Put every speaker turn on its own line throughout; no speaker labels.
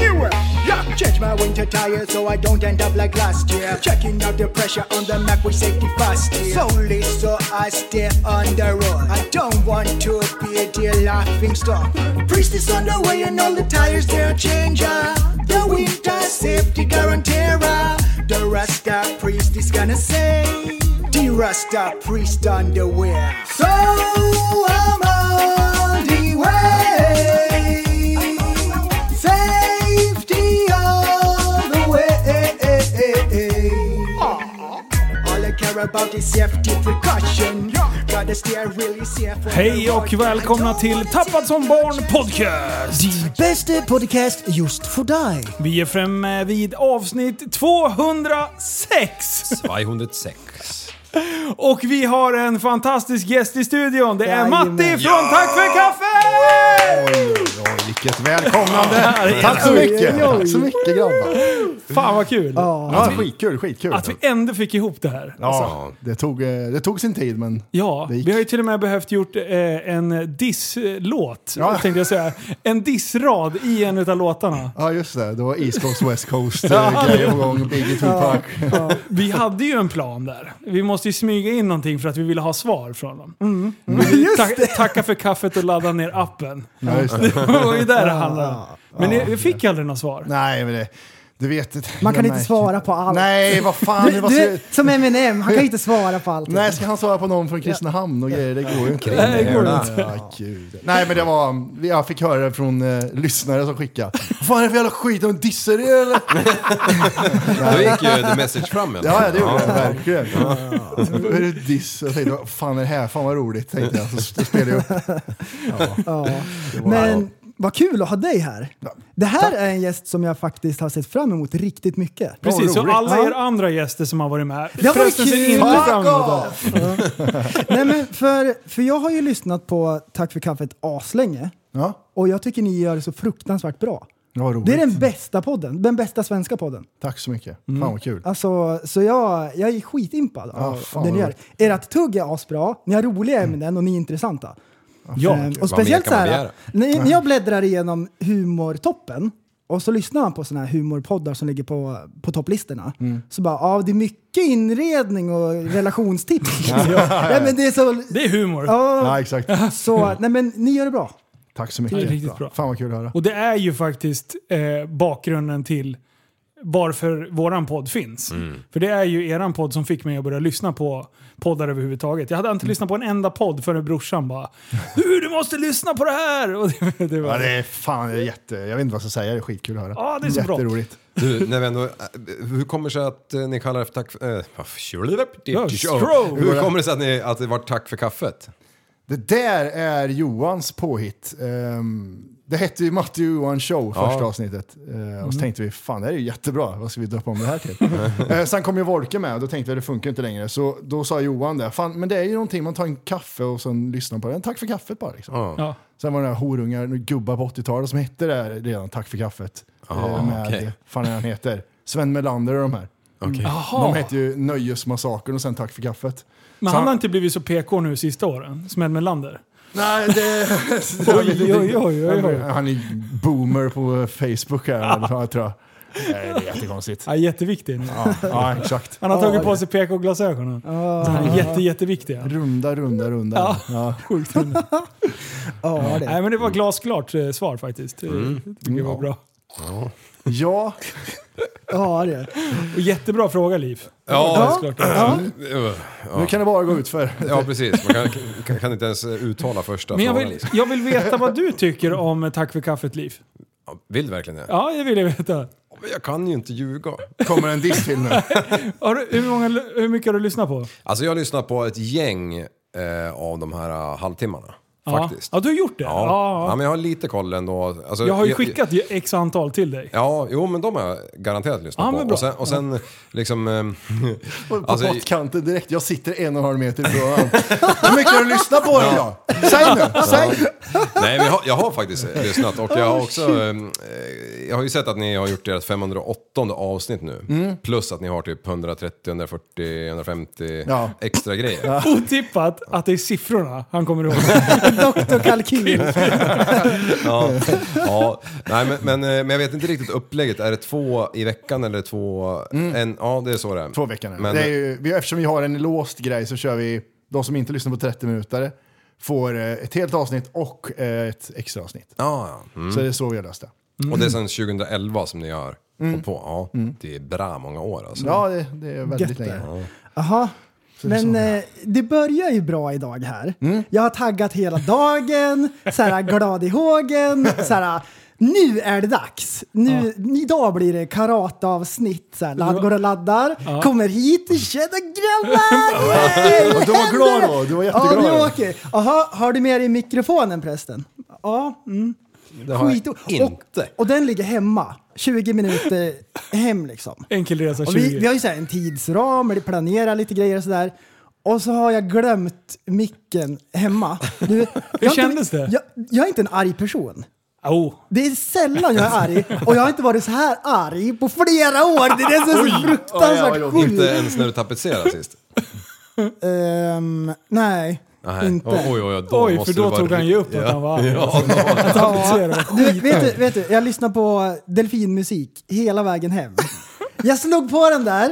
Newer. Yeah. Change my winter tires so I don't end up like last year. Checking out the pressure on the Mac with safety fast. here. Solely so I stay on the road. I don't want to be the laughing stock. Priest is on the way and all the tires they're changing. The winter safety guaranteer. The Rasta priest is gonna say. The Rasta priest on the way. So I'm on the way. Safety all the way. All I care about is safety precaution. Gotta stay really safe.
Hej och välkomna till Tappad som barn podcast!
Bästa podcast just för dig.
Vi är framme vid avsnitt 206!
206.
Och vi har en fantastisk gäst i studion. Det är
Jajamän.
Matti från Tack för kaffe!
Oj, vilket välkomnande!
Ja, det är-
Tack så mycket!
Oj, oj, oj.
Tack så mycket grabbar!
Fan vad kul!
Ja, skitkul, skitkul.
Att vi ändå fick ihop det här.
Ja, det tog, eh, det tog sin tid men...
Ja,
Det gick.
vi har ju till och med behövt gjort eh, en disslåt,
Ja.
tänkte jag säga. En dissrad i en utav låtarna.
Ja just det, det var East Coast West Coast eh, grejer på gång, Biggie Tupac.
Vi hade ju en plan där. Vi måste ju smyga in någonting för att vi ville ha svar från dem. Ta- tacka för kaffet och ladda ner appen.
Ja, just det.
Det var ju där det handlade om. Men ni- jag fick aldrig något svar.
Nej men det, du vet...
Man kan
jag
inte
märker-
svara på allt.
Nej, Ah, vad fan.
Du,
det var
du,
så...
som Eminem, han kan inte svara på allt.
Nej, ska han svara på någon från Kristinehamn och grejer? Det går ju inte.
Nej, det går inte.
Ja, gud. Nej, men det var... Jag fick höra det från eh, lyssnare som skickade. Vad fan är det för jävla skit? Har de dissar er eller?
Då gick ju the message fram i alla
Ja,
fall.
ja, det gjorde jag verkligen. Är det diss? Jag tänkte, vad fan är det här? Fan vad roligt, tänkte jag. Så spelade jag upp.
Men vad kul att ha dig här. Det här är en gäst som jag faktiskt har sett fram emot riktigt mycket.
Precis, så
roligt.
alla
Ja.
er andra gäster som har varit med.
Det var
förresten ser
kul.
inte
Fuck
fram emot det.
Nej, men för, för jag har ju lyssnat på Tack för kaffet aslänge
Ja,
och jag tycker ni gör det så fruktansvärt bra.
det var roligt.
Det är den bästa podden, den bästa svenska podden.
Tack så mycket.
Mm.
Fan vad kul.
Alltså, så jag, jag är skitimpad av
fan
det
vad
ni gör.
roligt.
Ert tugg är asbra, ni har roliga ämnen och ni är intressanta.
Ja.
Ehm, och
Vad mer
speciellt så
kan man
här, när, när jag bläddrar igenom humortoppen och så lyssnar man på sådana här humorpoddar som ligger på, på topplistorna. Så bara, ja det är mycket inredning och relationstips. Nej, men det är så...
Det är humor.
Ja,
Ja, exakt.
så, nej men ni gör det bra.
Tack så
Det är
mycket.
riktigt bra.
Fan vad kul att höra.
Och det är ju faktiskt eh, bakgrunden till varför våran podd finns.
Mm.
För det är ju eran podd som fick mig att börja lyssna på poddar överhuvudtaget. Jag hade
Mm.
inte lyssnat på en enda podd förrän brorsan bara Du, du måste lyssna på det här! Och det, det var,
Ja, det är fan det är jätte... Jag vet inte vad jag ska säga. Det är skitkul att höra.
Ja, det är så bra.
Jätteroligt.
Du, när vi ändå, eh, hur kommer det sig att eh, ni kallar det för tack för... eh, vad för-
Ja, stroke.
Hur kommer det sig att, ni, att det var tack för kaffet?
Det där är Johans påhitt. Ehm, det hette ju Matte och Johan show
Ja. Mm.
första avsnittet. Eh, och så tänkte vi, fan det här är ju jättebra, vad ska vi döpa om det här till? Eh, sen kom ju Wolke med och då tänkte vi, det funkar inte längre. Så då sa Johan det, fan men det är ju någonting, man tar en kaffe och sen lyssnar på den. Tack för kaffet bara. Liksom.
ja.
Sen var det några horungar, några gubbar på 80-talet som hette det här redan, Tack för kaffet. Eh, med,
okej.
fan är han heter? Sven Melander och de här.
Okej.
De hette ju Nöjesmassakern och sen Tack för kaffet.
Men
Så
han har inte blivit så PK nu sista åren, som Ed Melander.
Nej, det...
Oj, oj, oj, oj, oj.
Han är boomer på Facebook här, jag tror jag. Nej, Det är jättekonstigt.
Ja, jätteviktig nu.
Ja, ja, exakt.
Han har tagit på sig PK-glasögonen. Så Han är jätte, jätteviktig. han.
Runda, runda, runda.
Ja.
Ja.
Sjukt himla.
Ja, det.
Mm.
Nej men det var glasklart eh, svar faktiskt. Eh, Det tycker jag var bra.
ja,
Ja, det.
Och jättebra fråga Liv.
Ja,
Såklart. Mm.
Ja.
Nu
ja.
kan det bara gå ut för.
eh, ja precis. Man kan, kan, kan inte ens eh, uttala första
Men jag
frågan,
vill,
liksom.
jag vill veta vad du tycker om Tack för kaffet Liv.
ja, vill du verkligen det?
Ja, det vill jag veta.
Men Jag kan ju inte ljuga.
Kommer en diss till nu.
Har du, hur, många, hur mycket har du lyssnat på?
Alltså jag har lyssnat på ett gäng eh, av de här eh, halvtimmarna. Faktiskt.
Ja, du har gjort det?
Ja.
Ja.
ja, men jag har lite koll ändå. Alltså,
Jag har ju skickat ju x antal till dig.
Ja, jo men de har jag garanterat lyssnat
Ja,
på.
men bra.
Och sen, och sen liksom... ehm,
På
Alltså,
pottkanten direkt. Jag sitter en och en halv meter ifrån honom. Hur mycket har du lyssnat på det då? Säg nu! Säg!
nej, men jag, har, jag har faktiskt lyssnat och jag har också... ehm,
Oh,
eh, jag har ju sett att ni har gjort ert 508 avsnitt nu.
Mm.
Plus att ni har typ 130, 140, 150
Ja.
extra grejer.
Otippat att det är siffrorna han kommer ihåg.
Doktor Kalkyl.
Ja, ja. Nej, men, men, eh, men jag vet inte riktigt upplägget. Är det två i veckan eller två... En, ja, det är så det är.
Mm. Två veckor nu.
Men-
det är ju, vi, eftersom vi har en låst grej så kör vi, de som inte lyssnar på 30 minuter får eh, ett helt avsnitt och eh, ett extra avsnitt.
Ja, ja. Mm.
Så det är så vi har löst det.
Och det är sedan 2011 som ni har hållit på. Ja, det är bra många år alltså.
Mm. Ja, det, det är väldigt
Gött det.
länge.
Jaha. Men eh, det börjar ju bra idag här.
Mm.
Jag har taggat hela dagen, så här, glad i hågen. Så här, nu är det dags. Nu, Idag blir det karateavsnitt. Så här, ladd, går och laddar, kommer hit, tjena grabbar! Yay!
Och du var glad då? Du var
Ja,
jätteglad?
nu åker Jaha, har du med dig mikrofonen förresten? Ja. Mm.
Det har jag
Skit-
inte.
Och, och den ligger hemma, 20 minuter hem liksom.
Enkelresa
Och
20.
vi, vi har ju så här en tidsram, eller planerar lite grejer och sådär. Och så har jag glömt micken hemma. Du, jag har inte-
kändes det?
Jag, jag är inte en arg person.
oh.
Det är sällan jag är arg och jag har inte varit så här arg på flera år. Det är så
Oj,
fruktansvärt
oj, oj.
sjukt.
Inte ens när du tapetserade sist?
Ehm, nej,
Nej.
inte.
Oj, oj, oj, då
Oj,
måste
för
du
då
vara
tog han ju upp att han var arg.
Ja, då-
Ja.
Du, vet, du, vet du, jag lyssnade på delfinmusik hela vägen hem. Jag slog på den där,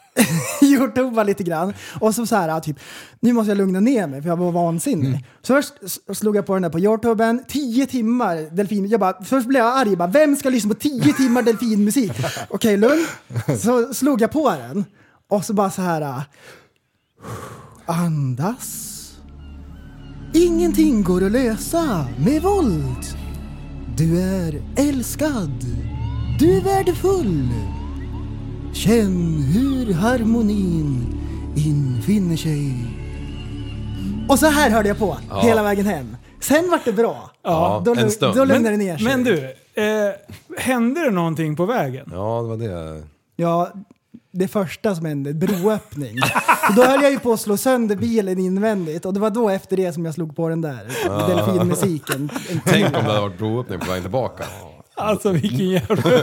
youtubade lite grann och så så här typ, nu måste jag lugna ner mig för jag var vansinnig. Så först s- slog jag på den där på youtuben, tio timmar delfin. Jag bara, först blev jag arg, bara, vem ska lyssna på tio timmar delfinmusik? Okej, lugn. Så slog jag på den och så bara så här, ah, andas. Ingenting går att lösa med våld. Du är älskad. Du är värdefull. Känn hur harmonin infinner sig. Och så här hörde jag på hela vägen hem. Sen vart det bra.
Ja,
då,
en
lugn-
stund.
då lugnade det ner
Men,
sig.
men du, eh, hände det någonting på vägen?
ja, det var det.
Ja, det första som hände, broöppning. Så då höll jag ju på att slå sönder bilen invändigt och det var då efter det som jag slog på den där delfinmusiken.
Tänk om det hade varit broöppning på vägen tillbaka.
Alltså
Mm.
vilken jävla...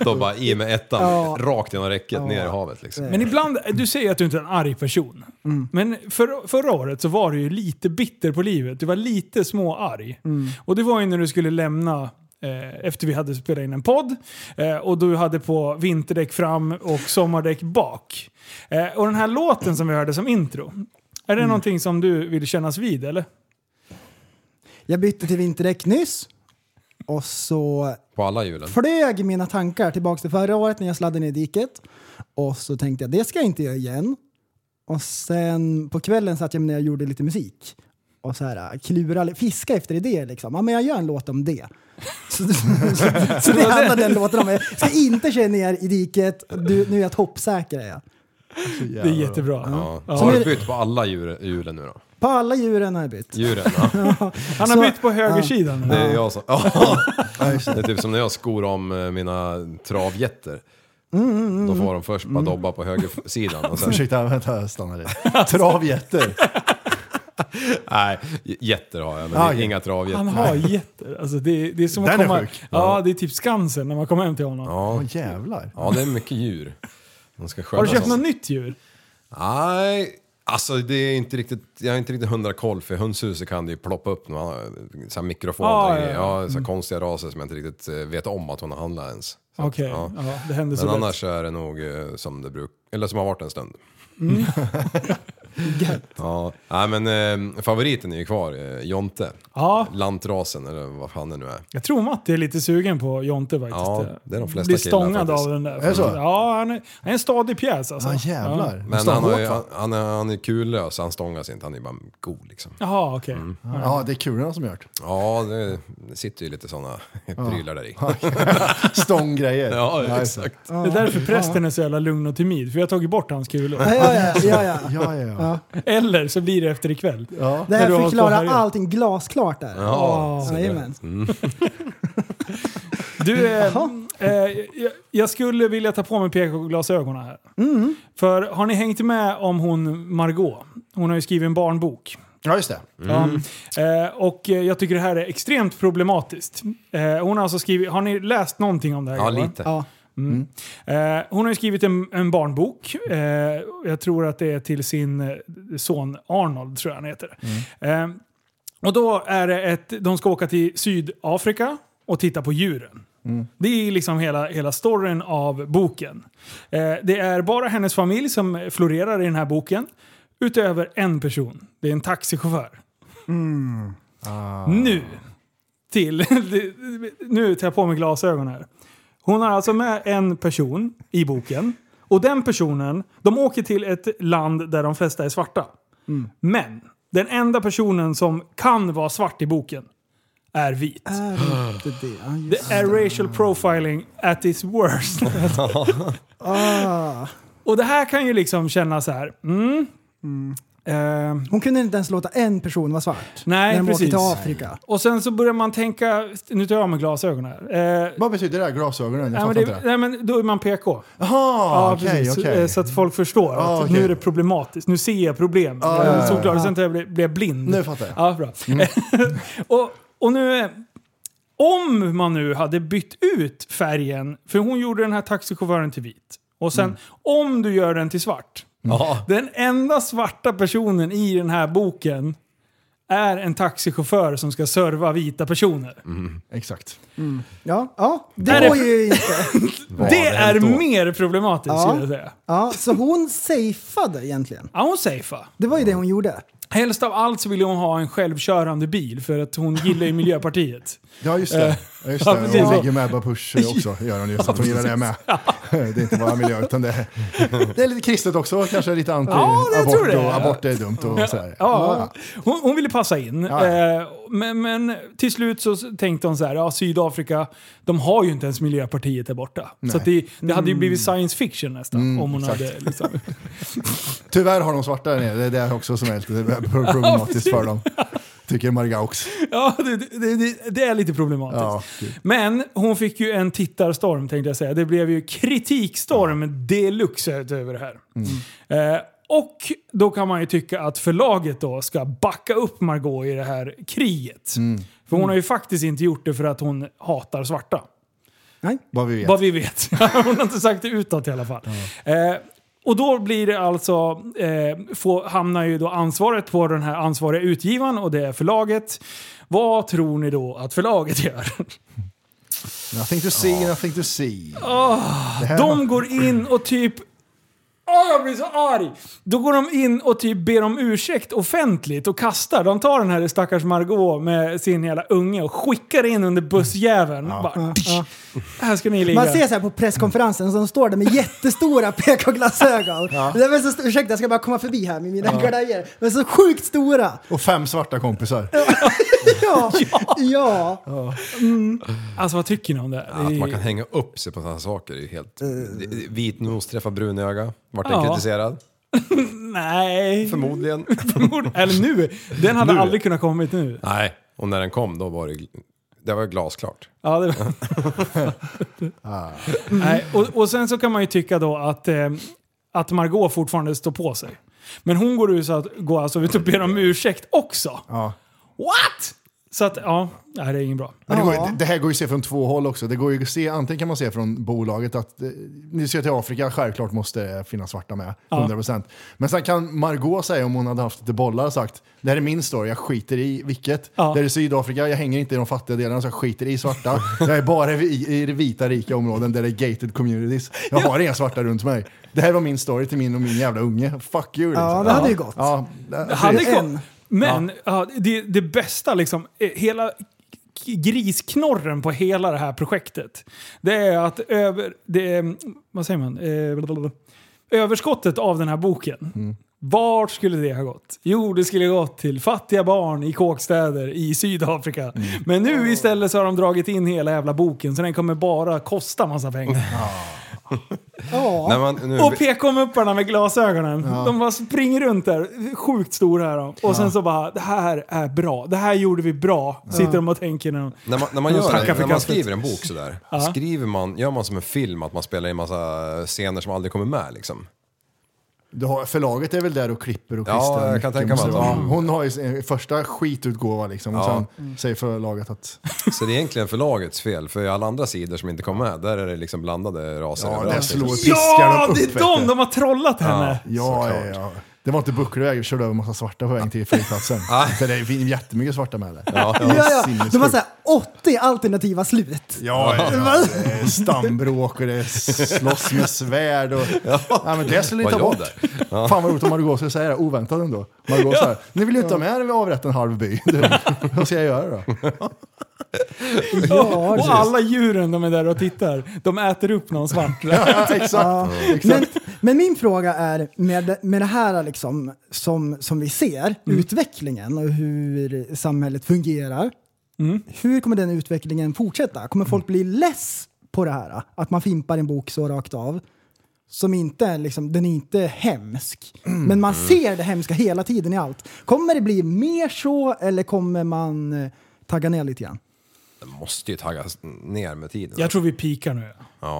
Då bara i med ettan,
Ja.
rakt genom räcket, ner i havet liksom.
Men ibland, du säger att du inte är en arg person. Men för, förra året så var du ju lite bitter på livet. Du var lite småarg. Och det var ju när du skulle lämna eh, efter vi hade spelat in en podd. Eh, och du hade på vinterdäck fram och sommardäck bak. Eh, och den här låten som vi hörde som intro. Är det någonting som du vill kännas vid eller?
Jag bytte till vinterdäck nyss och så
På alla hjulen.
flög mina tankar tillbaka till förra året när jag sladdade ner i diket. Och så tänkte jag, det ska jag inte göra igen. Och sen på kvällen satt jag när jag gjorde lite musik. Och så här, äh, klura, fiska efter idéer liksom. Ja, men jag gör en låt om det. Så, så, så det handlar den låten om. Jag ska inte köra ner i diket. Du, nu är jag toppsäker. Är jag.
Det är jättebra.
Ja.
Ja.
Har du bytt på alla djur, hjulen nu då?
På alla djuren har jag bytt.
Djuren? Ja.
Han har
Så-
bytt på högersidan.
Det är jag som... Ja. det är typ som när jag skor om eh, mina travjätter. Då får de först
Mm.
bara dobba på högersidan och sen...
Ursäkta, vänta, stanna lite. Travjätter.
Nej, j- jätter har jag men
Ah,
det är
okej.
inga travjätter.
Han har jätter. Alltså det, det är som att
Den är
komma...
sjuk.
Ja, det är typ Skansen när man kommer hem till honom.
Ja.
Åh jävlar.
ja, det är mycket djur. De ska sköta
Har du köpt
sånt.
något nytt djur?
Nej, alltså det är inte riktigt... Jag har inte riktigt hundra koll för i hönshuset kan det ju ploppa upp några så här mikrofoner
Ah,
och
ja,
grejer.
ja.
ja, så här konstiga raser som jag inte riktigt eh, vet om att hon har handlat ens. Så att,
Okej,
ja.
ja. det hände så lätt.
Men
Mm.
annars är det nog eh, som det bruk... Eller som har varit en stund.
Gött.
Ja, nej, men eh, favoriten är ju kvar, eh, Jonte.
Ja.
Lantrasen eller vad fan det nu är.
Jag tror Matti är lite sugen på Jonte faktiskt.
Ja, det är de flesta
Blir
killar
stångad
faktiskt.
av den där.
Är det så?
Ja, han är, han är en stadig pjäs alltså.
Ja
Ja.
jävlar.
Men
Måste
han, har
hårt,
ju,
va?
han, han, är, han är kullös, han stångas inte, han är bara god liksom.
Jaha, okej.
Ja, det är kulorna som gör det.
Ja, det, det sitter ju lite sådana prylar där i.
Stånggrejer.
Ja,
just det.
exakt.
Det är därför prästen är så jävla lugn och timid, för jag har tagit bort hans kulor.
Ja, ja, ja, ja, ja.
Ja, ja, ja.
Eller så blir det efter ikväll.
ja.
Det
När du
här
har hållit
förklarar
på här
allting glasklart där.
Ja, så det-
Jajamän.
Du, eh, eh, jag, jag skulle vilja ta på mig PK-glasögonen här.
Mm.
För har ni hängt med om hon Margot? Hon har ju skrivit en barnbok.
ja just det.
Mm.
Ja. Eh, och eh, jag tycker det här är extremt problematiskt. Eh, hon har alltså skrivit, har ni läst någonting om det här?
ja,
grabbar?
lite.
Ja.
Eh, hon har ju skrivit en, en barnbok. Eh, jag tror att det är till sin eh, son Arnold, tror jag han heter. Eh, och då är det ett, de ska åka till Sydafrika och titta på djuren. Det är liksom hela, hela storyn av boken. Eh, det är bara hennes familj som florerar i den här boken. Utöver en person. Det är en taxichaufför. Nu! Till... nu tar jag på mig glasögon här. Hon har alltså med en person i boken. Och den personen, de åker till ett land där de flesta är svarta. Men den enda personen som kan vara svart i boken är vit.
Är inte det. Ja, just.
Det är racial profiling at its worst.
Ah.
Och det här kan ju liksom kännas så här. Mm, eh,
Hon kunde inte ens låta en person vara svart.
Nej,
när de
precis.
åker till Afrika.
och sen så börjar man tänka, nu tar jag av mig glasögonen här. Eh,
Vad betyder det där glasögonen? Jag
nej, men
fattar inte
det,
det.
nej men då är man PK.
Jaha,
Ja,
Ah, okej,
precis.
okej.
Eh, Så att folk förstår
Ja,
att
okej. Ah,
nu är det problematiskt. Nu ser jag problem.
Ja,
jag
ja,
är
ja,
solklar. Sen blev jag blev blind.
Nu fattar jag. Mm.
Ja, bra. och, och nu... eh, Om man nu hade bytt ut färgen, för hon gjorde den här taxichauffören till vit. Och sen,
Mm.
om du gör den till svart.
Ja.
Den enda svarta personen i den här boken är en taxichaufför som ska serva vita personer.
Mm. Exakt.
Ja, ja.
Är
det
det-
går ju inte.
Vad
Det
har hänt
är
då?
mer problematiskt
Ja.
skulle jag säga.
Ja, så hon safeade egentligen.
Ja, hon safear.
Det var ju det hon gjorde.
Helst av allt så ville hon ha en självkörande bil för att hon gillar ju Miljöpartiet.
Ja just det. Ja, just
Eh, Ja,
det.
precis.
hon ligger med Babush också. Gör hon, just att hon gillar det med. Det är inte bara miljö utan det är, det är lite kristet också. Kanske lite
Ja, det tror
anti-abort
jag.
och abort är dumt och sådär.
Ja, hon, hon ville passa in.
Ja.
Eh, men, men till slut så tänkte hon så här, ja, Sydafrika, de har ju inte ens Miljöpartiet där borta. Så att det, det
Mm.
hade ju blivit science fiction nästan. om hon hade, liksom.
Tyvärr har de svarta där nere. Det är det också som är lite problematiskt för dem. Tycker Margaux.
ja, det, det, det, det är lite problematiskt.
Ja, typ.
Men hon fick ju en tittarstorm tänkte jag säga. Det blev ju kritikstorm deluxe över det här. Eh, och då kan man ju tycka att förlaget då ska backa upp Margot i det här kriget. För hon har ju faktiskt inte gjort det för att hon hatar svarta.
Vad vi vet.
Vad vi vet. Hon har inte sagt det utåt i alla fall. Eh, och då blir det alltså, eh, få, hamnar ju då ansvaret på den här ansvariga utgivaren och det är förlaget. Vad tror ni då att förlaget gör?
Nothing to see, nothing to see.
De går in och typ... Åh, jag blir så arg! Då går de in och typ ber om ursäkt offentligt och kastar. De tar den här stackars Margot med sin jävla unge och skickar in under bussjäveln. Bara,
Ja.
Här ska ni ligga.
Man ser så här på presskonferensen som står där med jättestora PK-glasögon. Det var så st- Ursäkta, jag ska bara komma förbi här med mina gladier. De är så sjukt stora.
Och fem svarta kompisar.
Ja, ja.
Alltså vad tycker ni om det här?
Att
Det är-
man kan hänga upp sig på sådana saker är ju helt... Det- det- Vit nos träffar brunöga. Vart den
Eh. Ja.
kritiserad?
Nej.
Förmodligen.
Förmodligen. Eller nu. Den hade
Nu.
aldrig kunnat kommit nu.
Nej, och när den kom då var det... gl- Det var glasklart.
Ja, det var... Nej, och, och sen så kan man ju tycka då att, eh, att Margot fortfarande står på sig. Men hon går, ut så att, går alltså ut och ber om ursäkt också.
Ja.
What? Så att, ja, nej, det är ingen bra.
Men det, går, ju-
Ja.
det här går ju att se från två håll också. Det går ju att se, antingen kan man se från bolaget att eh, ni ska till Afrika, självklart måste det finnas svarta med. 100%. Men sen kan Margot säga om hon hade haft lite bollar och sagt det här är min story, jag skiter i vilket.
Ja.
Det här är Sydafrika, jag hänger inte i de fattiga delarna så jag skiter i svarta. Jag är bara i, i de vita rika områden där det är gated communities. Jag har inga svarta runt mig. Det här var min story till min och min jävla unge. Fuck you.
Ja,
liksom.
det hade ju gått.
Ja,
Alltså, Det hade
precis.
gått. Men ja. det, det bästa, liksom, eh, hela k- grisknorren på hela det här projektet. Det är att över, det, är- vad säger man? Eh, blablabla. Överskottet av den här boken. Vart skulle det ha gått? Jo, det skulle ha gått till fattiga barn i kåkstäder i Sydafrika. Men nu istället så har de dragit in hela jävla boken så den kommer bara kosta massa pengar.
När man, nu,
Och PK-mupparna med glasögonen. De bara springer runt där, sjukt stora är de. Och sen så bara, det här är bra. Det här gjorde vi bra. Sitter de och tänker när de...
när man, när man,
De
gör
Mm. tackar
det,
för
när man
kaffet.
skriver en bok sådär, skriver man, gör man som en film att man spelar in massa scener som aldrig kommer med liksom?
Du har, förlaget är väl där och klipper och
Ja,
klistrar.
jag kan
mycket,
tänka mig
måste
att
det vara.
de-
Hon har ju sin första skitutgåva liksom. Och
Ja.
sen säger förlaget att
Så det är egentligen förlagets fel, för i alla andra sidor som inte kom med, där är det liksom blandade raser
ja, där
överallt,
slår
liksom.
piskar
Ja,
de
det
upp. vet
är
du.
de! De har trollat henne!
Ja, ja, ja. Det var inte Buckleväg, vi körde över en massa svarta på vägen till flygplatsen. Så det är fin- jättemycket svarta med där. Ja,
Ja, ja. De har såhär 80 alternativa slut.
Ja, ja, ja. Det är stambråk och det är slåss med svärd. Och... Ja. men det skulle ni
Vad
ta
gör
bort. Fan vad roligt om Margot skulle säga det, oväntat ändå. Margot ja. så här, ni vill ju inte ha med er vid avrätten en halv by. Du, Vad ska jag göra då?
Ja, och alla djuren de är där och tittar, de äter upp någon svart.
Ja, exakt.
Men, men min fråga är, med, med det här liksom, som, som vi ser, utvecklingen och hur samhället fungerar. Hur kommer den utvecklingen fortsätta? Kommer folk bli less på det här? Att man fimpar en bok så rakt av? Som inte, är liksom, den är inte hemsk, men man ser det hemska hela tiden i allt. Kommer det bli mer så eller kommer man eh, tagga ner lite grann?
Det måste ju taggas ner med tiden.
Jag tror vi pikar nu.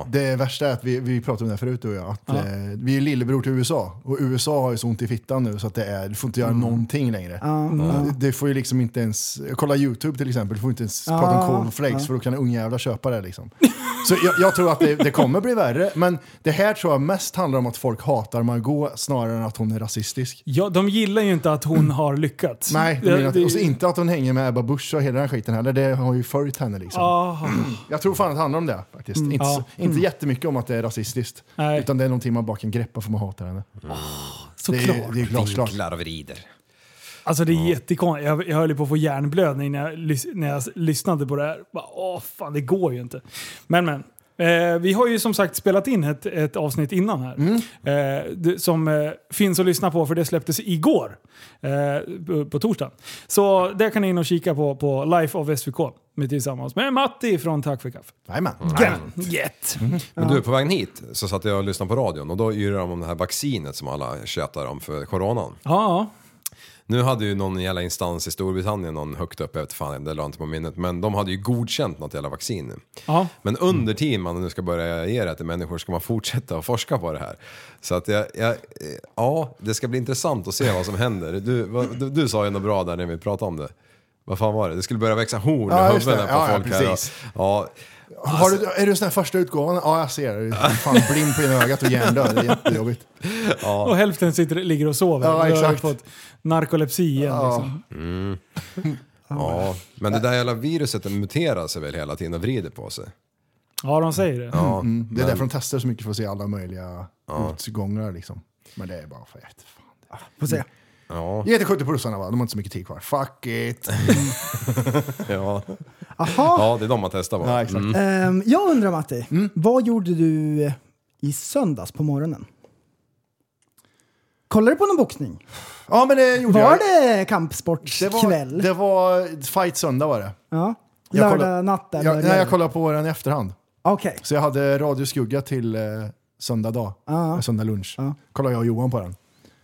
Det värsta är att vi, vi pratade om det här förut du och jag, att eh, vi är lillebror till USA och USA har ju så ont i fittan nu så att det är, du får inte göra någonting längre. Det, det får ju liksom inte ens, kolla YouTube till exempel, du får inte ens prata om cornflakes för då kan ungjävlar köpa det liksom. Så jag, jag tror att det, det kommer bli värre, men det här tror jag mest handlar om att folk hatar Margot snarare än att hon är rasistisk.
Ja, de gillar ju inte att hon har lyckats.
Nej, det, menar jag
Det-
inte. och så inte att hon hänger med Ebba Busch och hela den här skiten heller. Det har ju följt henne liksom.
Ah,
Jag tror fan det handlar om det faktiskt. Inte,
Ja.
så, inte jättemycket om att det är rasistiskt.
Nej.
Utan det är någonting man bara kan greppa för man hatar henne. Det
såklart.
är, det är glasklart.
Vinklar och vrider.
Alltså det är jättekonstigt. Jag, jag höll ju på att få hjärnblödning när jag, lys- när jag s- lyssnade på det här. Bara, Åh fan, det går ju inte. Men men. Eh, vi har ju som sagt spelat in ett, ett avsnitt innan här.
Mm.
Eh, det, som eh, finns att lyssna på för det släpptes igår. Eh, på, på torsdag. Så där kan ni in och kika på, på Life of SVK. Med tillsammans med Matti från Tack för kaffe.
Jajamän.
Get.
Men du, på vägen hit så satt jag och lyssnade på radion och då yrade de om det här vaccinet som alla tjatar om för coronan.
Ja,
Nu hade ju någon jävla instans i Storbritannien, någon högt upp, jag vet fan, det la jag inte på minnet, men de hade ju godkänt något jävla vaccin nu.
ja.
Men under tiden man nu ska börja ge det till människor ska man fortsätta att forska på det här. Så att jag, jag, eh, ja, det ska bli intressant att se vad som händer. Du, vad, du, du sa ju något bra där när vi pratade om det. Vad fan var det? Det skulle börja växa horn
Ja,
i
just det.
huvudet på
Ja, ja,
folk här.
precis.
Ja,
Har du, är du sån här första utgåvan? Ja, jag ser. Du är fan blind på ena ögat och hjärndöd. Det är jättejobbigt.
Och hälften sitter, ligger och sover.
Ja,
Då har jag
exakt.
fått narkolepsi igen. Liksom.
ja. Men det där jävla viruset det muterar sig väl hela tiden och vrider på sig?
Ja, de säger det.
Ja. Mm.
Det är därför de testar så mycket för att se alla möjliga utgångar. Liksom. Men det är bara för jätte- fan.
Får se.
Ja,
Ge till 70 på russarna va? De har inte så mycket tid kvar. Fuck it!
ja.
Aha.
ja, det är de man testar på.
Ja, exakt.
Ehm, jag undrar Matti,
Mm.
vad gjorde du eh, i söndags på morgonen? Kollade du på någon boxning?
ja men det gjorde
Var
jag.
det
Det
kampsportskväll?
var, det var fight söndag var det.
Ja.
Jag
Lördag
kollade-
natt där
Jag,
började
nej, jag
det.
kollade på den i efterhand.
Okej.
Så jag hade radioskugga till eh, söndag dag, eh, söndag lunch.
Ja.
Kollade jag och Johan på den.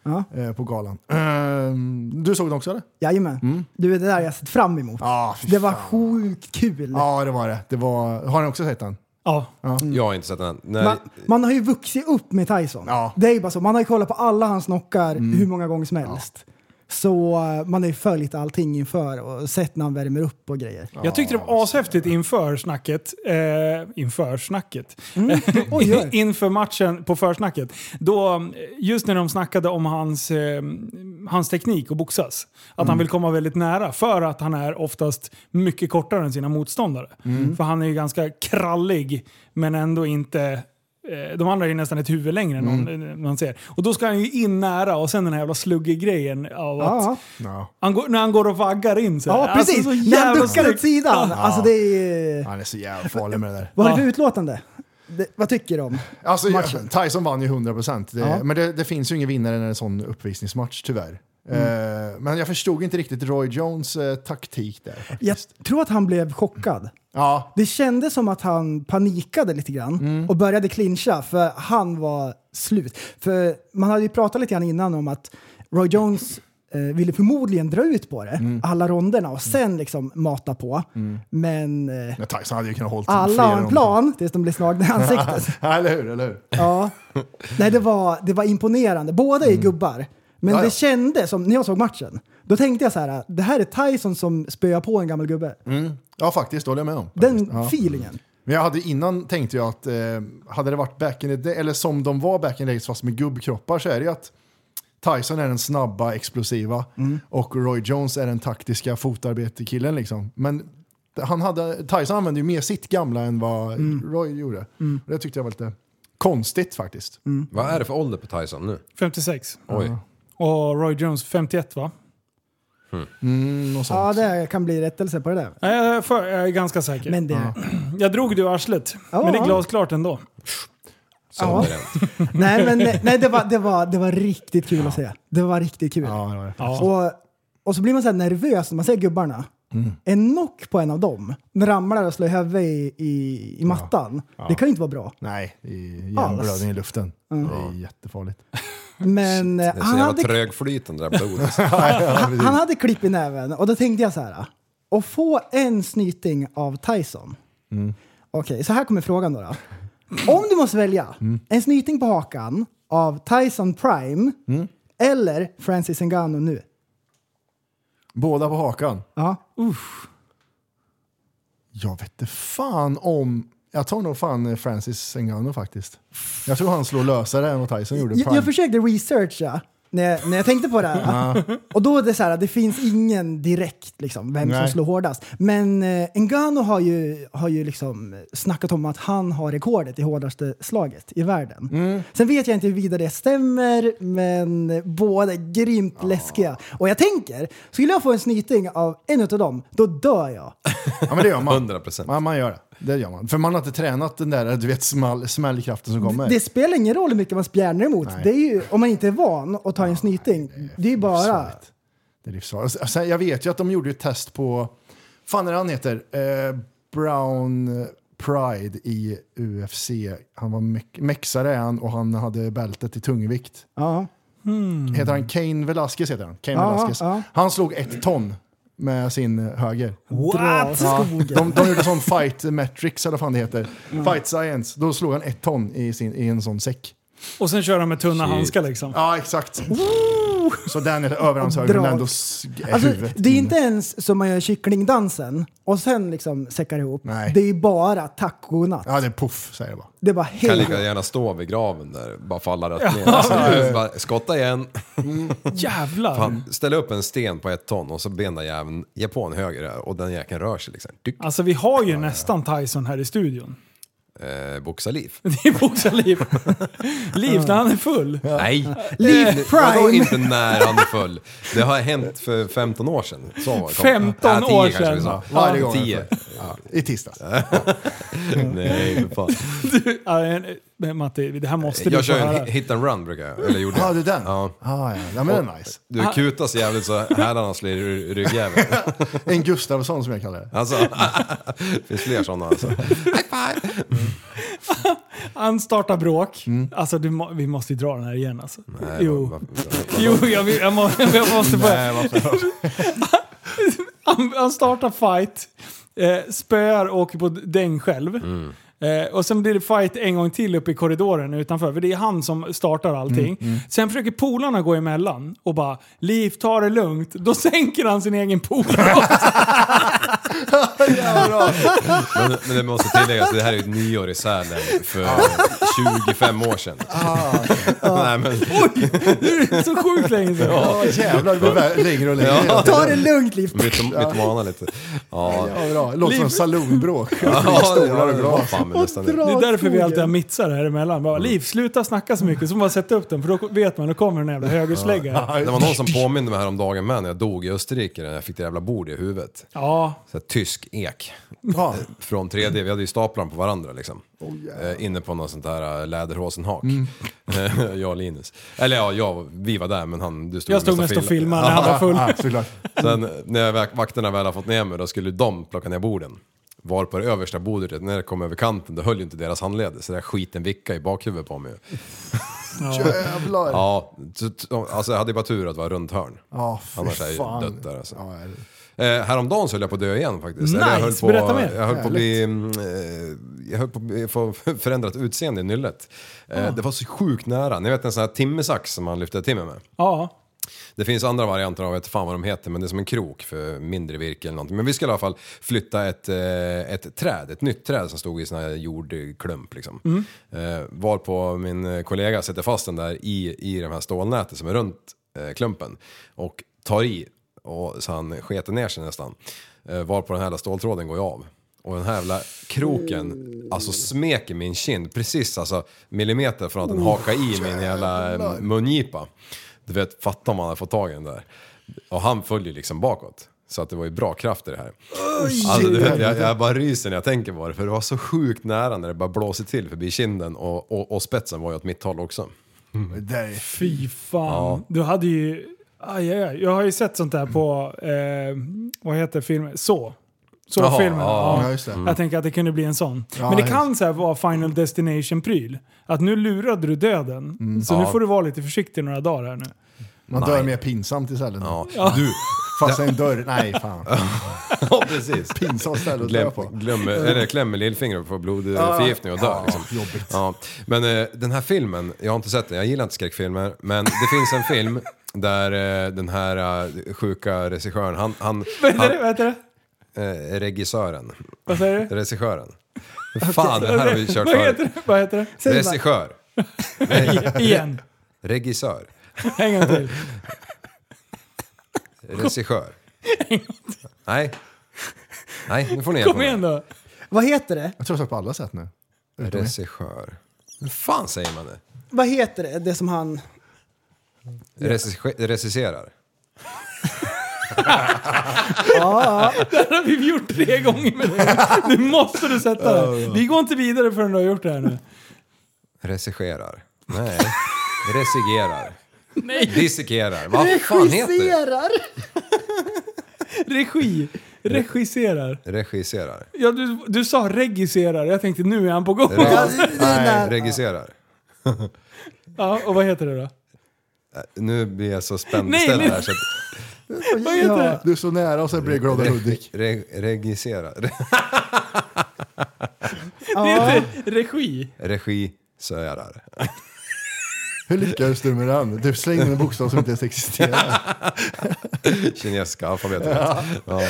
Ja.
Eh, på galan. Ehm, du såg den också eller?
Jajamän. Du, det där har jag sett fram emot.
Mm. Ja, fy
det var
fan.
sjukt kul.
Ja, det var det. det var, har ni också sett den?
Ja.
Jag har inte sett den än. Nej,
Man, man har ju vuxit upp med Tyson.
Ja. Mm.
Det är ju bara så. Man har ju kollat på alla hans knockar hur många gånger som helst. Så eh, man har ju följt allting inför och sett när han värmer upp och grejer.
Jag tyckte det var ashäftigt inför snacket. Eh, inför snacket.
Mm. Oj, oj.
inför matchen på försnacket. Då, eh, just när de snackade om hans, eh, hans teknik och boxas. Att
Mm.
han vill komma väldigt nära för att han är oftast mycket kortare än sina motståndare.
Mm.
För han är ju ganska krallig men ändå inte Eh, De andra är ju nästan ett huvud längre än
Mm.
någon, eh, man ser. Och då ska han ju in nära och sen den här jävla sluggegrejen av att
Ja.
Ja.
han går, när han går och vaggar in så här.
Ja, precis.
Alltså, så
När han
jävla
duckar åt
snyggt.
sidan. Alltså det är...
Han är så jävla farlig med det där.
Vad har du
Ja.
för utlåtande? Det, vad tycker du om?
Alltså,
Matchen.
Tyson vann ju 100%. Det,
Ja.
Men det, det finns ju ingen vinnare när en sån uppvisningsmatch, tyvärr.
Mm.
Eh, men jag förstod inte riktigt Roy Jones eh, taktik där. faktiskt.
Jag tror att han blev chockad.
Ja,
Det kändes som att han panikade lite grann
Mm.
och började clincha för han var slut. För man hade ju pratat lite grann innan om att Roy Jones eh, ville förmodligen dra ut på det,
Mm.
alla ronderna och sen liksom mata på. Men eh,
men Tyson hade ju kunnat hålla
alla har en plan tills de blir slagna i ansiktet.
Ja, eller hur? Eller hur?
Ja. Nej, det var, det var imponerande. Båda är gubbar. Men
Ja, ja.
det kändes som, när jag såg matchen, då tänkte jag så här, det här är Tyson som spöar på en gammal gubbe.
Ja, faktiskt. Det håller jag med om.
Mm. Den
Faktiskt. Mm. ja.
feelingen.
Men jag hade innan tänkte jag att eh, hade det varit back in the day, eller som de var back in the days fast med gubbkroppar så är det ju att Tyson är den snabba, explosiva och Roy Jones är den taktiska fotarbetekillen liksom. Men han hade, Tyson använde ju mer sitt gamla än vad Roy gjorde. Och det tyckte jag var lite konstigt faktiskt.
Vad är det för ålder på Tyson nu?
56.
Oj.
Och Roy Jones 51 va?
Något sånt.
Ja, det kan bli rättelse på det där.
Nej, Jag är, för, jag är ganska säker.
Men det,
jag drog det ur arslet.
Ja.
Men det är glasklart ändå.
Ja. nej, men, nej, det, var, det, var, det var riktigt kul att se. Det var riktigt kul.
Ja, det var det.
Och, och så blir man så här nervös när man ser gubbarna. En knock på en av dem ramlar och slår huvudet i, i, i mattan. Det kan ju inte vara bra.
Nej, det är hjärnblödning i luften. Det är jättefarligt.
Men eh,
Ah, Det är så
han
jävla
hade
trögflytande det där blodet.
Han, han hade klipp i näven och då tänkte jag så här. Att få en snyting av Tyson. Okej, så här kommer frågan då. då. Om du måste välja en snyting på hakan av Tyson Prime eller Francis Ngannou nu.
Båda på hakan.
Ja.
Jag vet inte fan om... Jag tar nog fan eh, Francis Ngannou faktiskt. Jag tror han slår lösare än vad Tyson gjorde.
Jag, jag
Prime.
försökte researcha när jag, när jag tänkte på det här. Och då är det så här, det finns ingen direkt liksom, vem som
Nej.
slår hårdast. Men eh, Ngannou har ju, har ju liksom snackat om att han har rekordet i hårdaste slaget i världen.
Mm.
Sen vet jag inte huruvida det stämmer, men båda är grymt läskiga. Och jag tänker, skulle jag få en snyting av en av dem, då dör jag.
Ja, men det gör man.
100%.
Ja, man gör det. Det gör man. För man har inte tränat den där du vet, small, smällkraften som kommer.
Det spelar ingen roll hur mycket man spjärnar emot.
Nej.
Det är ju, om man inte är van att ta en snyting, det är ju bara...
livsfarligt. Det är livsfarligt. Och Sen, jag vet ju att de gjorde ett test på, fan är det han heter? Eh, Brown eh, Pride i UFC. Han var mex- mexare är han och han hade bältet i tungvikt.
Ja.
Heter han Kane Velasquez? Heter han. Kane
Mm. Ja,
Velasquez.
ja.
han slog ett ton med sin höger.
What?
Ja, de, de gjorde sån fight metrics eller vad fan det heter. Fight science. Då slog han ett ton i, sin, i en sån säck.
Och sen kör han med tunna
Shit.
handskar liksom.
Ja, exakt. Så den är över hans höger, men
Drag.
ändå s- är
Alltså,
huvudet.
det är inte ens som man gör kycklingdansen och sen liksom säckar ihop.
Nej.
Det är ju bara tack och godnatt.
Ja, det är puff, säger det bara.
Det är bara
Kan
hej.
lika gärna stå vid graven där, bara falla rätt ner. Alltså, du bara, skotta igen.
Jävlar!
Fan, ställ upp en sten på ett ton och så ben den jäveln, ge på en höger där, och den jäkeln rör sig liksom. Dyk.
Alltså vi har ju nästan Tyson här i studion.
Eh, Boxarliv.
Det är boxarliv. Liv när han är full.
Nej!
Liv
Eh,
Prime.
Vadå inte när han är full? Det har hänt för 15 år sedan. Så var det.
15
Ja, 10
år
kanske vi
sedan.
sa.
Varje gång.
10.
I tisdags.
Nej, för fan.
Ja, eh, Matti, det här måste du
Jag
få
kör
höra.
en hit and run brukar jag, eller gjorde
Ja,
jag.
ah, det är den?
Ja.
Ah, ja, ja, men den är nice.
Du
Ah.
kutar så jävligt så hälarna slår i ryggjäveln.
En Gustavsson som jag kallar det.
Alltså, det finns fler sådana alltså. High five!
Han startar bråk. Alltså du må, vi måste ju dra den här igen alltså.
Mm. Nej,
jo.
vad- vad-
Jo, jag, vill- jag, må, jag måste börja.
Nej, varför? Mm.
Han, han startar fight, eh, spöar och åker på däng själv. Eh, och sen blir det fight en gång till uppe i korridoren utanför, för det är han som startar allting. Sen försöker polarna gå emellan och bara “Liv, ta det lugnt”. Då sänker han sin egen polare också.
Men, men det måste tilläggas, det här är ju ett nyår i Sälen för
Ah.
25 år sedan. Nej, men,
Så sjukt länge sedan.
Ja, jävlar, det blir vä- längre och längre.
Ja.
Ta det lugnt Liv.
mitt, mittmana lite. Ja,
Ja, bra. Låter som saloonbråk.
ja det
Stolar och
var
glas.
fan med nästan det.
Det är därför vi alltid har mittsar här emellan. Bara, Liv, sluta snacka så mycket. Så bara sätta upp den, för då vet man, då kommer den jävla högersläggaren.
Det var någon som påminde mig häromdagen med när jag dog i Österrike, när jag fick det jävla bordet i huvudet.
Ja,
Så här, tysk ek. Eh,
Ja.
från 3D. Vi hade ju staplarna på varandra liksom. eh, inne på någon sånt där eh, läderhosenhak.
Mm.
jag och Linus. Eller ja, jag, vi var där men han, du stod
jag stod mest och filmade när han var full.
Ja, såklart.
Sen när jag- vakterna väl har fått ner mig då skulle de plocka ner borden. Var på det översta bordet, när det kom över kanten, då höll ju inte deras handleder. Så där skiten vicka i bakhuvudet på mig.
Jävlar. Ja,
Ja, t- t- alltså jag hade ju bara tur att vara runt hörn.
fy
Annars hade jag
fan.
ju dött där alltså.
Ja, det-
Eh, häromdagen så höll jag på att dö igen faktiskt. Eller jag
Nice,
höll på,
berätta mer.
Jag höll på att bli... mm, Eh, jag höll på att bli- få förändrat utseende i nyllet. Eh,
Ah.
Det var så sjukt nära. Ni vet en sån här timmersax som man lyfter timmer med.
Ja.
Det finns andra varianter av, jag vet fan vad de heter, men det är som en krok för mindre virke eller någonting. Men vi skulle i alla fall flytta ett, eh, ett träd, ett nytt träd som stod i sån här jordklump liksom. Eh, varpå min eh, kollega sätter fast den där i, i de här stålnätet som är runt eh, klumpen och tar i och, så han sketer ner sig nästan. Eh, varpå den här jävla ståltråden går ju av. Och den här jävla kroken alltså smeker min kind precis alltså millimeter från att den hakar i min jävla eh, mungipa. Du vet, fatta om man hade fått tag i den där. Och han följer liksom bakåt. Så att det var ju bra kraft i det här. Alltså, du vet, jag, jag bara ryser när jag tänker på det, för det var så sjukt nära när det bara blåser till förbi kinden och, och, och spetsen var ju åt mitt håll också.
det där är-
Fy fan. Du hade ju... Aj, aj, aj. Jag har ju sett sånt där på... Eh, vad heter filmen? Så.
Jaha,
Så-filmen.
ja,
Ja,
ja, just det.
Jag tänker att det kunde bli en sån. Men det
just
kan så här vara Final Destination-pryl. Att nu lurade du döden. Så nu
Ja.
får du vara lite försiktig några dagar här nu.
Man dör mer pinsamt i cellen.
Ja.
Du. Fast en dörr. Nej, fan.
Ja, precis.
Pinsamt ställe att dö
Glöm,
på.
glöm, eller klämmer lillfingret på blodförgiftning och dör.
Ja,
liksom. ja. Men eh, den här filmen, jag har inte sett den, jag gillar inte skräckfilmer. Men det finns en film där eh, den här eh, sjuka regissören, han, han,
Vad heter
han
det? Vad heter det?
eh, regissören,
Vad säger du?
regissören. Fan, det här har vi kört
Vad heter
förut.
det? Vad heter det?
Säg det bara.
Regissör.
I- Igen.
Regissör.
En gång till.
Regissör. Nej. Nej, nu får ni hjälpa
Kom
mig.
igen då.
Vad heter det?
Jag tror jag sagt på alla sätt nu.
Regissör. Hur fan säger man det?
Vad heter det? Det som han...
Regissör- Regisserar.
Det har vi gjort tre gånger med dig. Nu måste du sätta den. Vi går inte vidare förrän du har gjort det här nu.
Regisserar. Nej. Resigerar.
Nej.
Dissekerar. Vad fan heter det?
Regisserar!
Regi. Regisserar.
Regisserar.
Ja, du, du sa regisserar. Jag tänkte nu är han på gång.
Re-
Alltså, där.
Nej, regisserar.
Ja, och vad heter det då?
Nu blir jag så spänd
Nej,
ställd
nu-
här så att...
Vad heter det?
Du är så nära och sen blir det glada Hudik.
Re, regisserar.
Det heter regi.
Eh, Regisörar.
Hur lyckades du med den? Du slängde in en bokstav som inte ens existerar.
Kinesiska alfabetet. Ja. Eh,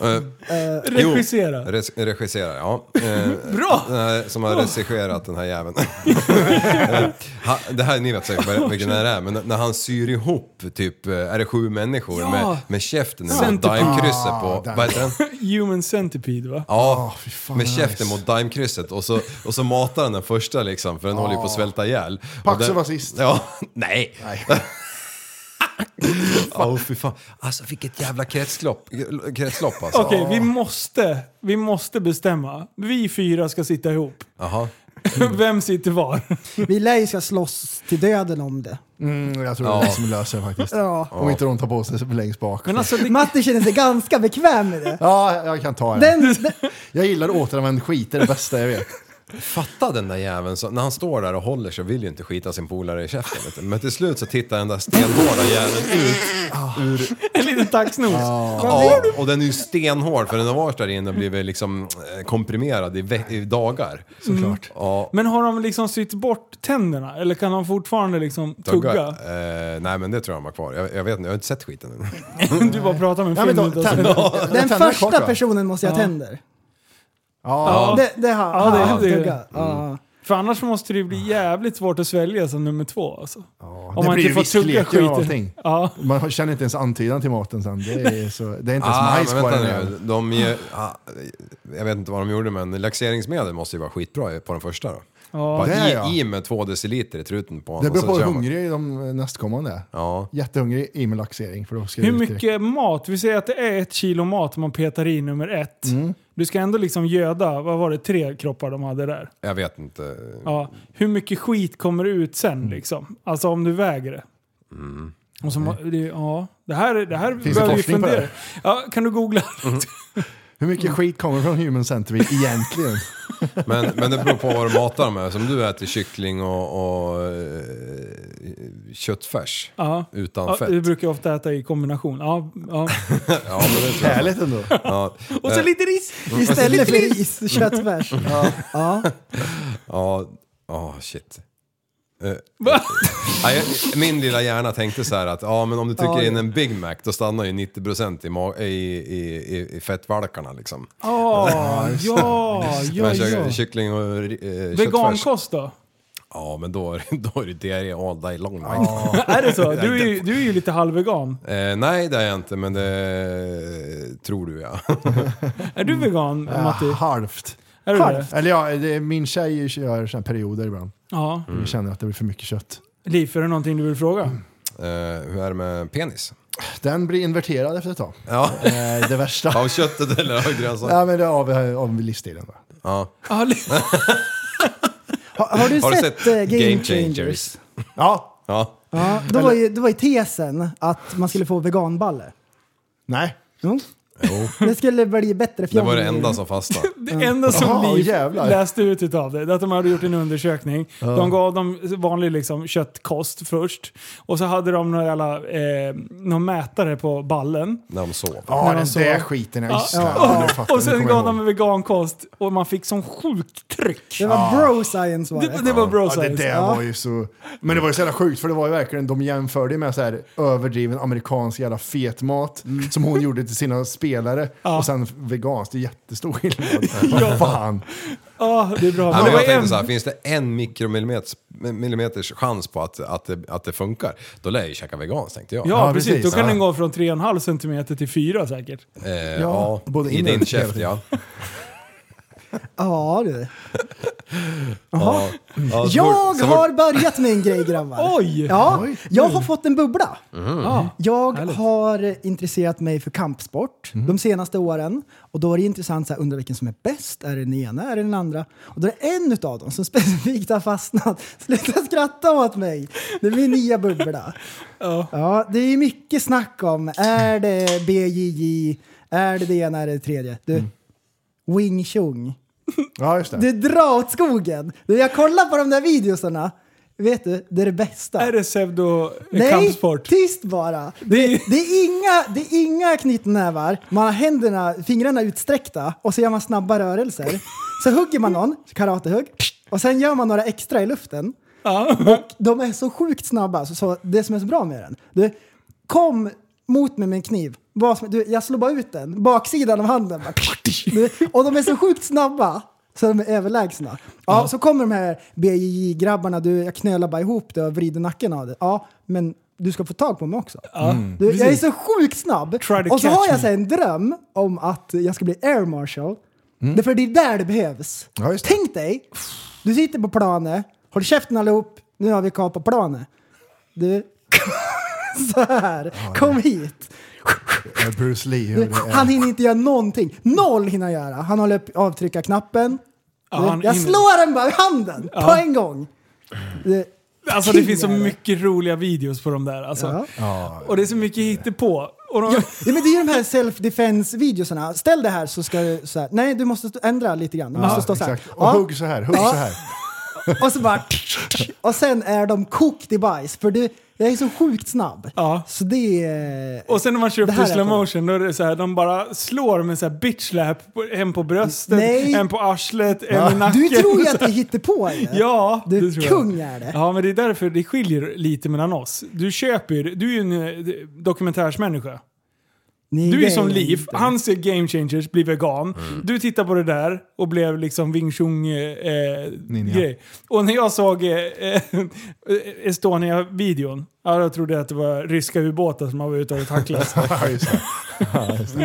Jo. Eh.
Regissera.
Res- regisserar, ja. Eh,
Bra!
Den här, som har regisserat den här jäveln. Eh, Ha- det här, ni vet säkert vad- vilken det här är, men när han syr ihop typ, eh, är det sju människor
Ja.
med, med käften mot
Centipede.
daimkrysset på,
där.
vad heter den?
Human centipede va?
Ja,
fy fan,
med
nice.
käften mot daimkrysset och så, och så matar han den första liksom, för den håller ju på att svälta ihjäl.
Paxo
Och den-
var sist.
Ja, nej.
Nej.
Åh fy fan. Alltså vilket jävla kretslopp, kretslopp alltså.
Okej, vi, måste, vi måste bestämma. Vi fyra ska sitta ihop.
Jaha. Mm.
Vem sitter var?
Vi lär ju ska slåss till döden om det.
Mm, jag tror det är det som löser det faktiskt.
Ja.
Om inte de tar på sig längst bak.
Men alltså, det,
Matti känner sig ganska bekväm med det.
Ja, jag kan ta en.
Den, den,
Jag gillar återanvänd skit, det är det bästa jag vet.
Fatta den där jäveln, som- när han står där och håller sig vill ju inte skita sin polare i käften. Vet du. Men till slut så tittar den där stenhårda jäveln ut
En liten taxnos.
Ja, och den är ju stenhård för den har varit där inne och blivit liksom eh, komprimerad i, ve- i dagar.
Mm.
Såklart. Ja.
Men har de liksom sytt bort tänderna? Eller kan de fortfarande liksom
Tugga?
tugga?
Eh, nej men det tror jag de har kvar. Jag, jag vet inte, jag har inte sett skiten än.
Du bara pratar med en
Ja, men
film.
då,
utan-
tänderna-
Den
tänderna är kvar, tror
första
jag.
personen måste jag
Ja.
tänder.
Ja.
Det, det har
Ja, det-
ja,
det-
tugga. Ja.
För annars måste det ju bli jävligt svårt att svälja som nummer två alltså.
det blir ju viss lek av allting.
Ja.
Man känner inte ens antydan till maten sen. Det är, så, det är inte ens
Ah,
majs
men
kvar
vänta
än.
nu. De, ge- ah, jag vet inte vad de gjorde men laxeringsmedel måste ju vara skitbra på den första då. Bara
Det är jag.
i, I med två deciliter i truten på honom.
Det beror på
och sen
hur
kör man.
hungrig de nästkommande är.
Ja.
Jättehungrig i med laxering. För då ska det
Hur
ut direkt.
mycket mat? Vi säger att det är ett kilo mat man petar i nummer ett.
Mm.
Du ska ändå liksom göda, vad var det, tre kroppar de hade där.
Jag vet inte.
Ja. Hur mycket skit kommer ut
Mm.
sen liksom? Alltså om du väger det.
Mm.
Och så, må- det, ja. det här, det här
det
bör vi
forskning på
fundera.
det?
Ja, kan du googla?
Mm.
Hur mycket skit kommer från Human Centerville egentligen?
Men, men det beror på vad du matar dem med. Som du äter kyckling och, och eh, köttfärs
Ja.
utan
Ja,
fett.
du brukar jag ofta äta i kombination. Ja, ja.
Ja, men det tror jag.
Härligt ändå.
Ja,
Och så lite ris!
Mm.
Istället för ris, köttfärs. Ja.
ja, ja, shit. Eh, ja, jag, min lilla hjärna tänkte så här att ja, men om du trycker in en Big Mac då stannar ju 90% i, ma- i, i, i, i fettvalkarna liksom.
Ja, ja, ja,
men kö-
ja.
kyckling och eh, köttfärs.
Vegankost då?
Ja, men då, är det- då är det diarré all day long. mate.
Är det så? Du är ju, du är ju lite halvvegan.
Eh, nej, det är jag inte, men det tror du ja.
Är du vegan, Matti?
Mm. Ja, halvt.
Är du det?
Eller ja, det är, min tjej gör såna här perioder ibland.
Ja.
Vi känner att det blir för mycket kött.
Liv, är det någonting du vill fråga?
Eh, hur är det med penis?
Den blir inverterad efter ett tag.
Ja,
Eh, Det värsta.
av köttet eller av grönsaker?
Ja, men det är av, av livsstilen. Då.
Ja.
Ja, li-
Har, har du
Har du
sett,
sett
eh, Game,
Game
Changers?
Changers?
Ja,
Ja.
Ja, då, var ju, då var ju tesen att man skulle få veganballe.
nej.
Jo.
Jo.
Det skulle bli bättre
Det
fjong.
var det enda som fastnade.
det enda som
Jaha,
Liv
jävlar.
läste ut utav det, det är att de hade gjort en undersökning. De gav dem vanlig liksom, köttkost först. Och så hade de några jävla, eh, någon mätare på ballen.
när de sov.
Ja,
de
den
sov.
där skiten. Ja, just det. Ja, nu
Ja.
fattar jag,
Och
nu
sen
kommer jag
gav de
ihåg.
en vegankost och man fick sån sjukt tryck.
Det
Ah.
var bro science var
Det,
det.
det var bro
Ja, det
science.
där var ju så... Men det var ju så jävla sjukt för det var ju verkligen, de jämförde ju med så här överdriven amerikansk jävla fetmat som hon gjorde till sina spelare och sen veganskt. Det är jättestor skillnad. Vad fan.
Ja, det är bra.
Ja,
Men det
men jag
var
tänkte
en,
så här, finns det en mikromillimeters millimeters chans på att, att, det, att det funkar, då lär jag ju käka veganskt tänkte jag.
ja,
Ja,
precis. Då
precis.
kan
Ja.
den gå från 3,5 cm till 4 säkert.
eh, ja,
både
I
in och
din
ut
käft
hela
ja.
Ja du.
ja. ja så
Jag
fort- så fort-
har börjat med en grej grabbar.
Oj!
Ja, jag har fått en bubbla.
Mm.
Ja.
Jag har intresserat mig för kampsport
Mm.
de senaste åren. Och då är det intressant, så här, undrar vilken som är bäst? Är det den ena? Är det den andra? Och då är det en utav dem som specifikt har fastnat. Sluta skratta åt mig! Det blir nya bubbla.
Ja.
Ja, det är mycket snack om, är det BJJ? Är det det ena? Är det det tredje? Du,
Mm.
wing chun.
Ja, just
Du
det.
drar åt skogen! Du, jag kollar på de där videosarna. Vet du, det är det bästa.
Är det pseudo
Nej,
kampsport?
tyst bara!
Det är-
Det är inga, det är inga knytnävar, man har händerna, fingrarna utsträckta och så gör man snabba rörelser. Så hugger man någon, karatehugg, och sen gör man några extra i luften.
Ja.
De är så sjukt snabba, så, så det som är så bra med den. Du, kom mot mig med en kniv. Vad som- Du, jag slår bara ut den, baksidan av handen. Bara, du, och de är så sjukt snabba. Så de är överlägsna. Ja, så kommer de här BJJ-grabbarna, du, jag knölar bara ihop det och vrider nacken av det. Ja, men du ska få tag på mig också. Du, jag är så sjukt snabb.
Try to
Och så
catch
har
me.
jag så här, en dröm om att jag ska bli air marshal.
Mm.
Det är för det är där det behövs.
Ja, just det.
Tänk dig, du sitter på planet, håll käften allihop, nu har vi kapat planet. Du, så här, kom hit.
Bruce Lee. hur
Du,
det är.
han hinner inte göra någonting. Noll hinner han göra. Han håller upp avtryckarknappen.
Ja,
Du,
han
jag
hinner.
slår den bara i handen på en gång. Du,
Alltså det finns så
Kingare.
mycket roliga videos på de där. Alltså.
ja.
Och det är så mycket hittepå. Och de,
Ja, ja, men det är ju de här self defense videosarna Ställ det här så ska du så här. Nej, du måste stå- ändra lite grann. Du måste stå så här.
Exakt. Och
Ja,
hugg så här, hugg
Ja.
så här.
och så bara... Och sen är de kokt i bajs. För det, jag är så sjukt snabb.
Ja.
Så det är...
och sen när man kör
Det
upp
här
i
är
slow
coolt.
motion, då är det så här, de bara slår med så här bitch slap, på- en på bröstet,
Nej.
en på arslet, en i nacken.
Du tror ju att det hittar på det.
Ja,
Du
det
är
tror jag.
kung är det.
Ja, men det är därför det skiljer lite mellan oss. Du köper ju, du är ju en eh, dokumentärsmänniska.
Nej,
Du
det
är som
jag
Liv,
inte.
han ser Game Changers, blir vegan. Du tittar på det där och blev liksom Wing Chun eh, eh, grej. Och när jag såg eh, eh, Estonia-videon, ja, då trodde jag att det var ryska ubåtar som var ute och tacklats.
Ja, just det.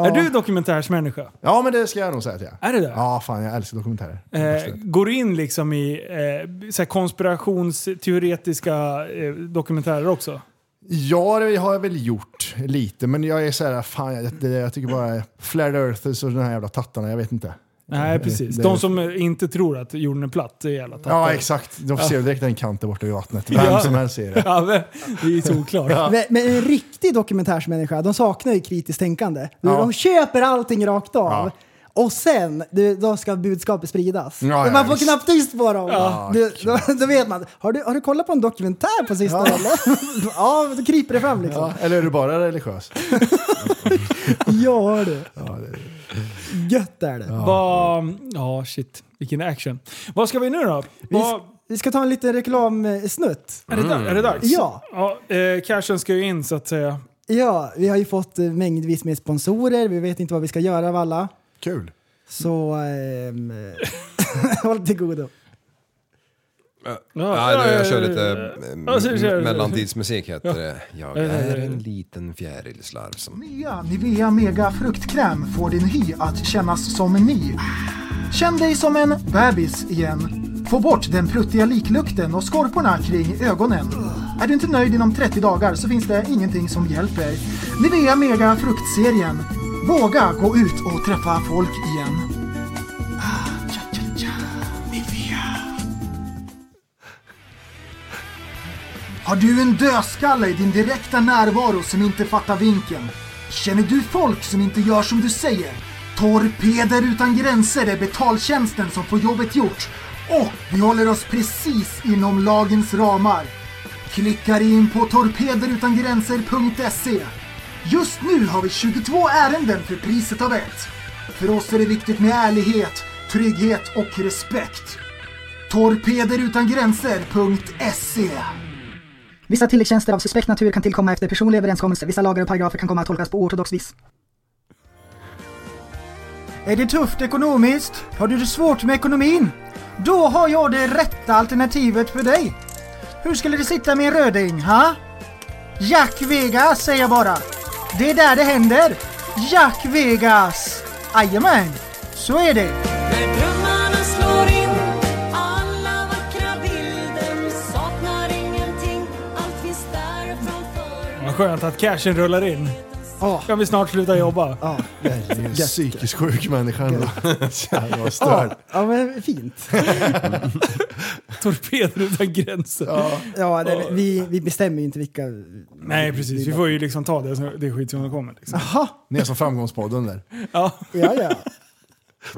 Är du dokumentärsmänniska?
ja, men det ska jag nog säga att jag
Är det det?
Ja, fan jag älskar dokumentärer.
Eh, går in liksom i eh, så här konspirationsteoretiska eh, dokumentärer också?
Ja, det har jag väl gjort lite, men jag är så här, fan jag, det, jag tycker bara Flat Earthers och de här jävla tattarna, jag vet inte.
Nej, precis.
det-
De som eh, inte tror att jorden är platt, det är jävla tattare.
Ja, exakt. De ser direkt en kant där borta vid vattnet. Vem
Ja.
som helst ser det.
Ja, men, det är ju såklart.
Men, men en riktig dokumentärsmänniska, de saknar ju kritiskt tänkande. Du,
Ja.
De köper allting rakt av.
Ja.
Och sen, du, då ska budskapet spridas.
Ja, ja,
man får
visst.
knappt tyst på dem. Du, då, då vet man. Har du, har du kollat på en dokumentär på sistone? Ja, ja men då kryper det fram liksom.
Ja, eller är du bara religiös?
Ja, du. Gött är det.
Vad... Ja, shit. Vilken action. Vad ska vi nu då?
Vi,
Vad,
s- Mm. vi ska ta en liten reklamsnutt.
är, det, da- är det dags?
Ja.
ja eh, cashen ska ju in så att säga.
Ja, vi har ju fått eh, mängdvis med sponsorer. Vi vet inte vad vi ska göra av alla.
Kul.
Så ehm, håll till godo.
Nej, nu, jag kör lite eh, m-
Ja, så kör-
mellantidsmusik heter det. Jag är en liten fjärilslarv som...
Nivea, Nivea Mega fruktkräm får din hy att kännas som ny. Känn dig som en bebis igen. Få bort den pruttiga liklukten och skorporna kring ögonen. Är du inte nöjd inom 30 dagar så finns det ingenting som hjälper. Nivea Mega fruktserien. Våga gå ut och träffa folk igen. Ah, ja, ja, ja. Nivea. Har du en dödskalle i din direkta närvaro som inte fattar vinken? Känner du folk som inte gör som du säger? Torpeder utan gränser är betaltjänsten som får jobbet gjort. Och vi håller oss precis inom lagens ramar. Klicka dig in på torpederutangränser.se. E. Just nu har vi 22 ärenden för priset av ett. För oss är det viktigt med ärlighet, trygghet och respekt. Torpederutangränser.se
Vissa tilläggstjänster av suspekt natur kan tillkomma efter personlig överenskommelse. Vissa lagar och paragrafer kan komma att tolkas på oortodox vis.
Är det tufft ekonomiskt? Har du det svårt med ekonomin? Då har jag det rätta alternativet för dig. Hur skulle det sitta med en röding, ha? Jack Vegas säger jag bara. Det är där det händer. Jack Vegas! Jajamän, så är det.
När drömmarna slår in alla vackra bilder Saknar ingenting, allt finns där framför
Vad skönt att cashen rullar in. Kan vi snart sluta jobba?
Psykiskt sjuk människa ändå. Jävlar vad
Ja,
störd.
ja, men fint.
Torpeder utan gränser.
Ja, det, vi, vi bestämmer ju inte vilka...
Nej, precis. Vi får ju liksom ta det, det är skit som kommer. Liksom.
Jaha,
Ni är som Framgångspodden där.
Ja.
ja ja.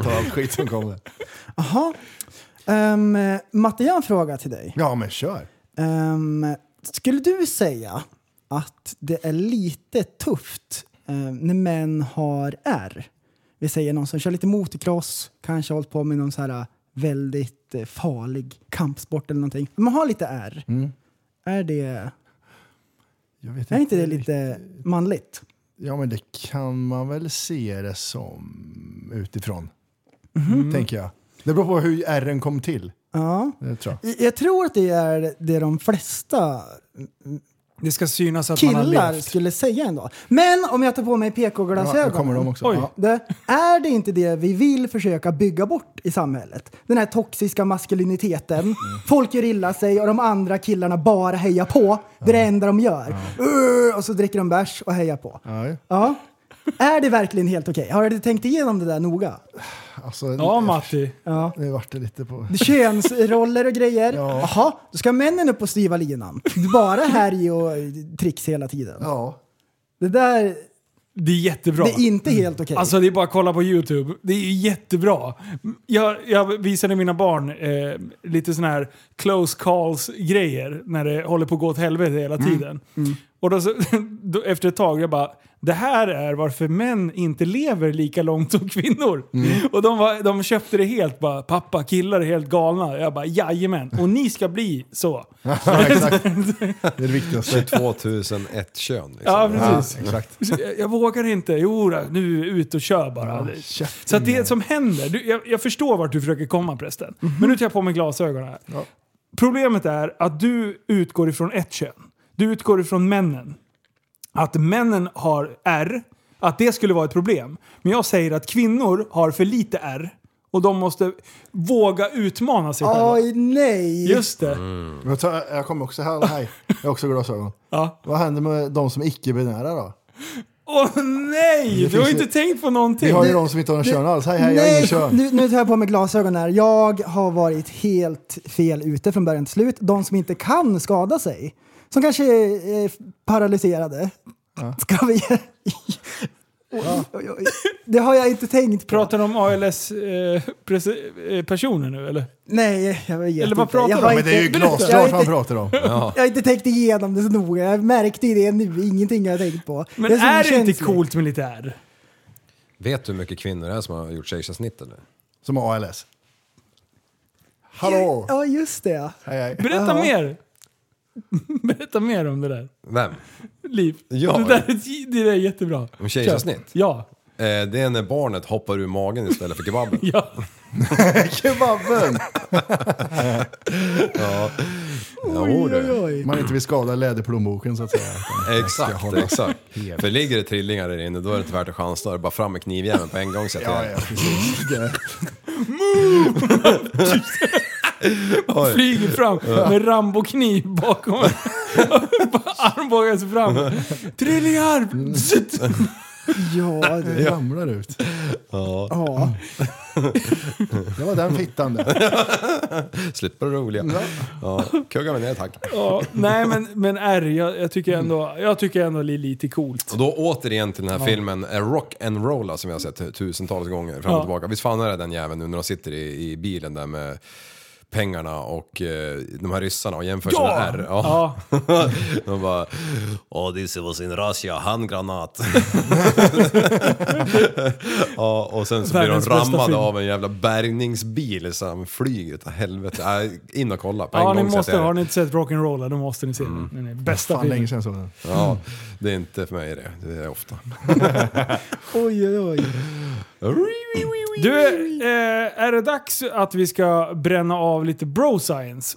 Ta all skit som kommer.
Jaha. Um, Matte, jag har en fråga till dig.
Ja, men kör.
Ehm, skulle du säga att det är lite tufft ehm, när män har R? Vi säger någon som kör lite motocross, kanske har hållit på med någon så här äh, väldigt eh, farlig kampsport eller någonting. Man har lite R. Är, det,
Jag vet
är inte det lite manligt?
Ja, men det kan man väl se det som utifrån. Tänker jag. Det beror på hur R'n kom till.
Mhm. Ja.
Det tror jag.
Jag- Jag tror att det är det de flesta
Det ska synas att man har
killar
levt.
skulle säga ändå. Men om jag tar på mig
Ja, nu kommer de
PK-glasögonen.
också.
Oj.
Ja.
Det, är det inte det vi vill försöka bygga bort i samhället? Den här toxiska maskuliniteten. Folk gör illa sig och de andra killarna bara hejar på. Det är det enda de gör. "Ur", Och så dricker de bärs och hejar på.
Ja, ju.
Ja. Är det verkligen helt okej? Har du tänkt igenom det där noga?
alltså,
Ja, Matti.
Ja.
Nu vart det lite på...
Könsroller och grejer.
Ja.
Jaha, då ska männen upp på styva linan. Bara härj och tricks hela tiden.
Ja.
Det där,
Det är jättebra.
det är inte helt okej.
Alltså det är bara att kolla på YouTube. Det är jättebra. Jag, jag visade mina barn eh, lite sådana här close calls-grejer när det håller på att gå åt helvete hela tiden. Och då, så, då, efter ett tag, jag bara, det här är varför män inte lever lika långt som kvinnor. Och de, var, de köpte det helt bara, pappa, killar är helt galna. Jag bara, jajamän. Och ni ska bli så.
Ja, exakt. Det är det viktigaste.
2001 kön. Liksom.
Ja, precis.
exakt.
Så jag, jag vågar inte. Jo, då, nu ut och kör bara. så att
Mm.
det som händer, du, jag, jag förstår vart du försöker komma prästen.
Mhm.
Men nu tar jag på mig glasögonen här. Problemet är att du utgår ifrån ett kön. Du utgår ifrån männen. Att männen har R, att det skulle vara ett problem. Men jag säger att kvinnor har för lite R. Och de måste våga utmana sig själva.
Oj, nej!
Just det.
Jag, tar, jag kommer också här. Hej. Jag har också glasögon.
Ja.
Vad händer med de som är icke-binära då?
Åh nej! Du har
finns
inte
ju-
tänkt på
Vi
någonting.
har ju de som inte har någon kön alls. Hej, hej, Eh, jag har
Nej,
ingen kön.
nu, nu tar jag på mig glasögon här. Jag har varit helt fel ute från början till slut. De som inte kan skada sig, som kanske är eh, paralyserade. Ska vi... Oj, oj, oj. Det har jag inte tänkt på.
Pratar du om eh, ALS-personer eh, nu eller?
Nej, jag vet
Eller vad
inte.
pratar
jag
du
har
om?
Men det är ju
inte-
glasklart
jag har
vad man
inte-
pratar om.
Jag har inte tänkt igenom det så noga. Jag märkte ju det nu. Ingenting jag har tänkt på.
Men
Jag så
är det inte
känslig.
coolt med lite R?
Vet du hur mycket kvinnor det är som har gjort kejsarsnitt eller?
Som har ALS. Hallå!
Ja, just det. ja.
Hej, hej.
Berätta mer! Berätta mer om det där.
Vem?
Liv.
Ja.
Det, där, är- det där är jättebra.
Om kejsarsnitt?
Kör. Ja.
Eh, det är när barnet hoppar ur magen istället för kebaben.
ja.
Kebaben!
Jo, du.
Man inte vill skada läderplånboken så att säga.
Exakt, exakt. För ligger det trillingar där inne då är det inte värt att chansa. Det är bara fram med knivjäveln på en gång sätter
Ja,
jag
ja, precis. Det-
Flyger fram med Rambo-kniv bakom en. Bara Armbågar sig fram. Trillingar! Zzt!
Ja, det.
Det ramlar ut.
Ja.
Det var den fittan där.
Slipper det roliga. Ja, kugga mig ner tack.
Ja, nej men, men R, jag, jag tycker ändå, jag tycker ändå det är lite coolt.
Och då återigen till den här filmen eh, Rock and Rolla som jag har sett tu- tusentals gånger fram och
Ja.
tillbaka. Visst fan är det den jäveln nu när de sitter i, i bilen där med pengarna och eh, de här ryssarna och jämför
Ja!
sina R.
Ja.
de bara... Åh, this was in Russia, handgranat. ja, och sen så blir de
Världens bästa
rammade
film.
av en jävla bärgningsbil som flyger utav helvete. Äh, in och kolla på en
Ja, ni
gång sätter
måste,
jag Mm. det.
har ni inte sett Rock'n'Rolla då måste ni se den. den. är Bästa
Fan, länge
filmen.
sedan jag såg den.
Ja, det är inte för mig det. Det är ofta.
Oj, oj, oj.
Du, eh, är det dags att vi ska bränna av lite bro science?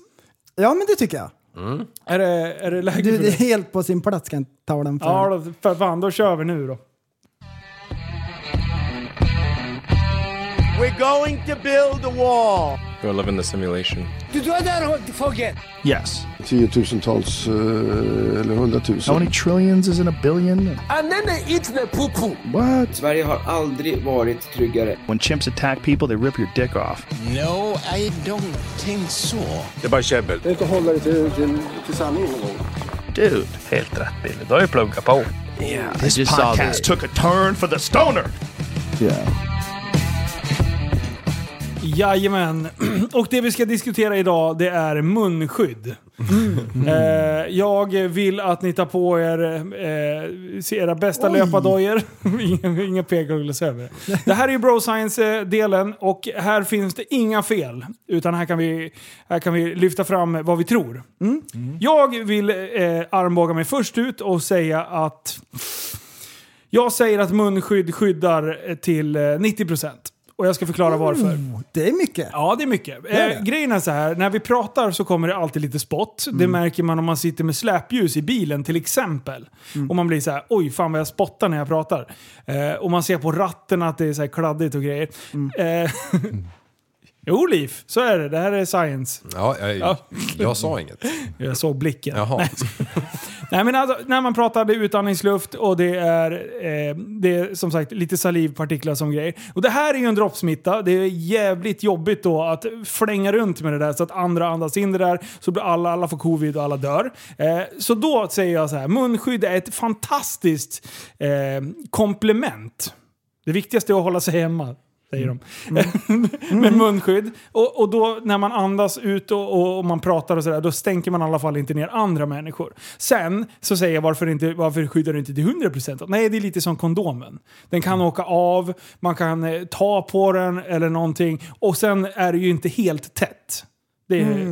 Ja, men det tycker jag.
Är det, är det läge
Du,
för
det är
det?
helt på sin plats kan jag tala om för.
Ja, då, för fan, då kör vi nu då.
You're living the simulation.
Yes.
tiotusentals eh, eller hundratusen.
many trillions is in a billion? What?
Sverige har aldrig varit tryggare.
When chimps attack people they rip your dick off. Det är inte att hålla det till, till, till sanningen någon gång.
Dude, helt rätt Billy. Du har ju pluggat på. Yeah, this podcast took a turn for the stoner.
Jajamän. Och det vi ska diskutera idag det är munskydd. Eh, jag vill att ni tar på er eh, era bästa löpardojor. inga inga pekugglor över det. Det här är ju bro science-delen och här finns det inga fel. Utan här kan vi, här kan vi lyfta fram vad vi tror. Mm? Jag vill eh, armbåga mig först ut och säga att jag säger att munskydd skyddar eh, till eh, 90%. Och jag ska förklara varför.
Oh, Det är mycket.
Ja, det Mm. är mycket. Eh, grejen är så här, när vi pratar så kommer det alltid lite spott. Det märker man om man sitter med släpljus i bilen till exempel. Och man blir så här, oj fan vad jag spottar när jag Mm. pratar. Eh, och man ser på ratten att det är så här kladdigt och grejer. Eh, Jo, Liv, så är det. Det här är science.
Ja, jag,
Ja.
jag sa inget.
Jag såg blicken.
Jaha.
Nej, men alltså, när man pratar det är utandningsluft och det är, eh, det är som sagt lite salivpartiklar som grejer. Och det här är ju en droppsmitta. Det är jävligt jobbigt då att flänga runt med det där så att andra andas in det där. Så blir alla, alla får covid och alla dör. Eh, så då säger jag så här, munskydd är ett fantastiskt eh, komplement. Det viktigaste är att hålla sig hemma. Säger de. med munskydd. Och, och då när man andas ut och, och, och man pratar och sådär, då stänker man i alla fall inte ner andra människor. Sen så säger jag varför, inte, varför skyddar du inte till 100%? Nej, det är lite som kondomen. Den kan åka av, man kan eh, ta på den eller någonting. Och sen är det ju inte helt tätt. Det är,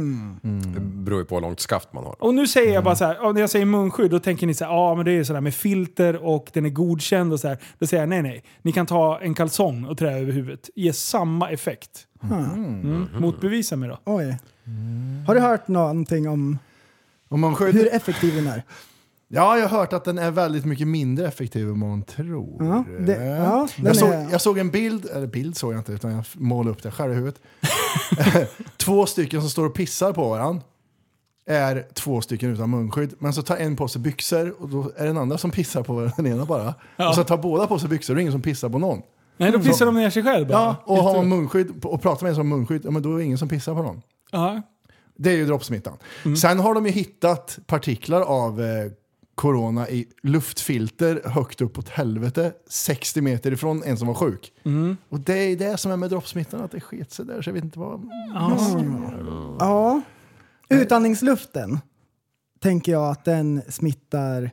Det beror ju på hur långt skaft man har.
och nu säger jag bara så här, ja, när jag säger munskydd då tänker ni så här, ja men det är ju sådär med filter och den är godkänd och så här. Då säger jag nej nej, ni kan ta en kalsong och trä över huvudet. Ge samma effekt. Mm. Motbevisa mig då.
Oj. Har du hört någonting om
Om man skjuter...
hur effektiv den är?
Ja, jag har hört att den är väldigt mycket mindre effektiv än vad man tror.
Ja, det- ja, den är-
jag, såg, jag såg en bild, eller bild såg jag inte, utan jag målade upp det själv i huvudet. två stycken som står och pissar på varandra är två stycken utan munskydd. Men så tar en på sig byxor och då är den andra som pissar på varandra, den ena bara. Och så tar båda på sig byxor och det är ingen som pissar på någon.
Nej, då pissar de ner sig själv bara.
Ja, och har man munskydd och pratar med en som har munskydd, ja, men då är det ingen som pissar på någon.
Ja.
Det är ju droppsmittan. Sen har de ju hittat partiklar av eh, corona i luftfilter högt upp åt helvete, 60 meter ifrån en som var sjuk. Och det är det som är med droppsmittan, att det sket sig där. Så jag vet inte vad...
Ja. Utandningsluften tänker jag att den smittar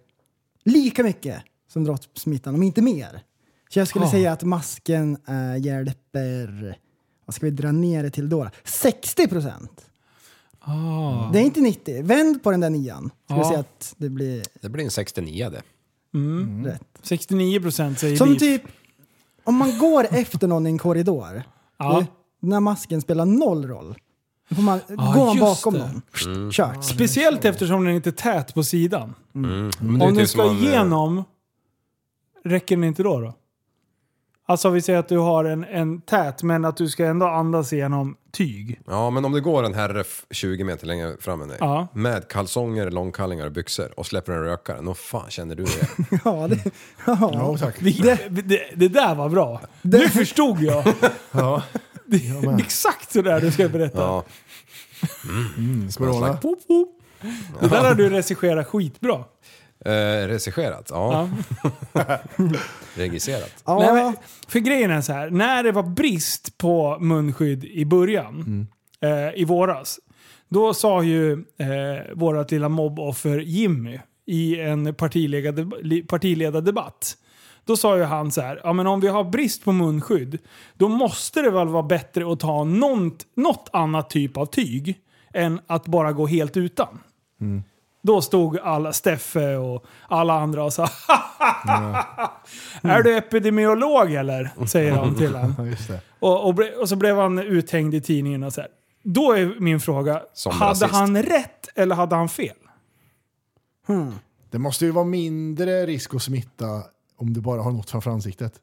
lika mycket som droppsmittan, om inte mer. Så jag
Ah.
skulle säga att masken äh, hjälper, vad ska vi dra ner det till då? 60 procent!
Ah.
Det är inte 90. Vänd på den där nian. Ska vi
Ja.
se att det blir
Det blir en 69 det.
rätt.
69% säger
Som
liv.
typ, om man går efter någon i en korridor,
Ja.
när masken spelar noll roll, då får man, går man
just
bakom
det. Mm.
någon. Kört.
Speciellt eftersom den inte är tät på sidan.
Men det är
Om
ju
den
typ som
ska
man, eh,
igenom, räcker den inte då? då? Alltså vi säger att du har en, en tät, men att du ska ändå andas igenom tyg.
Ja, men om det går en herre f- 20 meter längre fram än dig
Ja.
med kalsonger, långkallingar och byxor och släpper en rökare, nog fan känner du det?
Ja, det, ja.
Ja, tack.
Det, det, det där var bra. Nu förstod jag.
Ja.
Det är exakt så där du ska berätta.
Ja.
Mm. Corona.
Pop, pop. Det där har du regisserat skitbra.
Eh, regisserat? Ja. Regisserat?
Ja,
Nej, men, för grejen är så här, när det var brist på munskydd i början, eh, i våras, då sa ju eh, vårt lilla mobboffer Jimmy i en partiledardeb- li- partiledardebatt, då sa ju han så här, ja men om vi har brist på munskydd, då måste det väl vara bättre att ta något, något annat typ av tyg än att bara gå helt utan. Då stod alla, Steffe och alla andra och sa Är du epidemiolog eller? Säger de till
Ja,
honom.
just det.
Och, och, ble, och så blev han uthängd i tidningen och så här. Då är min fråga,
Som
hade
rasist.
han rätt eller hade han fel?
det måste ju vara mindre risk att smitta om du bara har något framför ansiktet.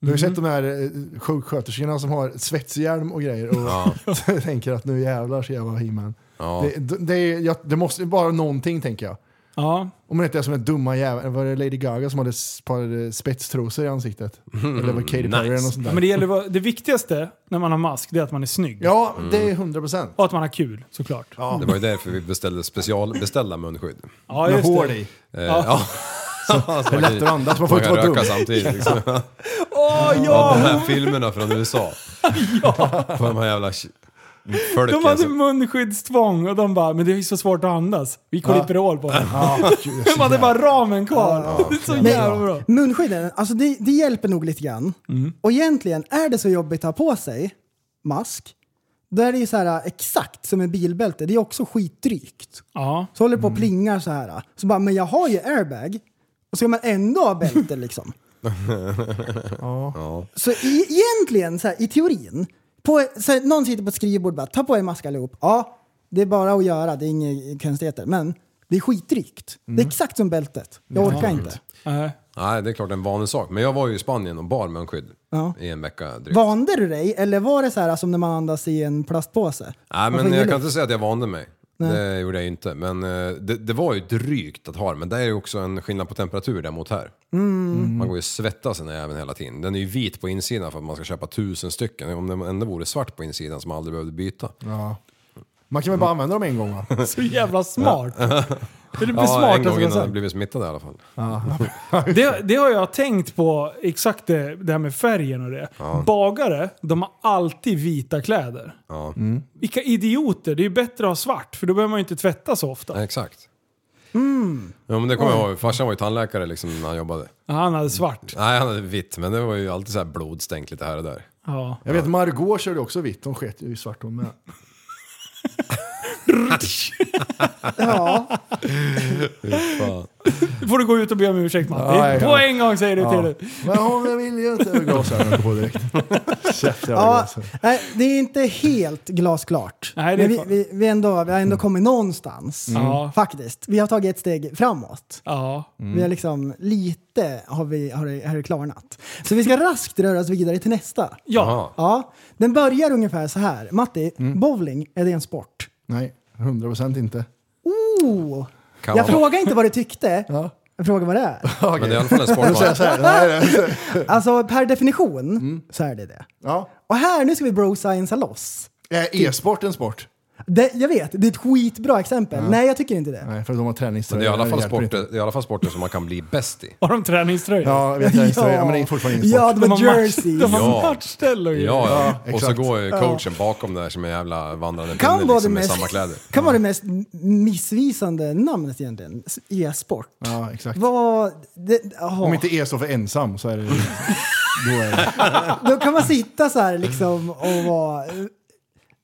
Du har ju sett de här eh, sjuksköterskorna som har svetshjälm och grejer och tänker att nu jävlar så jag var he
Ja.
Det, det, det, är- jag- det måste ju vara någonting tänker jag.
Ja.
Om det inte är som den dumma jäveln, var det Lady Gaga som hade ett par eh, spetstrosor i ansiktet?
Mhm.
Eller var det Katy Perry eller något sånt där?
Men det, gäller, att vara- det viktigaste när man har mask det är att man är snygg.
Ja,
Mm.
det är 100 procent.
Och att man har kul såklart. Ja,
Det var ju därför vi beställde specialbeställda munskydd.
Med
just
hål
det.
i.
Eh, ja. Så man
Lätt att
kan,
andas, man får
man
inte
kan
vara dum.
röka samtidigt. Liksom.
Åh
Av
ja!
de här filmerna från USA. På de här jävla ki-
De
folken
hade
som-
munskyddstvång och de bara “men det är ju så svårt att andas, vi klipper hål på den”.
Ja, gud,
De hade bara ramen kvar. Det är så
Men
jävla bra. Mm.
Munskydden, alltså det, det hjälper nog lite grann. Och egentligen, är det så jobbigt att ha på sig mask, då är det ju så här äh, exakt som en bilbälte. Det är också skitdrygt.
Ja.
Så håller det på och plingar så här. Så bara, men jag har ju airbag. Och så ska man ändå ha bälte liksom. Så i, egentligen, så här, i teorin, på, så här, någon sitter på ett skrivbord och bara ta på er mask allihop. Ja, det är bara att göra, det är inga konstigheter. Men det är skitdrygt. Det är exakt som bältet. Jag orkar inte.
Nej.
Nej, det är klart en vanlig sak. Men jag var ju i Spanien och bar munskydd
Ja.
i en vecka drygt.
Vande du dig eller var det så här som när man andas i en plastpåse?
Nej,
Man
men
får ingen
jag kan
luft.
inte säga att jag vande mig.
Nej.
Det gjorde jag inte. Men eh, det, det var ju drygt att ha det. Men det är ju också en skillnad på temperatur där mot här. Man går ju och svettas den här även hela tiden. Den är ju vit på insidan för att man ska köpa tusen stycken. Om den ändå vore svart på insidan som man aldrig behövde byta.
Ja. Man kan väl bara använda dem en gång va?
Så jävla smart. Det blir
Ja, en
smart
gång
alltså,
innan
så
jag
här.
blivit smittad i alla fall.
det, det har jag tänkt på, exakt det, det här med färgen och det. Bagare, de har alltid vita kläder.
Ja,
Vilka idioter! Det är ju bättre att ha svart, för då behöver man ju inte tvätta så ofta.
exakt. Ja, men det kommer jag ihåg. Farsan var ju tandläkare liksom när han jobbade.
Ja, Han hade svart.
Nej, han hade vitt, men det var ju alltid så här blodstänkt lite här och där.
Ja.
Jag vet Margot körde också vitt, hon sket ju i svart hon med.
Ja,
Fan.
Nu får du gå ut och be om ursäkt Matti.
Ja, ja.
På en gång säger du till dig.
Men hon vill ju inte ha glasögon på direkt. Käft jävla
ja,
glasögon.
nej, det är inte helt glasklart.
Nej, det
men
är
vi,
fan- Mm.
vi, vi, ändå, vi har ändå kommit någonstans.
Ja.
Faktiskt. Vi har tagit ett steg framåt.
Ja.
Vi har liksom lite har, vi, har, det- har det klarnat. Så vi ska raskt röra oss vidare till nästa.
Ja.
Jaha.
Ja, den börjar ungefär så här. Matti, bowling, är det en sport?
Nej, 100 procent inte.
Oh!
Kan
Jag
man-
frågar inte vad du tyckte.
Ja.
Jag frågar vad det är.
Men det är i alla fall en sport.
Så jag
va?
säger, nej, nej.
Alltså per definition så är det det.
Ja.
Och här, nu ska vi bro-sciencea loss.
Är
Typ.
e-sport en sport?
Det, jag vet, det är ett skitbra exempel. Nej, jag tycker inte det.
Nej, för de har
Men
träningströjor.
det är i alla fall
Eh, hjälper inte.
sporter, det är i alla fall sporter som man kan bli bäst i.
Har de träningströjor?
Ja, jag vet träningströjor. Ja. Men det är fortfarande ingen sport.
Ja, de
De
har
har
jerseys.
match, de har
Ja.
matchställ och grejer.
Ja, ja.
Ja,
och så
exakt.
går coachen bakom där som en jävla vandrande
Kan vara
pinne
det
liksom, med
mest,
samma kläder.
kan vara det mest missvisande namnet egentligen. S- E-sport.
Ja, exakt.
Vad... Det, jaha.
Om inte e står för ensam så är det... Då är det.
Då kan man sitta så här liksom och vara,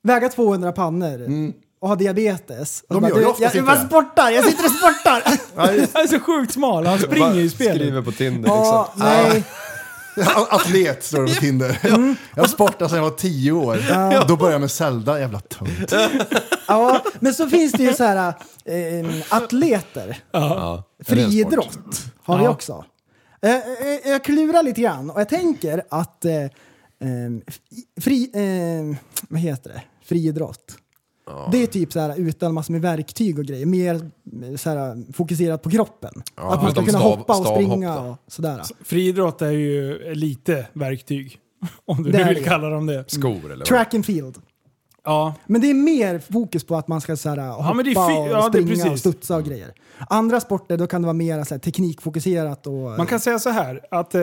väga 200 pannor och ha diabetes. Och
Mm.
bara,
De gör ju
du,
oftast
jag,
inte
jag
det.
sportar, jag sitter och sportar!
Han är så sjukt smal, han
Bara
springer i spelet.
Skriver på Tinder
Ja,
liksom.
nej.
A- Atlet står det på Tinder. Jag sportade sedan jag var tio år. Då började jag med Zelda, jävla tunt.
Ja, men så finns det ju så här eh, atleter.
Ja. Är det en sport?
Friidrott har vi
Ja.
också. Eh, eh, jag klurar lite grann och jag tänker att eh, eh, fri, eh, vad heter det? friidrott. Det är typ så här utan massor med verktyg och grejer. Mer eh, så här, fokuserat på kroppen. att man
men
ska kunna
de liksom stav-
hoppa och
stavhopp
springa
då.
och sådär.
Friidrott är ju lite verktyg. Om du
Det
nu
är
vill
det.
kalla dem det.
Skor eller vad?
Track and field.
Ja.
Men det är mer fokus på att man ska så här, hoppa
men det är fi-
och
ja, det är
springa och
precis.
studsa och grejer. Andra sporter då kan det vara mer så här, teknikfokuserat. Och,
Man kan säga så här, att eh,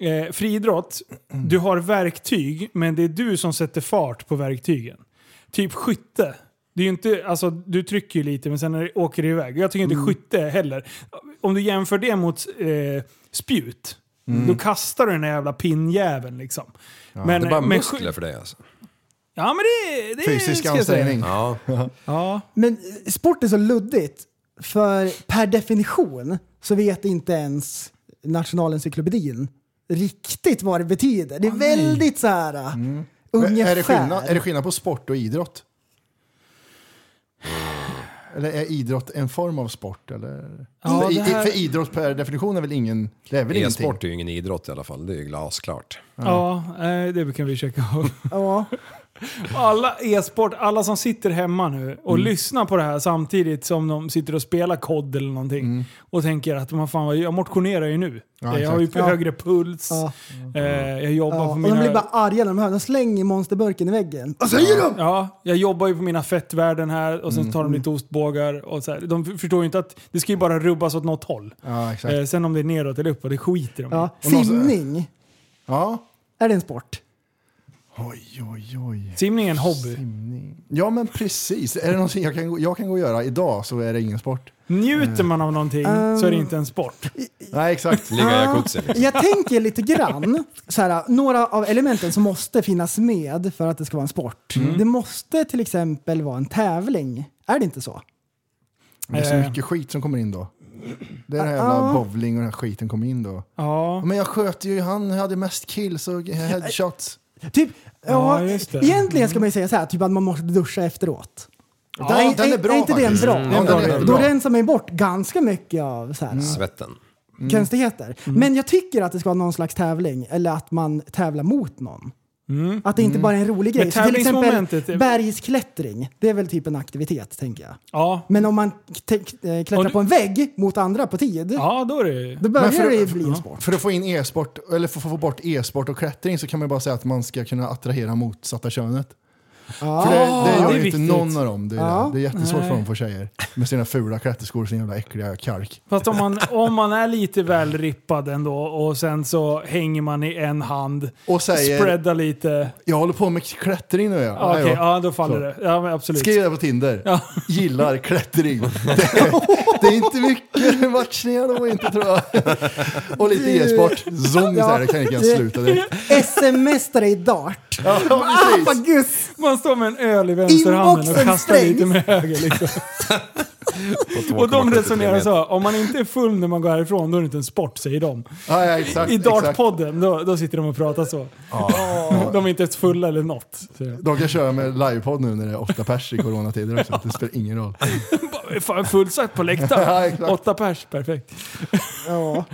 eh, friidrott, du har verktyg, men det är du som sätter fart på verktygen. Typ skytte. Det är ju inte, alltså, du trycker ju lite, men sen när det åker det iväg. Jag tycker inte
Mm.
skytte heller. Om du jämför det mot eh, spjut, då kastar du den där jävla pinnjäveln liksom. men,
Mm. Det är bara
men
muskler
skyt-
för dig alltså.
Ja, men det, det
Fysisk
ska jag säga.
ansträngning.
Ja.
Ja.
Men eh, sport är så luddigt, för per definition så vet inte ens Nationalencyklopedin riktigt vad det betyder. Det är väldigt så här eh, ungefär.
Ah, Mm. Är det, skillnad, är det skillnad på sport och idrott? Eller är idrott en form av sport? Eller?
Ja,
för,
det här-
för idrott per definition är väl ingen... Det är väl ingenting?
E-sport är ju ingen idrott i alla fall, det är ju glasklart.
Ja, eh, det kan vi checka av.
Ja.
Alla e-sport, alla som sitter hemma nu och lyssnar på det här samtidigt som de sitter och spelar kod eller någonting och tänker att man fan, vad- jag motionerar ju nu. jag har ju
exakt.
högre puls,
Ja.
eh, jag jobbar
Ja.
på
Och
mina...
de blir bara arga när de hör, de slänger monsterburken i väggen. Alltså, Vad säger de?
Ja, jag jobbar ju på mina fettvärden här och sen tar de lite ostbågar och så här. De f- förstår ju inte att det ska ju bara rubbas åt något håll.
Ja, exakt.
Eh, sen om det är neråt eller uppåt, det skiter de i.
Ja.
någon-
Simning,
Ja.
är det en sport?
Oj, oj, oj.
Simning är en hobby.
Ja, men precis. Är det någonting jag kan, gå- jag kan gå och göra idag så är det ingen sport.
Njuter man av någonting så är det inte en sport.
Nej, exakt.
Ligga i jacuzzi liksom.
Jag tänker lite grann, så här, eh, några av elementen som måste finnas med för att det ska vara en sport.
Mm.
Det måste till exempel vara en tävling. Är det inte så?
Det är så
Eh.
mycket skit som kommer in då. Det är den här jävla bowling och den här skiten kommer in då.
Eh, Ja.
Men jag sköt ju, han hade mest kills och headshots.
Typ, ja,
Ja, just det. Mm.
egentligen ska man ju säga så här, typ att man måste duscha efteråt.
Ja, den är bra
inte det en
faktiskt.
bra?
Mm, den är
Då
jättebra.
Mm.
rensar man ju bort ganska mycket av så här.
Svetten.
konstigheter. Men jag tycker att det ska vara någon slags tävling eller att man tävlar mot någon. Att det inte bara är en rolig
Mm. Men
grej. Så till
tävlingsmomentet är-
exempel bergsklättring, det är väl typ en aktivitet tänker jag.
Ja.
Men om man te- eh,
Om
klättrar
du-
på en vägg mot andra på tid,
Ja, då är det
då börjar
Men för-
det ju bli en sport.
För att få in e-sport, eller för att få bort e-sport och klättring så kan man ju bara säga att man ska kunna attrahera motsatta könet.
Ja.
För det, det gör
det är
ju inte
viktigt.
någon av dem. Det är,
Ja.
det. Det är jättesvårt
Nej.
för dem att få tjejer. Med sina fula klätterskor och sin jävla äckliga kalk.
Fast om man, om man är lite väl rippad ändå och sen så hänger man i en hand,
Och säger,
spreadar lite.
jag håller på med klättring nu. Ja.
Ja, Okej,
Ja, ja.
ja då faller
Så.
det. Ja, men absolut.
Skriv det på Tinder.
Ja.
Gillar klättring. Det är, det är inte mycket matchningar de har inte tror jag. Och lite e-sport. Zoom ja.
Ja.
det kan jag inte ens sluta direkt.
SMS-are i dart. Ah,
Ja, precis.
Apa gus!
Man står med en öl i vänsterhanden och
Inboxen
kastar lite
stängs.
med höger. Liksom.
På
Och de
2,73
resonerar
meter.
så här, om man inte är full när man går härifrån då är det inte en sport, säger de.
Ja, ja, exakt,
I
exakt.
Dartpodden, då, då sitter de och pratar så. De är inte ens fulla eller något. säger
De kan köra med livepodd nu när det är åtta pers i coronatider också. Det spelar ingen roll.
de. Fan, fullsatt på
Ja,
läktaren.
exakt.
Åtta pers, perfekt.
Ja.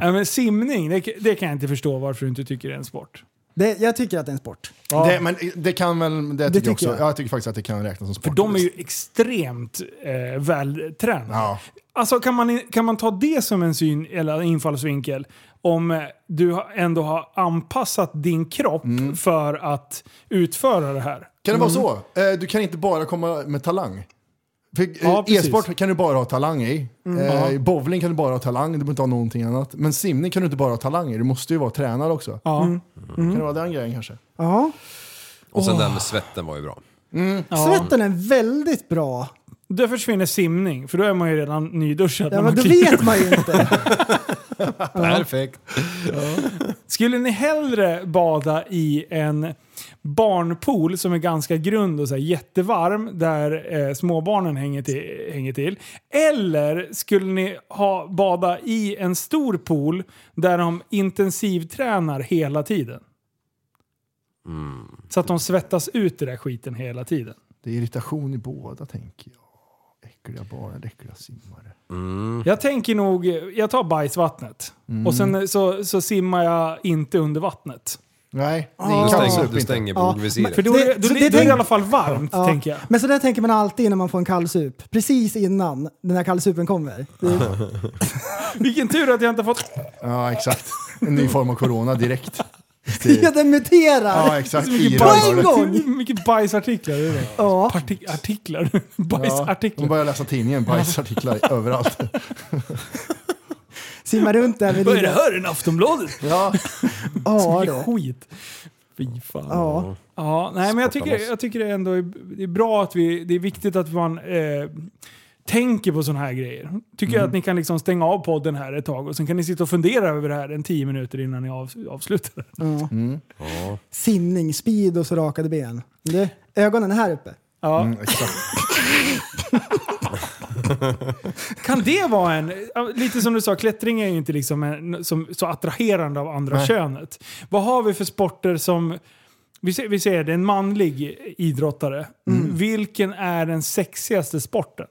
Ja, men simning, det, det kan jag inte förstå varför du inte tycker det är en sport.
Det, jag tycker att det är en sport.
Ja.
Det, men det kan väl, det, tycker jag också.
tycker jag.
Ja, jag tycker faktiskt att det kan räknas som sport.
För de är ju extremt eh, vältränade.
Ja.
Alltså kan man, kan man ta det som en syn eller infallsvinkel om eh, du har- ändå har anpassat din kropp för att utföra det här?
Kan det vara så? Eh, Du kan inte bara komma med talang. För, eh,
Ja, precis.
E-sport kan du bara ha talang i. Eh, i Bowling kan du bara ha talang, du behöver inte ha någonting annat. Men simning kan du inte bara ha talang i, du måste ju vara tränare också.
Ja.
Kan det vara den grejen kanske?
Ja.
Och sen det här med svetten var ju bra.
Svetten är en väldigt bra.
Då försvinner simning, för då är man ju redan nyduschad.
Ja,
när
men
man
då
kliver.
vet man ju inte.
Perfekt.
Skulle ni hellre bada i en barnpool som är ganska grund och så här jättevarm där eh, småbarnen hänger till, hänger till? Eller skulle ni ha, bada i en stor pool där de intensivtränar hela tiden? Så att de svettas ut i den där skiten hela tiden.
Det är irritation i båda tänker jag. Äckliga barn, äckliga simmare.
Jag tänker nog, jag tar bajsvattnet och sen så, så simmar jag inte under vattnet.
Nej, det är
Du
ingen
stänger,
kallsup
du
inte.
stänger
Ja,
För
bogvisiret.
då,
Det-
är det-
så
då, då,
det
är det i
tänk-
alla fall varmt
Ja.
tänker jag.
Men så där tänker man alltid när man får en kallsup. Precis innan den här kallsupen kommer. Det,
Vilken tur att jag inte har fått
Ja, exakt. En ny form av corona direkt.
ja, den muterar!
Ja, exakt.
mycket
Ira
bajs.
har
bajs,
det.
gång!
Hur mycket bajsartiklar är det?
Ja.
Parti- artiklar?
Ja, de
Bajsartiklar?
börjar läsa tidningen, bajsartiklar överallt.
Simmar runt där vid
Vad är det
ryggen.
här? En Aftonbladet?
Ja.
Så
Ja,
mycket
det.
skit. Fy fan.
Ja.
Ja, nej, men jag tycker,
loss.
jag tycker det ändå är, det är bra att vi, det är viktigt att man eh, tänker på sådana här grejer. Tycker jag att
Mm.
ni kan liksom stänga av podden här ett tag och sen kan ni sitta och fundera över det här en tio minuter innan ni av, avslutar.
Mm. Ja. Simning, speed och så rakade ben. Det, ögonen är här uppe.
Ja.
Mm.
exakt.
Kan det vara en, lite som du sa, klättring är ju inte liksom en, som, så attraherande av andra könet. Vad har vi för sporter som, vi ser, vi ser det, en manlig idrottare. Vilken är den sexigaste sporten?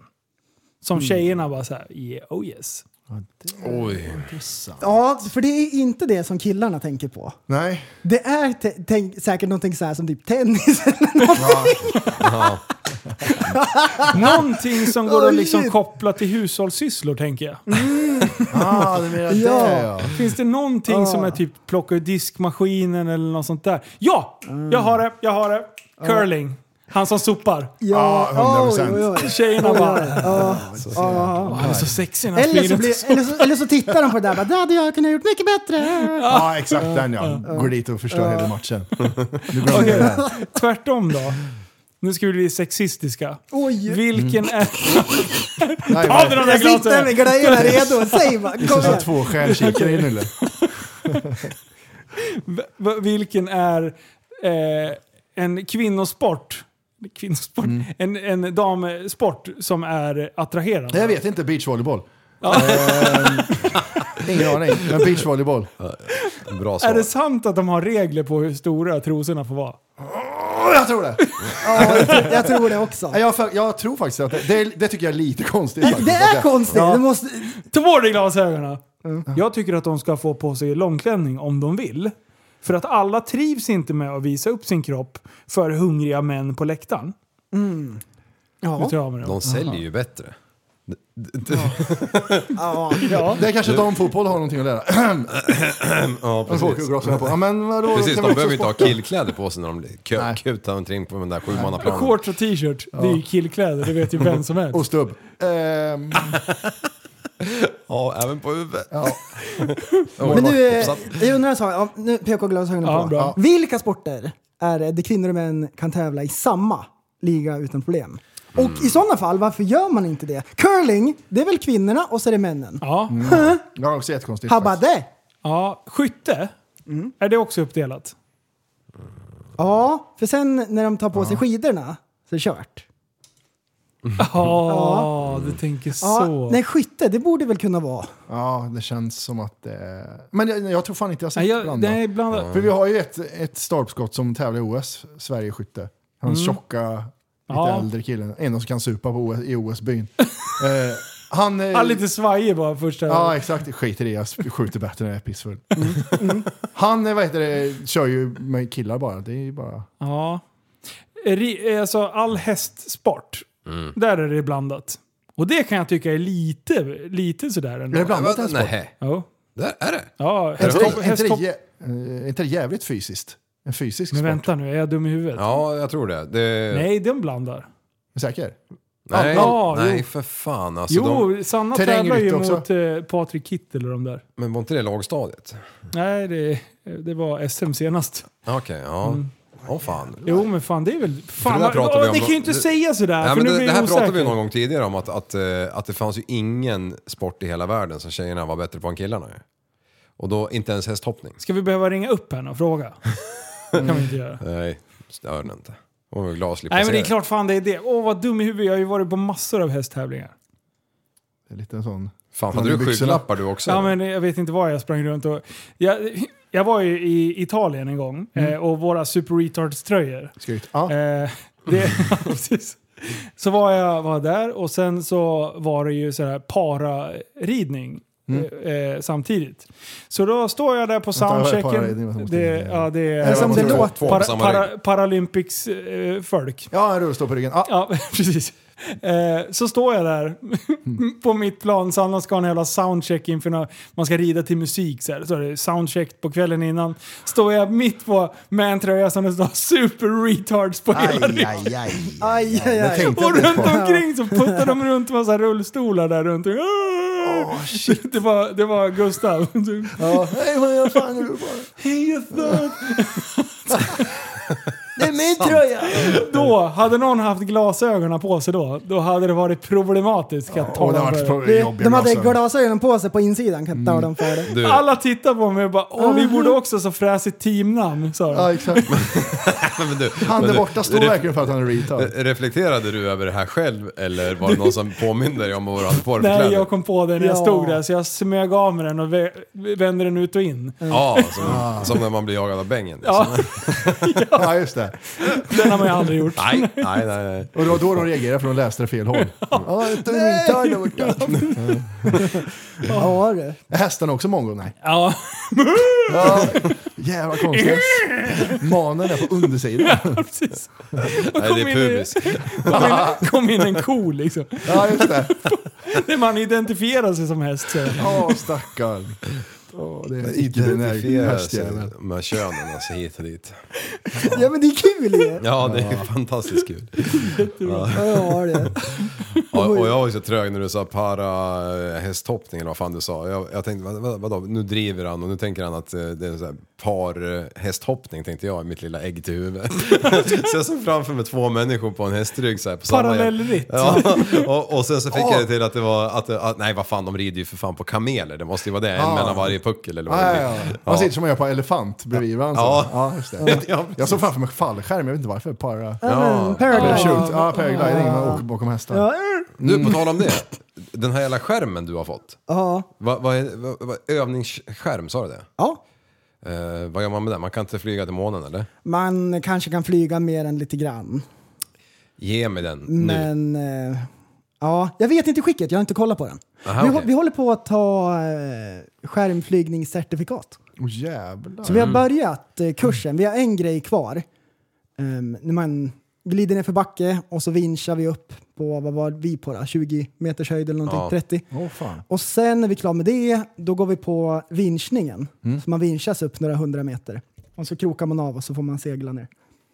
Som tjejerna bara såhär, yeah, oh yes.
Oj.
Ja, för det är inte det som killarna tänker på.
Nej.
Det är te- tänk, säkert någonting så här som typ tennis eller
Någonting som går
Oh,
att liksom
shit.
koppla till hushållssysslor tänker jag.
Ah, det menar det. Ja.
Finns det någonting som är typ plocka ur diskmaskinen eller något sånt där? Ja! Jag har det, jag har det. Curling. Han som sopar.
Ja,
Ja, 100%.
oj, oj, oj.
Tjejerna bara... Han är så sexig när han
Eller, så
springer
blir, eller, så, eller så tittar de på det där och bara, det hade jag kunnat gjort mycket bättre.
Ja, exakt den ja. Går dit och förstör hela matchen. Nu glömde jag det. här.
Tvärtom då. Nu ska vi bli sexistiska.
Oj.
Vilken är...
Nej,
Ta den
men-
där
mm. Jag sitter
glasen!
med grejerna redo, säg bara.
Det
Kom
är
igen.
två stjärnkikare i Nulle.
V- v- Vilken är eh, en kvinnosport? Kvinnosport?
Mm.
En, en damsport som är attraherande?
Jag vet inte, beachvolleyboll. Ehm, ingen aning, men beachvolleyboll.
Bra
Är
svar.
det sant att de har regler på hur stora trosorna får vara?
Åh, jag tror det!
Ja, jag, tror, jag tror det också.
Nej, Jag, fa- jag tror faktiskt att det, det, det tycker jag är lite konstigt.
Det
faktiskt.
är
Att jag-
konstigt.
Ja.
Det måste,
Ta bort dig glasögonen!
Mm.
Jag tycker att de ska få på sig långklänning om de vill. För att alla trivs inte med att visa upp sin kropp för hungriga män på läktaren.
Mm.
Vet du vad jag menar?
De säljer ju bättre. D- d- d-
Ja.
Det är kanske damfotboll har någonting att lära.
ja,
De får åka och
precis.
glasögon på. Ja, men vadå?
Precis,
kan vi
de
också
behöver ju inte ha
sporta?
killkläder på sig när de kö- kutar omkring på den där sjumannaplanen.
Shorts och t-shirt, det är ju killkläder. Det vet ju vem som helst.
Och stubb. Ehm,
Ja, även på huvudet.
ja.
Men nu, eh, jag undrar en sak. Ja, Nu PK-glasögonen
Ja,
på.
bra.
Vilka sporter är det där kvinnor och män kan tävla i samma liga utan problem? Och i sådana fall, varför gör man inte det? Curling, det är väl kvinnorna och så är det männen?
Ja.
Det var också jättekonstigt. faktiskt.
Habade!
ja. Skytte,
Mm.
är det också uppdelat?
Ja, för sen när de tar på sig skidorna så är det kört.
Ja, du tänker
Ja,
så.
Nej, skytte, det borde väl kunna vara.
Ja, det känns som att det... Men jag, jag tror fan inte jag har sett
Nej,
jag,
jag,
blanda.
nej, blandar.
För vi har ju ett, ett stolpskott som tävlar i OS, Sverigeskytte. Han tjocka, lite
Ja.
äldre killen. En som kan supa på OS, i OS-byn. eh, han... eh,
Ja, lite svajig bara första...
Ja, exakt. Skiter i, jag sp- skjuter bättre när jag är pissfull. Han, eh, vad heter det, kör ju med killar bara. Det är ju bara...
Ja. Ri- Alltså all hästsport,
Mm.
där är det blandat. Och det kan jag tycka är lite, lite sådär ändå.
Är det blandat hästsport?
Nej,
Ja,
där är det.
ja
Är inte
hästhopp,
det- är inte det
hästhopp.
jä- eh, är inte det jävligt fysiskt? En fysisk
Men
sport?
vänta nu, är jag dum i huvudet?
Ja, jag Alltså, tror det. det...
Nej, den blandar.
Säker?
Nej,
Ja,
nej
jo.
för fan alltså.
Jo,
De,
Sanna
terrängrytte
tävlar ju
också.
mot eh, Patrik Kittel och de där.
men var inte det lågstadiet?
Nej, det, det var SM senast.
Okej, ja.
Mm.
Åh fan.
Jo, men fan det är väl... Fan,
det där
vad-
pratar vi
åh,
om-
ni kan ju inte
det-
säga sådär,
Nej,
för
men
nu
det,
blir jag
det här pratade vi
osäker.
någon gång tidigare om att, att, eh, att det fanns ju ingen sport i hela världen som tjejerna var bättre på än killarna. ju. Och då inte ens hästhoppning.
Ska vi behöva ringa upp henne och fråga? Det kan vi inte göra.
Nej, stör den inte. Hon var glad att slippa
Nej, men det är
se det.
klart fan det är det. Åh, vad dum i huvudet. Jag har ju varit på massor av hästtävlingar.
Det är lite en sån...
Fan,
Man
hade
i
du
byxorna.
skygglappar du också?
Ja, men jag vet inte var jag sprang runt. Och jag, jag var ju i Italien en gång eh, och våra Super Retards-tröjor.
Skryt. Ah. Ja.
Eh, det, ja, precis. Så var jag var där och sen så var det ju så här pararidning. eh, Eh, samtidigt. Så då står jag där på
vad är
soundchecken.
pararidning? Vad måste
Det,
jag-
ja, det
Är
är
det som
Två-
det låter?
Två på
para,
samma rygg.
para, Paralympics eh, folk.
Ja, en rullstol på ryggen. Ah. Ja.
Ja, precis. Eh, så står jag där
Mm.
på mitt plan. Sanna ska ha en jävla soundcheck inför när man ska rida till musik. Så, här. så är det soundcheck på kvällen innan. Står jag mitt på med en tröja som det står Super Retards på hela
Aj,
ryggen.
aj, aj.
Aj, aj,
Jag
aj.
tänkte
Och
inte ens
runt
på
omkring så puttar de runt massa rullstolar där runt. Oh, det, var, det var Gustav.
Ja. Hej, vad fan är du på?
Hej, Gustav.
Det är min tröja!
då, hade någon haft glasögonen på sig då, då hade det varit problematiskt. Kan jag
Åh, det
tala
har
om
varit
för er.
pro-
Det,
jobbiga
de hade
glasögon.
glasögonen på sig på insidan, kan jag ta dem för det.
Du,
Alla tittar på mig och bara åh vi borde också så fräsigt teamnamn sa de.
Ja, exakt.
men du,
Han
men
där
du,
borta står
re-
verkligen för att han är retard.
Reflekterade du över det här själv eller var det någon som påminde dig om vad du hade på dig för
Nej
kläder?
jag kom på det när jag
Ja.
stod där så jag smög av mig den och vä- vände den ut och in.
Mm.
Ja, som, som när man blir jagad av bängen.
Ja,
Ja, just det.
den har man ju aldrig gjort.
Nej, nej, nej. nej.
Och det var då de reagerade för de läste det fel håll. Ja, inte retard har varit gött.
Ja du.
Är hästarna också mongo? Nej.
Ja.
Ja, jävla konstiga. Manen är på undersidan.
Precis.
nej det är
in i-
pubis.
Kom in, kom in en ko liksom.
Ja, just det.
När man identifierar sig som häst. Så.
Ja, stackarn. Oh, det är
Identifiera sig
hästjäveln.
med könen alltså hit och dit.
Ja men det är kul ju!
Ja, det är fantastiskt kul.
Ja det.
Ja, och jag var ju så trög när du sa para eh, hästhoppning eller vad fan du sa. Jag, jag tänkte, vad, vad, vadå, nu driver han och nu tänker han att eh, det är så här par eh, hästhoppning tänkte jag i mitt lilla ägg till huvud. så jag såg framför mig två människor på en hästrygg så här på samma
Parallellritt.
Ja, och, och sen så fick jag det till att det var, att, det- att, nej vad fan de rider ju för fan på kameler, det måste ju vara det, en
Ah.
mellan varje puckel eller vad
Ja,
det
ja,
blir.
ja. Man sitter som man gör på elefant bredvid varandra.
Ja.
Ja. Ja, just det.
Ja,
Jag, jag såg framför mig fallskärm, jag vet inte varför. Para...
Ja, men,
Eller
Paragon.
shoot. Ja, paragliding. Man åker bakom hästar.
Ja.
Du, på tal om det, den här jävla skärmen du har fått,
Mm. Ja.
vad, vad, är- vad, vad, övningsskärm, sa du det?
ja.
Eh, vad gör man med den? Man kan inte flyga till månen eller?
Man kanske kan flyga mer än lite grann.
Ge mig den nu.
Men eh, Ja, jag vet inte skicket, jag har inte kollat på den.
Aha,
vi,
okej.
hå- vi håller på att ta eh, skärmflygningscertifikat.
Åh jävlar.
Så vi har börjat eh, kursen. Vi har en grej kvar. Ehm, när man glider ner för backe och så vinschar vi upp på, vad var vi på då? 20 meters höjd eller någonting,
Ja.
30.
Åh, fan.
Och sen när vi är klara med det, då går vi på vinschningen.
Mm.
Så man vinschas upp några hundra meter. Och så krokar man av och så får man segla ner.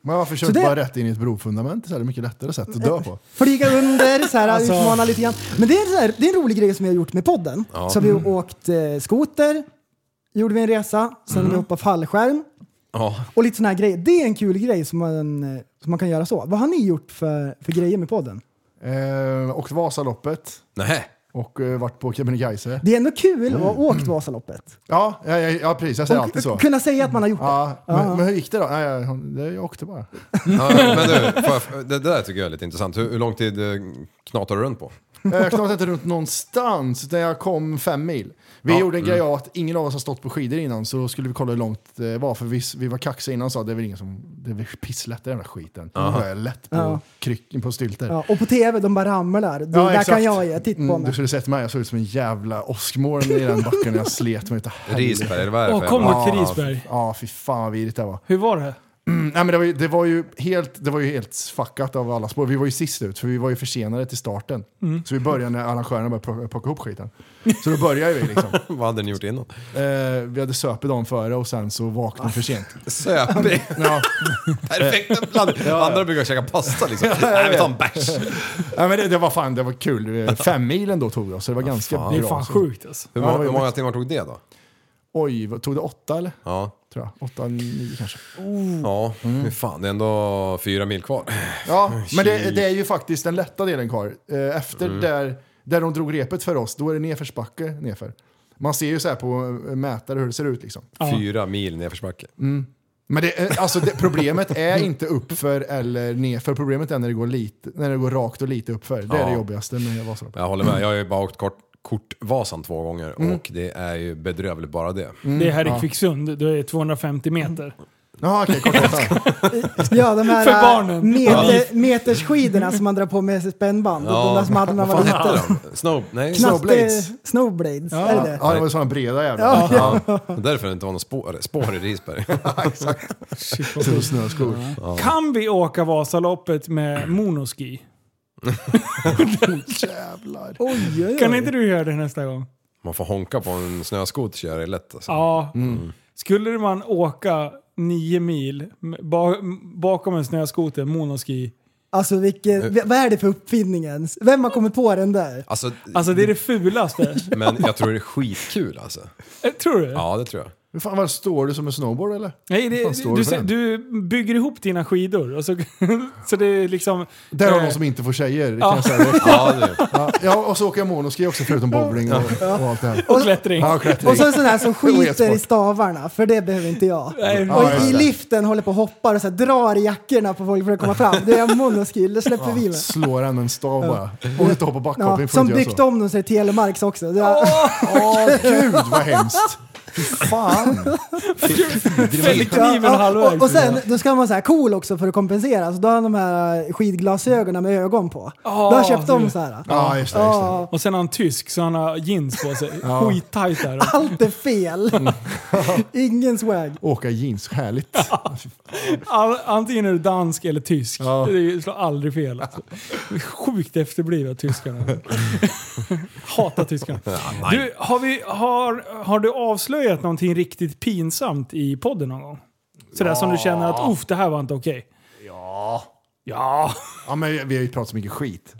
Men varför kör
Så
du
det-
bara rätt in i ett brofundament? Så här, det är mycket lättare sätt att dö på.
Flyga under, så här,
Alltså-
utmana lite grann. Men det är, så här, det är en rolig grej som vi har gjort med podden.
Ja.
Så vi har
Mm.
åkt eh, skoter, gjorde vi en resa, sen har vi
Mm.
hoppat fallskärm
Ja.
och lite såna här grejer. Det är en kul grej som man, eh, som man kan göra så. Vad har ni gjort för, för grejer med podden?
Eh, och Vasaloppet.
Nej.
Och eh, varit på Kebnekaise.
Det är ändå kul att ha åkt Vasaloppet.
Ja, ja, ja, ja, precis. Jag säger
Och
alltid så.
kunna säga att man har gjort
Ja,
det.
men, men hur gick det då? Nej, jag, det- jag åkte bara.
Ja, men du, får jag- det där tycker jag är lite intressant. Hur, hur lång tid eh, knatar du runt på?
Eh, Jag knatade inte runt någonstans, utan jag kom fem mil. Vi
Ja,
gjorde en grej
mm.
av att ingen av oss har stått på skidor innan, så då skulle vi kolla hur långt det var. För vi, vi var kaxiga innan och sa det är väl ingen som... Det är väl pisslätt i den här skiten.
Aha.
Då är jag lätt på,
Ja.
kryck, på stylter.
Ja, och på tv, de bara ramlar. Det där
exakt.
kan jag ge. Titt på
Mm,
mig.
Du skulle sett mig, jag såg ut som en jävla åskmoln i den backen när jag slet mig utav helvete.
Risberg, vad är det Åh, för
kom
jävla-
till
Ja,
Risberg.
f- Ja, fy fan vad vidrigt det var.
Hur var det?
Mm, nej, men det, var ju, det, var ju helt, det var ju helt fuckat av alla spår. Vi var ju sist ut, för vi var ju försenade till starten.
Mm.
Så vi började när arrangörerna började plocka, plocka ihop skiten. Så då började vi liksom.
Vad hade ni gjort innan?
Eh, vi hade söpit dagen före och sen så vaknade vi för sent.
Ah. Söpig.
Ja.
Perfekt bland
Ja.
Andra brukar käka pasta liksom.
Ja, jag
Nej, vi tar en
vet.
bärs.
Nej, men det, det var fan, det var kul. Fem milen då tog det oss, så det var ganska bra.
Ah, fan. Det är fan
Så-
sjukt, alltså.
Hur,
Ja, det
må-
var
hur många
jobbigt.
timmar tog det då?
Oj, vad- tog det åtta eller?
Ja.
Tror jag. Åtta, nio kanske.
Mm.
Ja, men fan det är ändå fyra mil kvar.
Ja, men det,
Ah, Shit.
det är ju faktiskt den lätta delen kvar. Eh, Efter
Mm.
där, där de drog repet för oss, då är det nedförsbacke nedför. Man ser ju så här på eh, mätare hur det ser ut liksom.
Fyra mil nedförsbacke.
Mm. Men det, eh, alltså det, problemet är inte uppför eller nedför. Problemet är när det går, lite, när det går rakt och lite uppför. Det är
Ja.
det jobbigaste med Vasaloppet.
Jag håller med, jag har ju bara åkt kort, Kortvasan två gånger
Mm.
och det är ju bedrövligt bara det.
Mm.
Det är här i Kvicksund, det är 250 meter.
Mm. Ja, okej,
Ja, de här eh,
För barnen.
Meter,
Ja.
metersskidorna som man drar på med spännband. De där som hade när man var
vad fan hette
liten.
de? Snow... Nej.
Knatte- Snowblades,
Ja.
är det det?
Ja, det var sådana breda jävlar.
Ja,
Ja. Därför det inte var några spår, spår i Risberg.
Exakt.
vad
Så snöskor.
Ja.
Kan vi åka Vasaloppet med monoski?
Jävlar.
Oj, oj,
Kan inte du göra det nästa gång?
Man får honka på en snöskoter så gör det lätt alltså.
Ja.
Mm.
Skulle man åka nio mil ba- bakom en snöskoter, monoski?
Alltså
Eh.
vilken, vad är det för uppfinning ens? Vem har kommit på den där?
Alltså,
Alltså det är det
Mm.
fulaste. Eh,
Men jag tror det är skitkul alltså.
Tror du?
Ja, det tror jag.
Hur fan, var, står du som en snowboard eller?
Nej,
Hur fan
det,
står
du,
för
ser-
den?
du bygger ihop dina skidor. Och så, så det är liksom...
Där har de
eh,
som inte får tjejer. Det
Ja.
kan jag säga direkt.
Ja, det.
ja, ja, och så åker jag monoski också förutom bowling och, och allt det här.
Och klättring.
Ja, och klättring.
Och så en sån här som
Och
skiter i
e-sport.
stavarna, för det behöver inte jag.
Nej,
och
ja, just
i
det.
liften håller på och hoppar och så här, drar i jackorna på folk för att komma fram. Det är monoskill, det släpper vi
Ja,
med.
slår han med en stav bara. Och inte hoppa
Ja,
backhoppning. får
som
inte göra
dykt
så.
om dem så är det Telemarks också. Det är,
Åh gud vad hemskt. Fy fan.
Fäller kniven halvvägs.
och, och sen, då ska man vara så här cool också för att kompensera. Så då har han de här skidglasögonen med ögon på. då har jag köpt dem så här.
Ja,
just
det, just det. Ja.
Och sen har han tysk, så han har jeans på sig.
Ja.
Skittajt där.
Allt är fel.
Mm.
Ingen swag.
Åka jeans, härligt.
All, antingen är du dansk eller tysk. Det slår aldrig fel. Alltså. Sjukt efterblivna tyskarna. Hatar tyskarna. Du, har, vi, har, har du avslöjat någonting riktigt pinsamt i podden någon gång? Sådär som du känner att uff, det här var inte okej.
Ja.
Ja.
Ja men vi har ju pratat så mycket skit.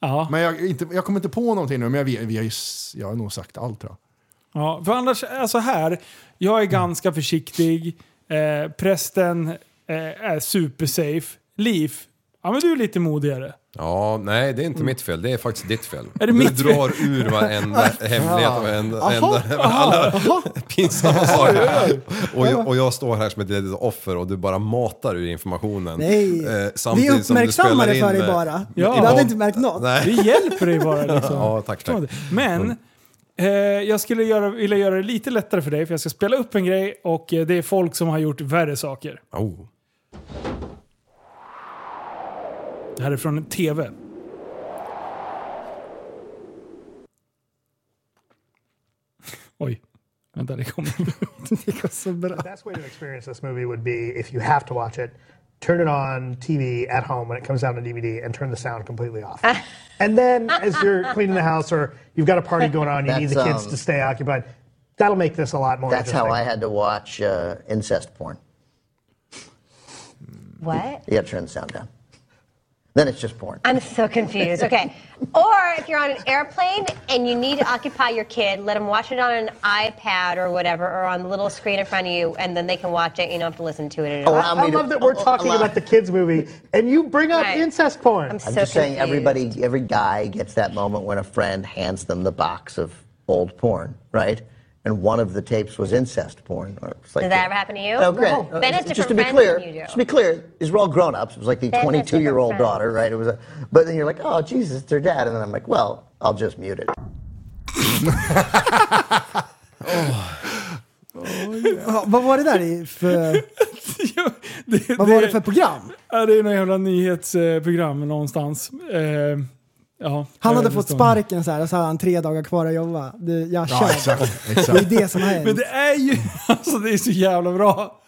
Ja.
Men jag, inte, jag kommer inte på någonting nu, men jag, vet- vi har ju, s- jag har nog sagt allt tror jag.
Ja, för annars, alltså här, jag är ganska försiktig. Eh, prästen eh, är supersafe. Liv, ja men du är lite modigare.
Ja, nej det är
Mm.
inte mitt fel. Det är faktiskt ditt fel.
Är det
du
mitt fel?
drar ur varenda hemlighet och varenda...
Aha,
varenda-
aha,
alla
aha.
pinsamma saker. Och jag, och jag står här som ett litet offer och du bara matar ur informationen.
Nej.
Eh,
Vi
samtidigt som du
uppmärksammar
spelar
det
in
för dig
med-
bara.
med-
Du hade
med-
inte märkt något.
Nej.
Vi hjälper dig bara liksom.
Ja, tack, tack.
Men eh, jag skulle göra, vilja göra det lite lättare för dig för jag ska spela upp en grej och eh, det är folk som har gjort värre saker.
Oh.
Det här är från en TV. Oj. Vänta, det kommer.
det går så bra.
The best way to experience this movie would be if you have to watch it, turn it on TV at home when it comes down to DVD and turn the sound completely off. and then as you're cleaning the house or you've got a party going on, you
That
need the kids
sounds-
to stay occupied. That'll make this a lot more
That's how I had
interesting.
to watch uh, incest porn.
What?
You gotta turn the sound down. Then it's just porn.
I'm so confused. Okay. Or if you're on an airplane and you need to occupy your kid, let them watch it on an iPad or whatever, or on the little screen in front of you, and then they can watch it. You don't have to listen to it at all.
Allow
I love that we're talking about the kids movie and you bring up
Right.
incest porn.
I'm
I'm
so
just saying
confused.
everybody, every guy gets that moment when a friend hands them the box of old porn, right? And one of the tapes was incest porn. Or it's like
Does that ever happen to you?
No, great.
No. Then it's
just to
different
be
friends
clear,
than you do.
just to be clear, these were all grown ups. It was like the
Then it's
22 year old
different
daughter, right? It was a, but then you're like, oh Jesus, it's their dad, and then I'm like, well, I'll just mute it.
Ja, vad var det där i för...
Vad
var det för program?
Ja, det är något jävla nyhetsprogram någonstans. Eh, ja,
Han
jag
hade
vet
fått
inte om-
sparken så här och så hade han tre dagar kvar att jobba. Du, jag
Ja,
kör.
exakt,
Det
exakt.
är det som har hänt.
Men det är ju, alltså det är så jävla bra.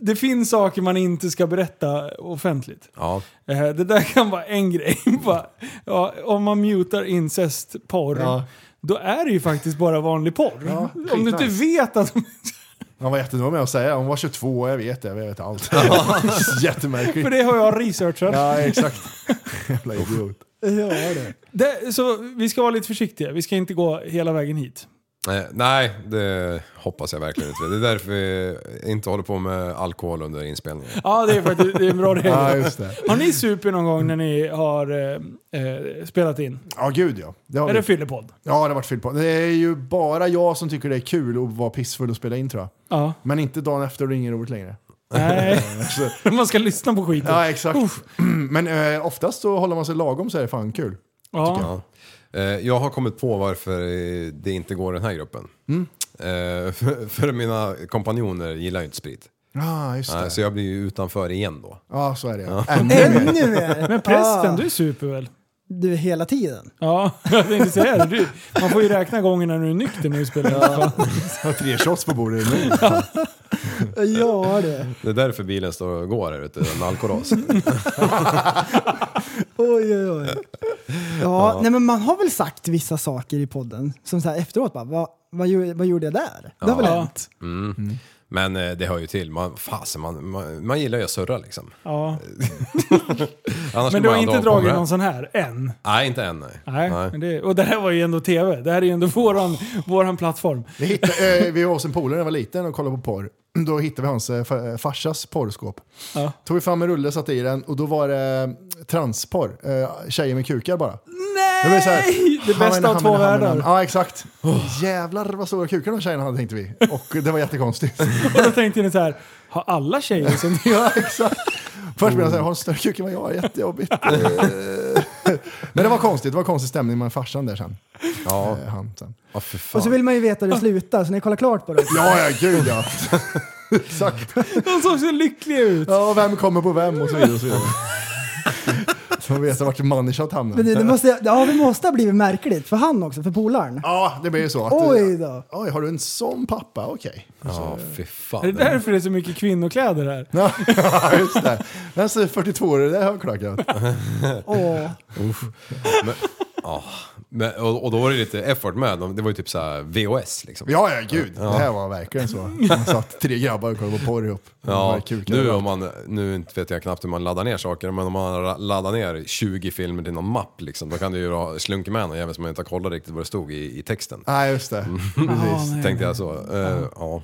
Det finns saker man inte ska berätta offentligt.
Ja.
Eh, Det där kan vara en grej. Bara, ja, om man mutar incestporr,
Ja.
då är det ju faktiskt bara vanlig porr. om du inte
skitnice.
vet att...
Han var jättenoga med att säga hon var 22 och jag vet det, jag vet allt. Jättemärkligt.
För det har jag researchat.
Ja, exakt. Jävla idiot.
Ja, det. så vi ska vara lite försiktiga. Vi ska inte gå hela vägen hit.
Eh, Nej, det hoppas jag verkligen inte. Det är därför vi inte håller på med alkohol under inspelningen.
Ja, det är faktiskt det är en bra regel.
Ja, just det.
Har ni super någon gång när ni har eh, eh, spelat in?
Ja, gud ja. har
är
vi.
det fyllepodd?
Ja, det har varit fyllepodd. Det är ju bara jag som tycker det är kul att vara pissfull och spela in tror jag.
Ja.
Men inte dagen efter, då är ingen roligt längre.
Nej.
Så-
Man ska lyssna på skiten.
Ja, exakt. Men eh, oftast så håller man sig lagom så är det fan kul.
Ja. Eh, Jag har kommit på varför eh, det inte går i den här gruppen.
Mm.
Eh, För, för mina kompanjoner gillar ju inte sprit.
Ja, ah, just
Nej,
det.
Så jag blir ju utanför igen då.
Ja, Äh, så är det.
Ja.
Ännu mer!
Men prästen,
Ah.
du super väl?
Du är hela tiden.
Ja, jag tänkte säga det. Du, man får ju räkna gångerna när du är nykter när du spelar. Ja.
Har tre shots på bordet nu.
Ja det.
Det är därför bilen står och går här ute, en alkoras.
Oj, oj, oj. Ja, nej men man har väl sagt vissa saker i podden som så här efteråt bara, vad, vad, gjorde- vad gjorde jag där? Det har väl hänt?
Mm. Men eh, det hör ju till. Man, fasen, man, man, man gillar ju att surra liksom.
Ja.
Annars
Men
skulle
du har
man aldrig
inte
hålla på med
dragit
det.
någon sån här än?
Nej, inte än nej.
Nej. Men det, och det här var ju ändå tv. Det här är ju ändå våran, våran plattform.
Vi, hittade, eh, vi var hos en polare när jag var liten och kollade på porr. Då hittade vi hans eh, fa- farsas porrskåp.
Ja.
Tog vi fram en rulle, satte i den och då var det eh, transporr. Eh, tjejer med kukar bara. Nej! Det,
Det bästa av två världar. Oh.
Ja, exakt. Jävlar vad stora kukar de tjejerna hade tänkte vi. Och det var jättekonstigt.
Och då tänkte ni så här, har alla tjejer som ni
ja, exakt. Först blev jag såhär, har de större kuk än vad jag har? Jättejobbigt. Men det var konstigt, det var konstig stämning med farsan där sen.
Ja.
Eh, Han, sen.
Ja, för
Alltså,
fan.
Och så vill man ju veta hur det slutar, så när jag kollar klart på det.
Ja, ja, gud ja. Exakt.
De såg så lyckliga ut.
Ja, och vem kommer på vem och så vidare. Och så vidare. Så man vet vart manishat hamnar.
Men det, det, måste, ja, det måste ha blivit märkligt för han också, för polaren.
Ja, det blir ju så. Att,
Oj då.
Oj, har du en sån pappa? Okej.
Ja, fy fan.
Är det därför det är så mycket kvinnokläder här?
Ja, just det. Den ser 42 år det har klackat.
Åh.
Uff. Men, ja. Men, och, och då var det lite effort med. De- Det var ju typ så här VOS liksom.
Ja, ja, gud. Det här var verkligen så. Man satt tre grabbar och kollade på porr ihop. Det
Ja,
var kukar
nu,
överallt.
om man, nu inte vet jag knappt hur man laddar ner saker, men om man ra- laddar ner 20 filmer till någon mapp liksom, då kan du ju ha- slunka med någon jävel som man inte har kollat riktigt vad det stod i, i texten.
Nej, just det. Precis.
Så tänkte jag så. eh, ja.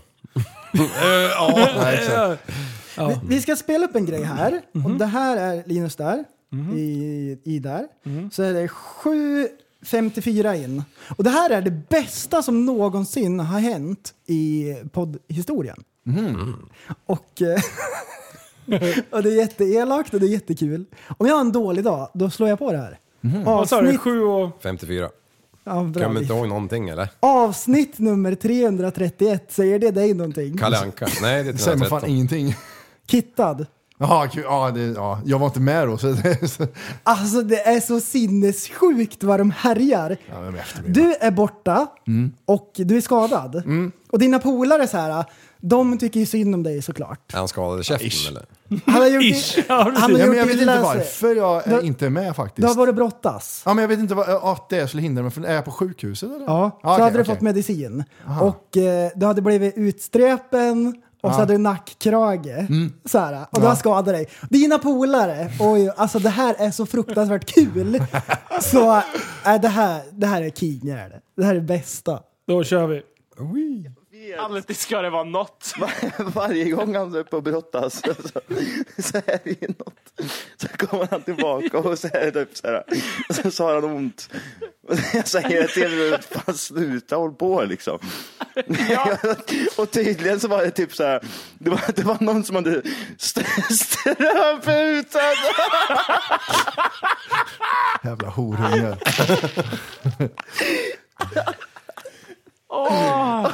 Nej, exakt.
Vi, vi ska spela upp en grej här. Och det här är Linus där. I, I där. Så är det 7.54 in. Och det här är det bästa som någonsin har hänt i poddhistorien. Och, eh, och det är jätteelakt och det är jättekul. Om jag har en dålig dag, då slår jag på det här.
Vad sa du?
Avsnitt,
Sju och...
54.
ja, bra,
Kan man inte
Biff.
ihåg någonting eller?
Avsnitt nummer 331, säger det dig någonting?
Kalle Anka? Nej, det är
Det säger man fan
313.
ingenting.
Kittad.
Jaha, kul. ja, det, ja, jag var inte med då. Så det, så,
Alltså det är så sinnessjukt vad de härjar.
ja, men efter mig.
Du är borta
Mm.
och du är skadad. Och dina polare så här, de tycker ju synd om dig såklart.
Är han skadade käften eller?
Han har gjort
Ja,
han har
men
gjort
jag
det
vet
illa
inte
sig.
varför jag
Du har-
är inte är med
Du
faktiskt.
har varit brottas.
Ja, men jag vet inte vad, eh, att det skulle hindra mig. För, är jag på sjukhuset eller?
Ja, så
Ah,
okej,
hade du
okej.
fått medicin.
Aha.
Och eh, du hade blivit utstrepen och så
Ah.
Ja.
hade du nackkrage.
Mm.
Så här, och du
Ja.
har skadat dig. Dina polare, oj, alltså det här är så fruktansvärt kul. så äh, det, här, det här är king, är det. det här är det bästa.
Då kör vi.
Alltid ska det vara något.
Varje gång han är på och brottas så, så är det ju något. Så kommer han tillbaka och så är det typ så här. Så, så har han ont. Och Jag säger till honom, fan sluta håll på liksom. och tydligen så var det typ så här. Det var, det var någon som hade st- strömputat.
Jävla horunge.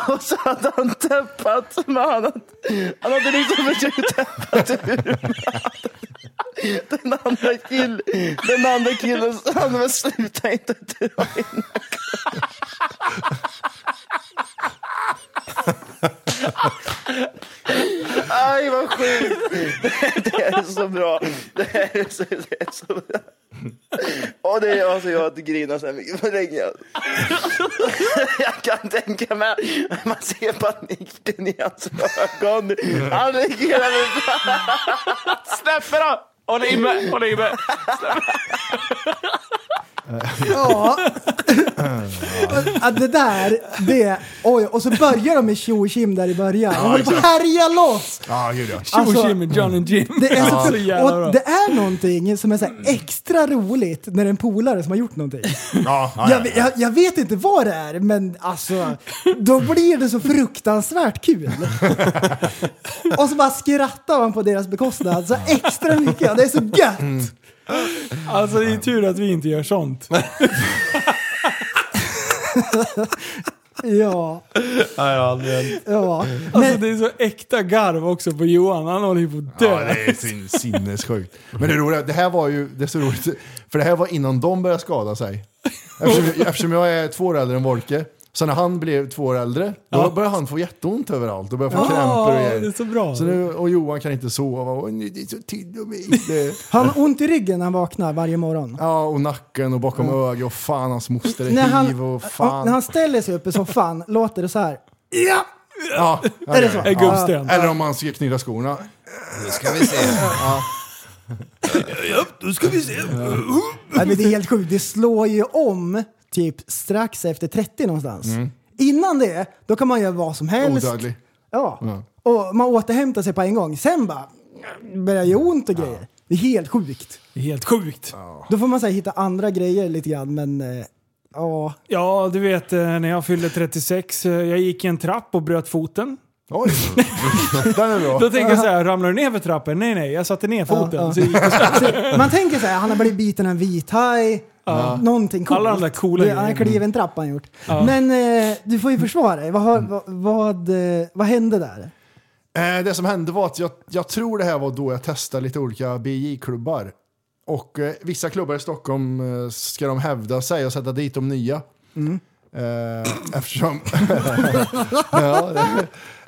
Och så hade han täppat. Men han, hade, han hade liksom försökt täppa ur med den andra killen. Den andra killen han var sluta inte dra in. Aj vad sjukt. Det, det är så bra. Det är så, det är så bra. Och det är alltså jag att grina så här mycket för länge. Jag kan tänka mig, man ser paniken i hans ögon. Han ligger där med
Släpper då! Håll i mig, håll i mig.
Ja. ja, det där, det, oj, och så börjar de med tjo och tjim där i början. De
Ja,
håller på att
exakt.
härja loss.
Ja, gud ja.
Alltså,
John and Jim.
Det är, så, kul.
jävla bra.
och det är någonting som är så här extra roligt när en polare som har gjort någonting.
Ja, ja, ja,
Jag, jag, jag vet inte vad det är, men alltså, då blir det så fruktansvärt kul. Och så bara skrattar man på deras bekostnad så extra mycket. Det är så gött!
Mm.
Alltså det är tur att vi inte gör sånt.
Ja, ja.
Alltså det är så äkta garv också på Johan. Han håller ju på att dö.
Ja, det är sin, sinnessjukt. Men det roliga, det här var ju, det är så roligt, för det här var innan de började skada sig. Eftersom, eftersom jag är två år äldre än Wolke, så när han blev två år äldre, då
Ja.
började han få jätteont överallt och började få
Ja,
krämpor och
det är
grejer.
så bra.
Så nu, och Johan kan inte sova. Och, "Nej, det är så till och med. Det,
Han har ont i ryggen när han vaknar varje morgon.
ja, och nacken och bakom ögat och fan hans moster är
När
hiv
han,
och fan.
när han ställer sig upp i soffan låter det så här. Ja!
Ja, ja,
Är det
ja,
så?
ja.
En gubbsten.
Eller om man ska knyta skorna.
Nu ska vi se.
Ja.
Ja, då ska vi se. Nej, men det är helt sjukt. Det slår ju om typ strax efter 30 någonstans. Innan det, då kan man göra vad som helst.
Odödlig.
Ja. Och man återhämtar sig på en gång. Sen bara börjar det göra ont och grejer. Det är helt sjukt.
Det är helt sjukt.
Då får man så här, hitta andra grejer lite grann, men eh, ja.
Ja, du vet eh, när jag fyllde 36, eh, jag gick i en trapp och bröt foten.
Oj! Den är bra.
Då tänker jag så här, ramlar du ner för trappen? Nej, nej, jag satte ner foten.
Ja, ja.
Så gick jag så
Så Man tänker så här, han har blivit biten av en vithaj.
Ja.
Någonting coolt.
Alla de där coola
Det- Han har
grejerna.
klivit en trappa han gjort.
Ja.
Men eh, du får ju försvara dig. Vad, har, vad, vad, eh, vad hände där?
Eh, det som hände var att jag, jag tror det här var då jag testade lite olika BJ-klubbar. Och eh, vissa klubbar i Stockholm eh, ska de hävda sig och sätta dit de nya. Eh, eftersom... ja, det,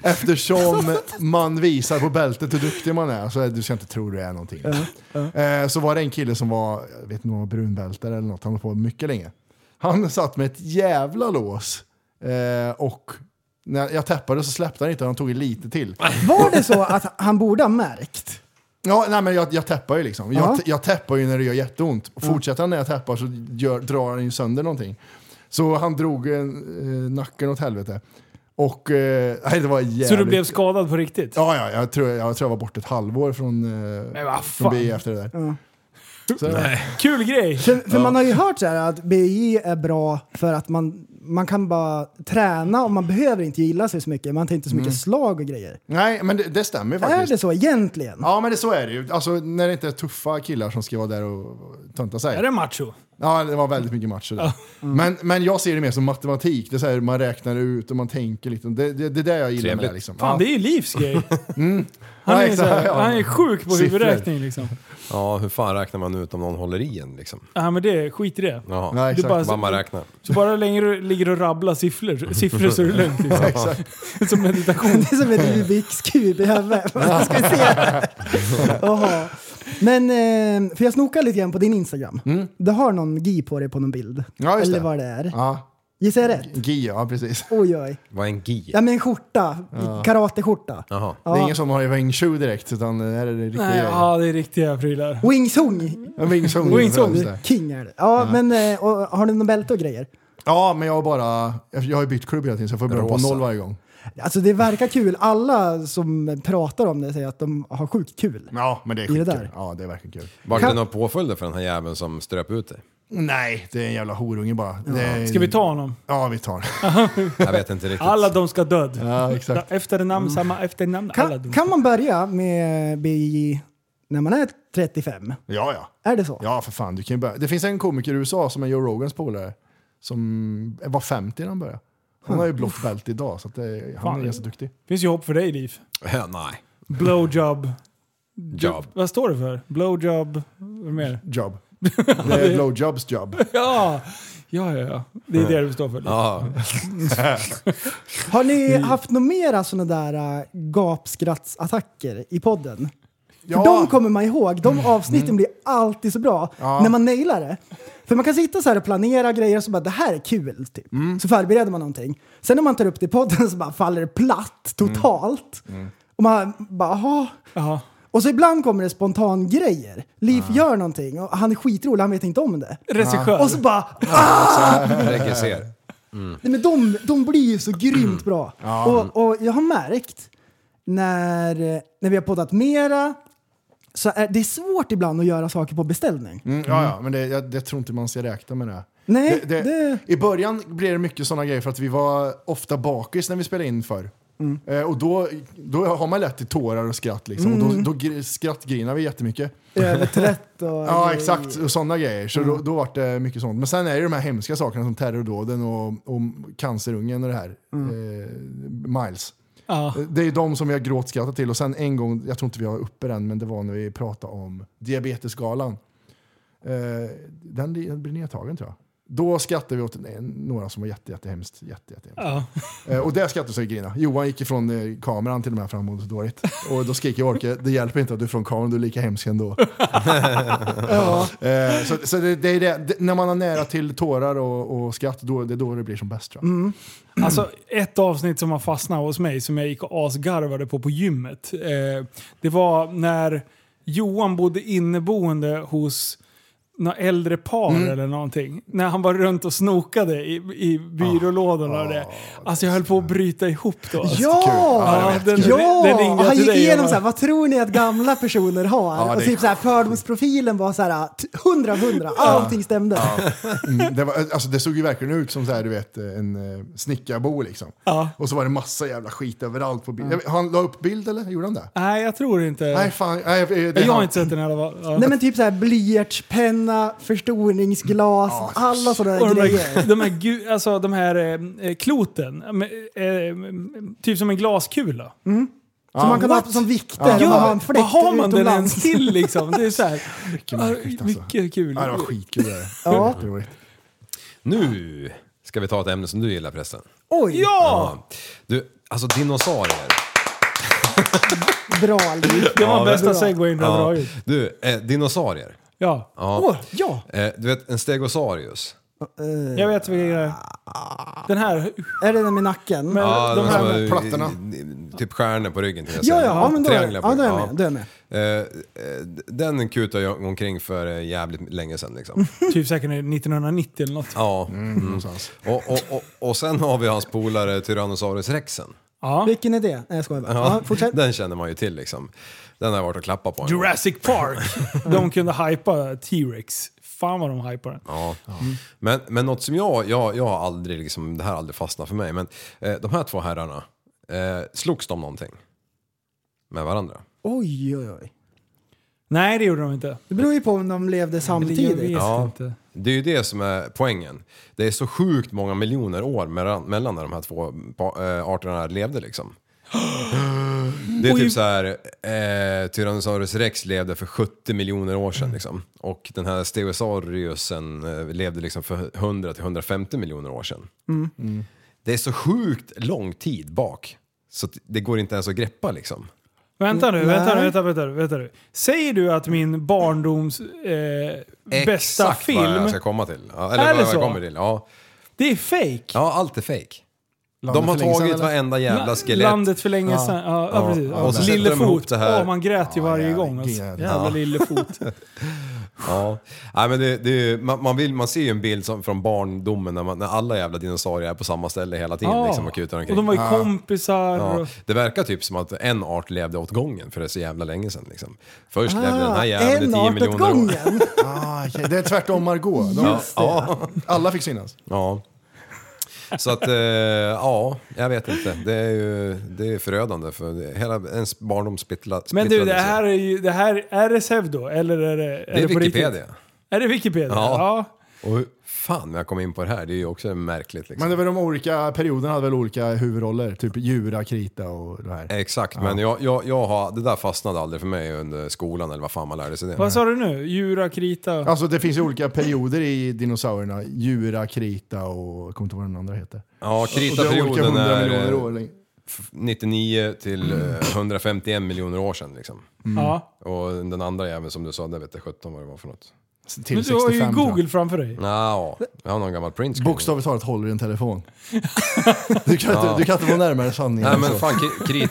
eftersom man visar på bältet hur duktig man är. Så är- du ska inte tro du är någonting. Eh, så var det en kille som var, jag vet inte om han var brunbältare eller något, han var på mycket länge. Han satt med ett jävla lås. Eh, och när jag tappade så släppte han inte, han tog i lite till.
Var det så att han borde ha märkt?
Ja, nej, men jag, jag tappar ju liksom.
Ja.
Jag, jag tappar ju när det gör jätteont. Och fortsätter han när jag tappar så gör, drar han ju sönder någonting. Så han drog eh, eh, nacken åt helvete. Och eh, nej, det var jävligt...
Så du blev skadad på riktigt?
Ja, ja jag, tror, jag tror jag var borta ett halvår från, eh,
vad
från
fan.
BI efter det där.
Ja.
Så,
Kul grej!
För man har ju hört så här att BJ är bra för att man, man kan bara träna och man behöver inte gilla sig så mycket. Man tar inte så mycket
Mm.
slag och grejer.
Nej, men det, det stämmer ju
Är
faktiskt.
det så egentligen?
Ja, men det, så är det ju. Alltså, när det inte är tuffa killar som ska vara där och och tönta sig.
Är det Mm. macho?
Ja, det var väldigt mycket matcher där. Men, men jag ser det mer som matematik. Det är så här, man räknar ut och man tänker lite. Det, det, det är det jag gillar med
Trevligt.
det. Liksom.
Fan,
Ja.
det är ju livs grej.
Mm.
Han är,
Ja,
så här,
exakt, ja.
han är sjuk på
Siffror.
huvudräkning liksom.
Ja, hur fan räknar man ut om någon håller i en liksom?
Ja, men det, skit i det.
Jaha.
Du bara-
Mamma räknar.
Så bara länge du ligger och rabblar siffror, siffror så är det lugnt. Liksom.
Ja, exakt.
Som meditation.
Det är som ett Rubiks-kub i huvudet. Man ska se. Jaha. Men, eh, för jag snokar lite grann på din Instagram. Du har någon gi på dig på någon bild.
Mm. Ja, just
Eller
det.
vad det är.
Ja.
Gissar jag rätt?
Gi, ja precis.
Oj, oj.
Vad är en gi?
Ja, men en skjorta.
Ja.
Karateskjorta.
Jaha.
Det är
Ja.
ingen som har i Wing Chun direkt, utan här är det riktiga
Nej,
grejer.
ja, det är riktiga prylar.
Wingsung.
Ja, Wingsung.
Wingsung.
Just det.
King är det. Ja,
Ja.
men eh, och, har du någon bälte och grejer?
Ja, men jag har bara... Jag jag har ju bytt klubb hela tiden, så jag får börja på
Rosa.
noll varje gång.
Alltså det verkar kul. Alla som pratar om det säger att de har sjukt kul.
Ja, men det är
I det
skitkul.
där.
Ja, det är verkligen kul.
Var det några påföljder för den här jäveln som ströp ut dig?
Nej, det är en jävla horunge bara.
Ja.
Det är...
Ska vi ta honom?
Ja, vi tar honom.
Jag vet inte riktigt.
Alla de ska död.
Ja, exakt.
Efternamn, samma efternamn. Alla de.
Kan, kan man börja med BJJ när man är 35?
Ja, ja.
Är det så?
Ja, för fan. Du kan ju börja. Det finns en komiker i USA som är Joe Rogans polare. Som var 50 när han började. Han har ju blått bälte idag, så att det, han
Fan.
är ganska duktig.
Finns ju hopp för dig, Liv.
Nej.
Blowjob.
Job.
Vad står det för? Blowjob? Vad mer?
Job. Det är blowjobs job.
Ja. ja, ja, ja. Det är det du står för.
Ja.
Har ni haft några mera sådana där äh, gapskrattsattacker i podden?
Ja. Mm.
För de kommer man ihåg. De avsnitten blir alltid så bra
Ja.
när man nailar det. För man kan sitta så här och planera grejer och så bara det här är kul. Typ.
Mm.
Så förbereder man någonting. Sen när man tar upp det i podden så bara faller det platt totalt.
Mm.
Och man bara jaha.
Jaha.
Och så ibland kommer det spontan grejer. Liv
Ah.
gör någonting och han är skitrolig, han vet inte om det.
Regissör.
Och så bara
Regisser.
Mm.
Nej, men de, de blir ju så grymt bra.
Ja.
Och, och jag har märkt när, när vi har poddat mera så är det svårt ibland att göra saker på beställning.
Mm, ja, ja, men det, jag, det tror inte man ska räkna med det.
Nej,
det, det, I början blev det mycket sådana grejer för att vi var ofta bakis när vi spelade in förr. Eh, och då, då har man lätt till tårar och skratt liksom. Och
Mm.
då, då gr- skrattgrinar vi jättemycket.
Överträtt och...
Ja, Mm. exakt. Och sådana grejer. Så då, då var det mycket sånt. Men sen är det de här hemska sakerna som terrordåden och, och cancerungen och det här. Eh, Miles.
Ja.
Eh, Det är de som vi har gråtskrattat till. Och sen en gång, jag tror inte vi har uppe den, men det var när vi pratade om diabetesgalan. Eh, den li- den blir nedtagen tror jag. Då skrattade vi åt en- några som var jätte, jättehemskt. Jätte, jätte.
Ja.
Eh, och där skrattade så jag grina. Johan gick ifrån eh, kameran till och med framåt dåligt. Och då skrek jag Orke, det hjälper inte att du är från kameran, du är lika hemsk ändå.
Ja.
Eh, så så det, det är det. Det- När man har nära till tårar och, och skratt, då, det är då det blir som bäst tror jag.
Alltså ett avsnitt som har fastnat hos mig som jag gick och asgarvade på på gymmet. Eh, det var när Johan bodde inneboende hos några äldre par
Mm.
eller någonting. När han var runt och snokade i, i byrålådorna och det. Alltså jag höll på att bryta ihop då. Alltså.
Ah, Ja! Ja,
den,
ja!
den ringde jag
han
alltså,
till
gick
dig och
igenom
bara-
så här, vad tror ni att gamla personer har?
Ja, det
och
är
typ så här, fördomsprofilen var så här, t- 100 av 100, allting stämde.
Mm, det, var, alltså, det såg ju verkligen ut som så här, du vet, en eh, snickarbo liksom. Och så var det massa jävla skit överallt på bild. Han la upp bild eller? Gjorde han det?
Nej, jag tror inte...
Nej, fan. Nej, det är
jag har
han.
inte sett den i alla fall. Ja.
Nej men typ så här blyertspenna, förstoringsglas, alla sådana
Och
där
de
grejer.
här, de här, gu- alltså, de här eh, eh, kloten, eh, med, eh, m- typ som en glaskula.
Som man kan ha som vikter
Ja.
om man har en fläkt
Vad har man den
utomlands?
ens till liksom? Det är så här, mycket,
märkligt, alltså.
mycket kul.
Ja, det var skitkul det där.
Ja.
Jätteroligt.
Nu ska vi ta ett ämne som du gillar förresten.
Oj!
Ja! Du, alltså dinosaurier.
Bra Liv.
Det var bästa
Bra.
segwayen du har
Ja.
dragit.
Du, eh, dinosaurier.
Ja.
Ja.
Åh, ja.
Eh, du vet, en stegosaurus.
Jag vet vilken grej. Den här.
Är det den med nacken?
Men
Ja,
de
de
här
som har-
plattorna.
i- i- Typ stjärnor på ryggen. till
Ja, ja,
exempel.
ja, men då är-
Trianglar på
ja, då är jag
ryggen.
med, då är jag med.
Eh, eh, Den kutade jag omkring för eh, jävligt länge sedan.
Mm.
Liksom.
Typ säkert 1990 eller något.
Ja. Mm. Och, och, och, och sen har vi hans polare Tyrannosaurus rexen.
Vilken är det? Nej jag skojar bara.
Ja,
Ja, fortsätt.
Den känner man ju till liksom. Den har jag varit och klappat på. en gång.
Jurassic Park. De kunde hypa T-Rex. Fan vad de hypade den.
Ja. Men, men något som jag, jag, jag har aldrig, liksom, det här har aldrig fastnat för mig, men eh, de här två herrarna, eh, slogs de någonting? Med varandra?
Oj, oj, oj.
Nej, det gjorde de inte.
Det beror ju på om de levde samtidigt.
Det är ju det som är poängen. Det är så sjukt många miljoner år mellan, mellan när de här två pa- eh, arterna levde liksom. Det är
Och ju-
typ så här, eh, Tyrannosaurus rex levde för 70 miljoner år sedan liksom. Och den här Stegosauriusen eh, levde liksom för 100 till 150 miljoner år sedan.
Mm.
Det är så sjukt lång tid bak. Så att det går inte ens att greppa liksom.
Vänta nu,
Nej.
vänta nu, vänta, vänta, nu, vänta nu. Säger du att min barndoms eh, bästa
Exakt vad
film...
jag ska komma till. Ja,
Är
eller
det
vad
så?
jag kommer till. Ja.
Det är fake.
Ja, allt är fake.
Landet
de har
för länge
tagit
sedan, eller?
varenda jävla
La-
skelett.
Landet för länge sedan. Ja, ja, precis.
Och så sätter de ihop
Lillefot.
det här.
Åh, man grät ju varje gång. Alltså.
jävlar.
Jävla
Ja.
Lillefot.
Ja, Nej, men det, det, är ju- man, man, vill, man ser ju en bild som, från barndomen när, man, när alla jävla dinosaurier är på samma ställe hela tiden.
Ja.
Liksom, och, kutar
och
omkring.
de var ju
Ja.
kompisar.
Ja,
och-
det verkar typ som att en art levde åt gången för det är så jävla länge sedan. Liksom. Först
Ah,
levde den här jäveln i 10 miljoner år.
ah, okej. Det är tvärtom Margot. De,
Just det. Ja.
Alla fick synas.
Ja. Så att, eh, ja, jag vet inte. Det är ju det är förödande för det, hela ens barndom splittla- splittrades.
Men du, det
ju.
här är ju... Det här, är det pseudo? Eller är det...
det
på
är
riktigt?
Wikipedia.
Är det Wikipedia? Ja.
Och hur fan jag kom in på det här, det är ju också märkligt. Liksom.
Men det var de olika perioderna hade väl olika huvudroller? Typ Jura, Krita och det här.
Exakt, men jag, jag, jag har, det där fastnade aldrig för mig under skolan eller vad fan man lärde sig det.
Vad sa du nu? Jura, krita?
Alltså det finns ju olika perioder i dinosaurierna. Jura, Krita och... Jag kommer inte ihåg vad den andra heter.
Ja,
Och det är
kritaperioden
olika
är
miljoner år.
eh, f- 99 till eh, 151 miljoner år sedan. Liksom.
Mm. Ja.
Och den andra jäveln som du sa, det vet jag 17 vad det var för något.
Men du har ju Google framför dig.
Nja, jag har någon gammal print
Bokstavligt talat håller i en telefon. Du kan,
Ja.
inte, du kan inte vara närmare sanningen. alltså.
Nej
än
men
så.
fan, kri-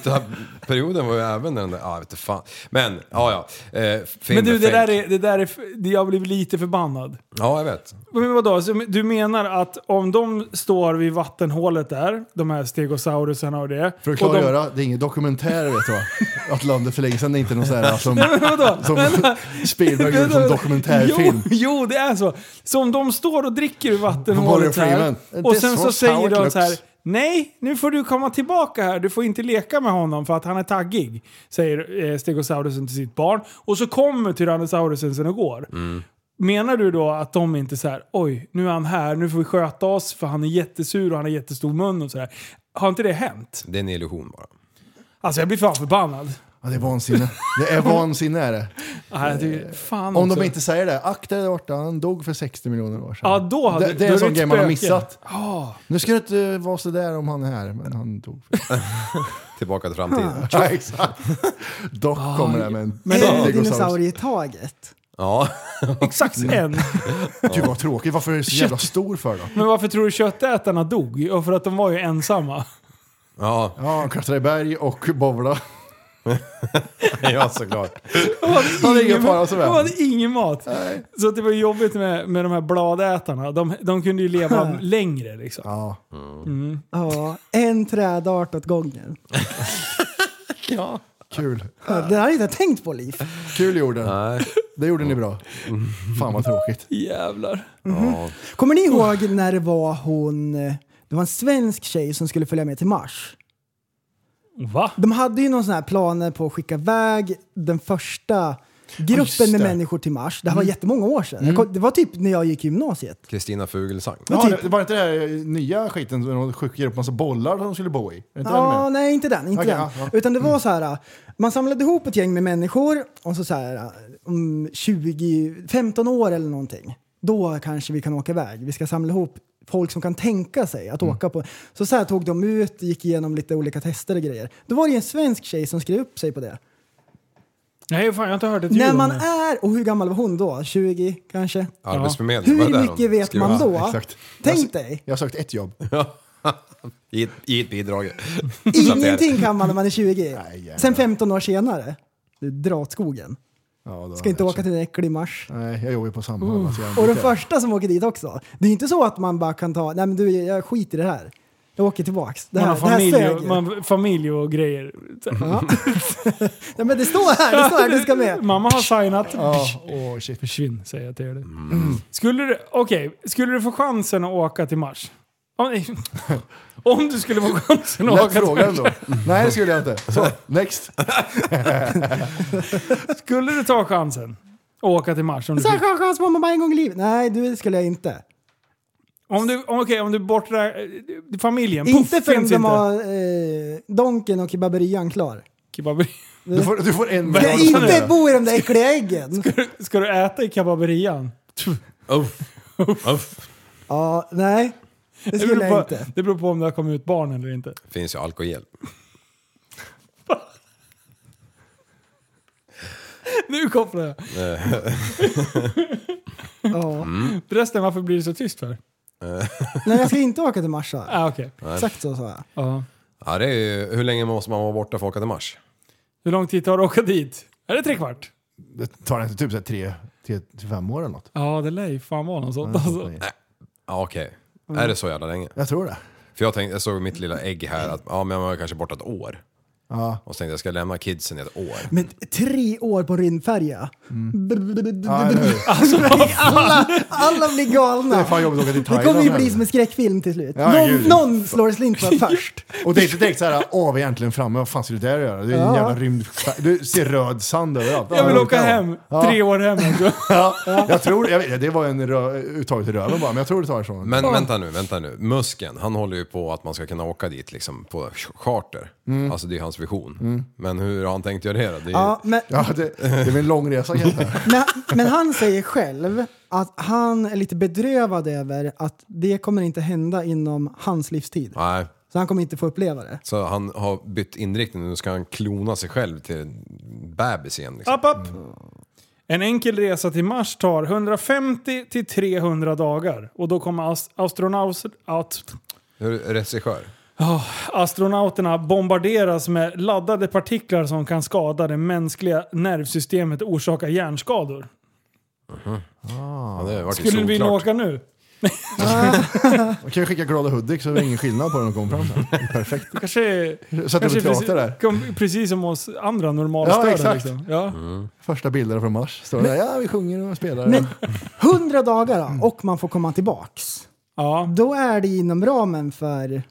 kritaperioden var ju även den där, ja vet du fan. Men, ja ja. Eh, film
Men du,
är
det
fake.
där är... Det där är f- jag blev lite förbannad.
Ja, jag vet.
Men vadå, så du menar att om de står vid vattenhålet där, de här stegosaurusarna och det.
För att
och de,
klargöra, det är ingen dokumentär vet du va? Att landet för länge sedan är inte någon sån här som,
Nej, men vadå?
som
Vänta.
Spielberg gjorde som dokumentärfilm.
Jo, jo, det är så. Så om de står och dricker ur
Morgan
vattenhålet här
Freeman.
och
This
sen så
was how
säger
it
de så här
looks.
Nej, nu får du komma tillbaka här. Du får inte leka med honom för att han är taggig. Säger eh, stegosaurusen till sitt barn. Och så kommer tyrannosaurusen sen och går.
Mm.
Menar du då att de inte så här, oj, nu är han här, nu får vi sköta oss för han är jättesur och han har jättestor mun och sådär. Har inte det hänt?
Det är en illusion bara.
Alltså jag blir fan förbannad.
Ja, det är vansinne. Det är vansinne är det.
Nej, jag tycker- fan
Eh, Om
också.
de inte säger det, akta dig borta, han dog för 60 miljoner år sedan.
Ja, då hade
det, det är en
då
sån
ett
grej man har
spöke.
missat.
Ja.
Nu ska det inte vara sådär om han är här, men han dog.
Tillbaka till framtiden.
Ja, exakt. Dock kommer det med en
Men en
stegosaurus.
dinosaurie i taget.
Ja.
Exakt en.
Gud vad tråkigt, varför är du så jävla stor för då?
Men varför tror du köttätarna dog? Ja, för att de var ju ensamma.
Ja.
Ja, han klättrar i berg och bowlar.
ja, såklart.
Han är ingen fara som
de
är.
hade ingen mat. Så att det var jobbigt med, med de här bladätarna. De, de kunde ju leva längre liksom.
Ja.
Mm.
Ja, en trädart åt gången.
ja.
Kul.
Ja, det har jag inte tänkt på, Liv.
Kul gjorde den. Det gjorde ni bra. Fan vad tråkigt.
Jävlar.
Ja.
Kommer ni ihåg när det var hon, det var en svensk tjej som skulle följa med till Mars?
Va?
De hade ju någon sån här planer på att skicka iväg den första gruppen med
det.
människor till Mars. Det här var
Mm.
jättemånga år sedan. Jag kom- Det var typ när jag gick i gymnasiet. typ
Kristina Fugelsang.
Ja, det- det var inte den här nya skiten som de skickade upp massa bollar som de skulle bo i? Är det inte den
Ja,
med?
nej inte den. Inte
Okej,
den.
ja, ja.
Utan det var så här, man samlade ihop ett gäng med människor och så, så här, om 20, 15 år eller någonting, då kanske vi kan åka iväg. Vi ska samla ihop folk som kan tänka sig att åka på. Så, så här tog de ut, gick igenom lite olika tester och grejer. Då var det ju en svensk tjej som skrev upp sig på det.
Nej, fan jag har inte hört ett ljud
När
om
man
det.
är, och hur gammal var hon då? 20 kanske?
Arbetsförmedlingen, var det
Hur
där de
mycket vet
skrev?
man då?
Ja, exakt.
Tänk dig,
Jag har sökt ett jobb.
I ett, i ett bidrag.
ingenting kan man när man är 20.
jävlar.
Sen 15 år senare, du drar åt skogen.
Ja, då har
Ska inte
jag
åka till en äcklig mars.
sökt. Nej, jag jobbar ju på Samhall. alltså, jag
Och den
brukar-
första som åker dit också. Det är inte så att man bara kan ta, nej men du jag skiter i det här. Jag åker tillbaks. Det här,
man har
det
familj
här
och,
sög.
man, familj och grejer.
Ja. nej men det står här, det står här, du ska med.
Mamma har signat.
Ja, Mm.
Försvinn säger jag till er. Skulle du, okej, skulle du få chansen att åka till Mars? Om, nej. Om du skulle få chansen att
Lätt
åka
fråga
till
ändå.
Mars.
Nej, det skulle jag inte. Så, next.
Skulle du ta chansen att åka till Mars? Om du,
Så här
fick,
skön chans får man bara en gång i livet. Nej, du det skulle jag inte.
om du, om, okej, om du bortrar eh, familjen. Puff,
inte förrän
finns
de
inte.
har eh, Donken och kebaberian klar.
Kebaberi.
Du får- du får en
Du kan inte bo i de där äckliga äggen!
Ska du, ska du äta i kebaberian?
Uff. Uff.
Ja, nej. Det
beror
skulle
på,
jag inte.
Det beror på om det har kommit ut barn eller inte.
Finns ju alkohol.
Nu kopplar jag.
Ja.
Mm.
Förresten, varför blir det så tyst för?
Nej, jag ska inte åka till Marsa.
Ah, okej.
Nej.
Exakt så sa jag.
Ja.
Ja, det är ju, hur länge måste man vara borta för att åka till Mars?
Hur lång tid tar det att åka dit? Är det tre kvart?
Det tar inte typ så här tre, tre till fem år eller något?
Ja, det lär ju fan vara något sånt alltså.
Ja, okej.
Mm.
Är det så jävla länge?
Jag tror det.
För jag, tänkte, jag såg mitt lilla ägg här att ja, men jag var kanske borta ett år.
Ja.
Och så tänkte jag ska jag lämna kidsen i ett år.
Men tre år på rindfärja.
Ja, eller hur?
alla, alla blir galna.
Det är fan jobbigt att åka till
Det
Thailand
kommer ju bli
heller.
som en skräckfilm till slut.
Ja,
någon,
gud.
någon slår slintan först.
Och det är inte direkt såhär, åh vi är äntligen framme, vad fan ska du där göra? Det är en
Ja.
jävla rymd... Du ser röd sand överallt.
Jag vill åka hem. Tre år hem. alltså.
Ja, jag tror, jag vet, det var en rö, uttaget i röven bara, men jag tror det tar ifrån.
Men vänta nu, vänta nu. Musken, han håller ju på att man ska kunna åka dit liksom på ch- charter.
Mm.
Alltså det är hans vision.
Mm.
Men hur har han tänkt göra det då? Det är,
Ja, men-
Ja, det, det är väl en lång resa kanske.
Men, men han säger själv att han är lite bedrövad över att det kommer inte hända inom hans livstid.
Nej.
Så han kommer inte få uppleva det.
Så han har bytt inriktning, nu ska han klona sig själv till en bebis igen. Liksom.
App, app. En enkel resa till Mars tar 150 till 300 dagar och då kommer as- astronauts, aut-
Hur regissör?
Ah, astronauterna bombarderas med laddade partiklar som kan skada det mänskliga nervsystemet och orsaka hjärnskador.
Ja,
Ah.
det har varit
Skulle vi
solklart.
åka nu?
Man kan ju skicka glada Hudik så det är ingen skillnad på när de kommer fram sen. Perfekt.
Du kanske...
Sätta upp
kanske
ett teater där.
precis, kom, precis som oss andra
Ja,
normalstörda.
exakt.
liksom. ja.
Första bilderna från Mars. Står det där, ja vi sjunger och spelar.
Men 100 dagar då, och man får komma tillbaks. Då är det inom ramen för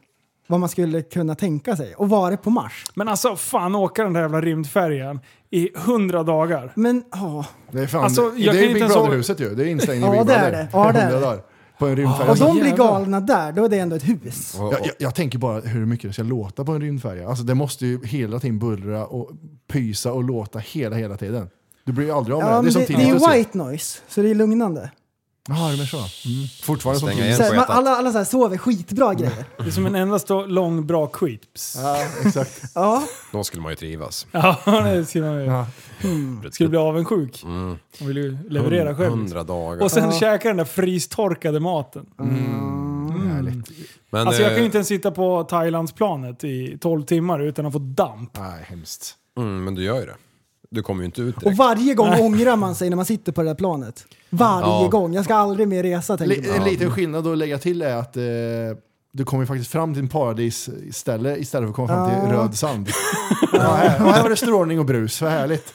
vad man skulle kunna tänka sig och vara på Mars.
Men alltså fan åka den där jävla rymdfärjan i 100 dagar.
Men ja.
Det är fan,
Alltså, jag
det
kan
är
inte
Big
ens-
Brother-huset ju. Det är instängning
Ja,
i Big
det är
Brother.
det. Ja, det är
Hundra
det.
dagar. På en rymdfärja.
Och de blir galna där, då är det ändå ett hus.
Jag, jag, jag tänker bara hur mycket det ska låta på en rymdfärja. Alltså det måste ju hela tiden bullra och pysa och låta hela, hela tiden. Du blir ju aldrig av med
Ja,
det.
men det, det är ju
tinnitus ju.
white noise, så det är lugnande.
Ja, det är så. Mm. Fortfarande som
Stänga
tinnitus.
Så här, man, alla alla så här sover skitbra grejer.
Det är som en enda stå, lång bra skit. Psst.
Ja, exakt.
Ja.
Då skulle man ju trivas.
Ja, det ser man ju. Hmm.
Mm.
Skulle bli avundsjuk.
Mm.
Man vill ju leverera själv. liksom.
Hundra dagar.
Och sen
Ja.
käka den där frystorkade maten. Mm.
Men,
alltså jag kan
eh,
ju inte ens sitta på Thailandsplanet i 12 timmar utan att få damp.
Nej, hemskt.
Mm, men du gör ju det. Du kommer ju inte ut
Och
direkt.
varje gång ångrar man sig när man sitter på det där planet. Varje
Ja.
gång. Jag ska aldrig mer resa tänker
Li-
man.
En liten skillnad att lägga till är att eh, du kommer ju faktiskt fram till en paradisställe istället för att komma fram till
Ja.
röd sand. Ja, här, och här var det strålning och brus, vad härligt.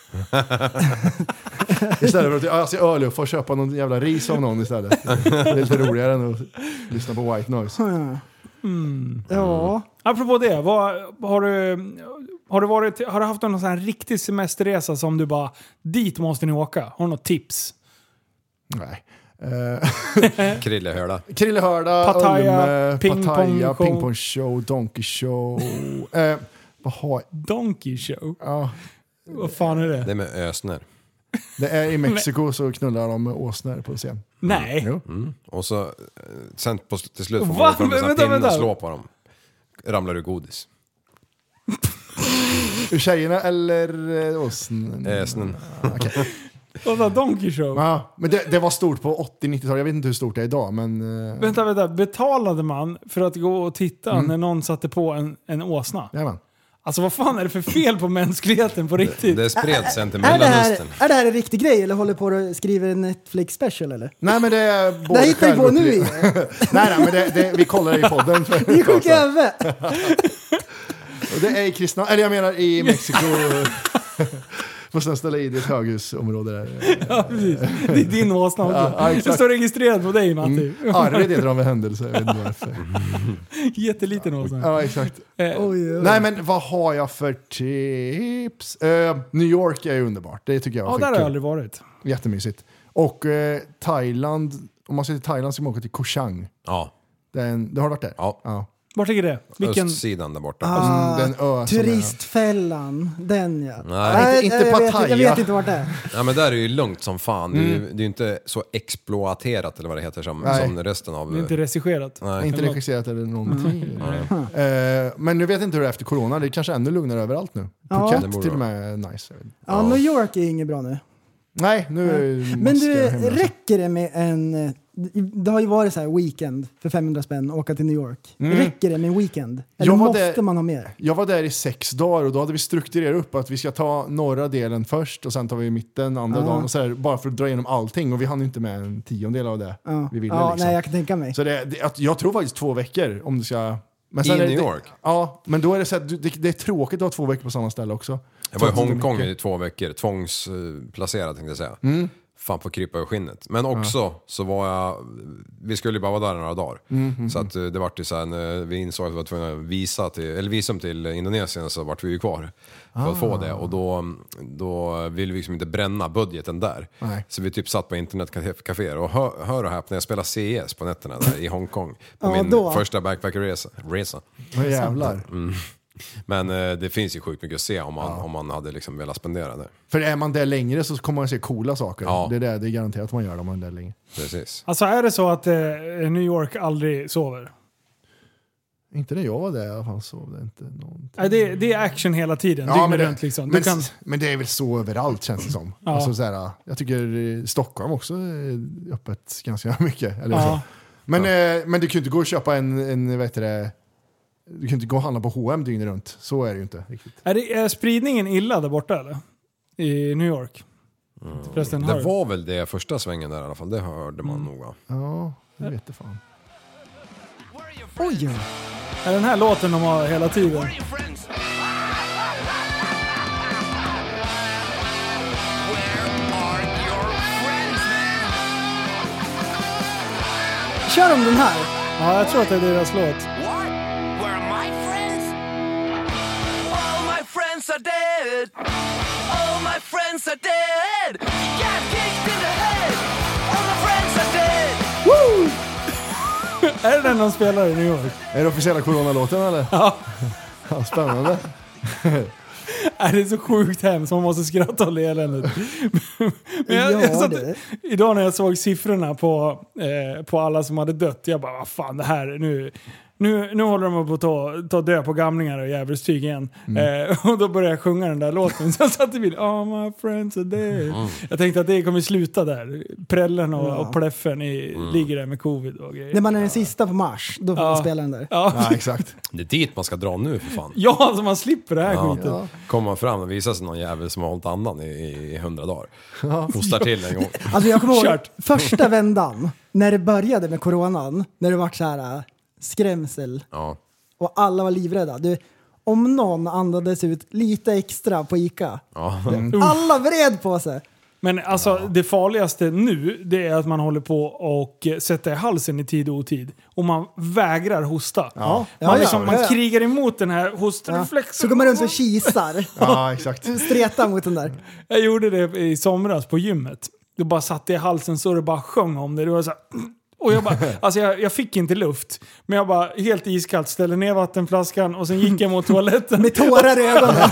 istället för att ja, alltså, jag ska öl upp och köpa någon jävla ris av någon istället. Det är lite roligare än att lyssna på white noise.
Mm.
Ja.
Apropå det, vad, har, du, har, du varit, har du haft någon sån här riktig semesterresa som du bara dit måste ni åka? Har du något tips?
Nej. Eh,
Krillehöla.
Krillehörda,
Pattaya,
Ulme,
ping pong
Pattaya,
show.
Pingpong Show, Donkey Show. Eh, vad har
Donkey show?
Ja.
Vad fan är det?
Det är med ösnor.
Det är i Mexiko så knullar de med åsnor på scen.
Nej.
Jo.
Mm. Och så, eh, sen på, till slut får
Va?
man fram en sån här
Vänta,
pinne
vänta.
och slå på dem. Ramlar ur godis.
Ur tjejerna eller eh, åsn?
Ösnen.
Vadå donkey show?
Ja, men det, det var stort på 80-90-talet. Jag vet inte hur stort det är idag, men... eh,
Vänta, vänta. Betalade man för att gå och titta
Mm.
när någon satte på en, en åsna?
Jajamän.
Alltså vad fan är det för fel på mänskligheten på riktigt?
Det spreds sen till
Är det, här,
Mellanöstern.
är det här en riktig grej eller håller på och skriver en Netflix special eller?
Nej men det är både
Det hittar vi på nu
självupplev-
i.
nej, nej men det, det, vi kollar i podden. för-
Vi är sjuka i huvudet.
Och Det är i Kristna, eller jag menar i Mexiko. Måste sen ställa i det ett höghusområde där.
Ja, precis. Det är din åsna också.
Ja, ja, exakt.
det står registrerad på dig Matti.
Mm. Arvid heter de vid händelse, jag vet inte varför.
Jätteliten åsna.
Ja, exakt.
Eh,
Nej men vad har jag för tips? Eh, New York är ju underbart, det tycker jag
ja,
var
där har jag
skitkul.
aldrig varit.
Jättemysigt. Och eh, Thailand, om man ska till Thailand ska man åka till Koh Chang.
Ja.
Det är en, det har du varit där?
Ja.
ja. Mm,
Vart ligger det? Vilken?
Östsidan där borta.
Ah,
Öst-
turistfällan, den ja.
Nej.
inte- inte
jag, vet, jag
Pattaya.
vet inte vart det är.
Ja men där är det ju lugnt som fan. Det, är ju,
Mm.
det är ju inte så exploaterat eller vad det heter som,
Nej.
som resten av...
Det är inte regisserat.
Nej.
Inte regisserat eller
Mm.
någonting.
Nej.
Eh, men nu vet jag inte hur det är efter corona. Det är kanske ännu lugnare överallt nu.
Ja.
Phuket
Det
borde
till och
vara.
med är nice.
Ja, New York är inget bra nu.
Nej, nu är det ju
Men du,
masker hemma.
räcker det med en... eh, Det har ju varit så här weekend för 500 spänn, åka till New York.
Mm.
Räcker det med en weekend? Eller
Jag hade-
måste man ha mer?
Jag var där i sex dagar och då hade vi strukturerat upp att vi ska ta norra delen först och sen tar vi mitten andra
Ja.
dagen. Och så här, bara för att dra igenom allting och vi hann ju inte med en tiondel av det
Ja,
vi ville.
ja
liksom.
nej, jag kan tänka mig.
Så det, det, att- jag tror faktiskt två veckor om du ska...
I
är det-
New
det-
York?
Ja, men då är det så att du- det, det är tråkigt att ha två veckor på samma ställe också.
Jag var i
Trots att det är
Hongkong
mycket.
i två veckor, tvångsplacerad tänkte jag säga.
Mm.
Fan på krypa ur skinnet. Men också så var jag, vi skulle ju bara vara där några dagar.
Mm, mm,
så att eh, det vart ju såhär, när vi insåg att vi var tvungna att visa till, eller visum till Indonesien så vart vi ju kvar. För att få
Ah.
det och då, då ville vi liksom inte bränna budgeten där.
Nej.
Så vi typ satt på internetcaféer och hör, hör och häpna, jag spelade CS på nätterna där i Hongkong. På
Ja,
min
då.
första backpackerresa. Resa.
Vad jävlar.
Mm. Men eh, det finns ju sjukt mycket att se om man, om man hade liksom velat spendera det.
För är man där längre så kommer man se coola saker.
Ja.
Det, är det, det är garanterat man gör om man är där länge.
Precis.
Alltså är det så att eh, New York aldrig sover?
Inte när jag var där i alla fall sov det inte någon.
Nej, det, det är action hela tiden, dygnet runt liksom. Du
men,
kan,
men det är väl så överallt känns det som.
Ja.
Alltså, så här, jag tycker eh, Stockholm också är öppet ganska mycket. Eller
Ja.
så. Men, eh, men du kan ju inte gå och köpa en, en vad heter det, du kan inte gå och handla på H&M dygnet runt. Så är det ju inte riktigt.
är, det, är spridningen illa där borta eller? I New York?
Mm.
Förresten, hör
Det
du? Mm.
var väl det första svängen där i alla fall, det hörde man nog va?
Ja, det vet jag fan.
Oj! Är den här låten de har hela tiden?
Kör de den här?
Ja, jag tror att det är deras låt.
Where are my friends? All my friends are dead. All my friends are dead. He got kicked in the head. All my friends are dead.
Woo! är det den de spelar i New York?
Är det officiella coronalåten eller?
Ja.
ja spännande.
Nej, det är så sjukt hemskt, man måste skratta och le eländigt. Men jag, jag
Ja,
satt,
det.
idag när jag såg siffrorna på, eh, på alla som hade dött, jag bara vad fan det här, nu, nu, nu håller de på att ta, ta död på gamlingar och djävulstyg igen.
Mm.
Eh, och då började jag sjunga den där låten, så jag satt i bilen, oh my friends are dead. Jag tänkte att det kommer sluta där, prällen och,
Mm. Ja. Mm.
och pläffen i, ligger där med covid och grejer.
När man är den sista på mars, då får man spela den där.
Ja.
exakt.
Det är dit man ska dra nu för fan.
Ja, så man slipper det här
Ja.
skiten.
Kommer man fram och visar sig någon jävel som har hållit andan i, i hundra dagar. Hostar till en gång.
Alltså jag kommer ihåg
Kört.
första vändan, när det började med coronan, när det var så här äh, skrämsel
Ja.
och alla var livrädda. Du, om någon andades ut lite extra på Ica,
Ja.
alla vred på sig.
Men alltså det farligaste nu, det är att man håller på och eh, sätter i halsen i tid och otid. Och man vägrar hosta.
Ja.
Man,
Ja,
liksom,
ja,
man
ja, ja.
krigar emot den här
Ja.
hostreflexen.
Så går man runt och kisar.
Ja, exakt.
Stretar mot den där.
Jag gjorde det i somras på gymmet. Då bara satte jag i halsen så det bara sjöng om det. det var så här, och jag bara, alltså jag, jag fick inte luft. Men jag bara helt iskallt ställde ner vattenflaskan och sen gick jag mot toaletten.
Med tårar i ögonen.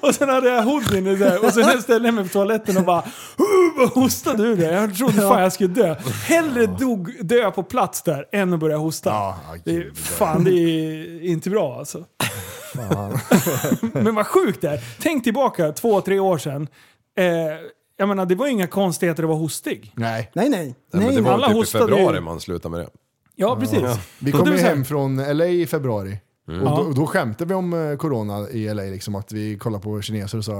Och sen hade jag hoodien i där och sen ställde jag mig på toaletten och bara "Huh", hostade ur det. Jag trodde fan jag skulle dö. Hellre dog, dö på plats där än att börja hosta. det är, fan, det är inte bra alltså. Men vad sjukt det är. Tänk tillbaka två, tre år sedan. Eh, jag menar, det var inga konstigheter att vara hostig.
Nej.
Nej, nej.
Nej, men det var
alla
väl typ i
hostade ju.
februari man slutade med det.
Ja, precis.
Vi
Och
kom
det
ju
var så här-
hem från LA i februari. Och
Ja.
då, då skämtade vi om eh, corona i LA, liksom, att vi kollade på kineser och sa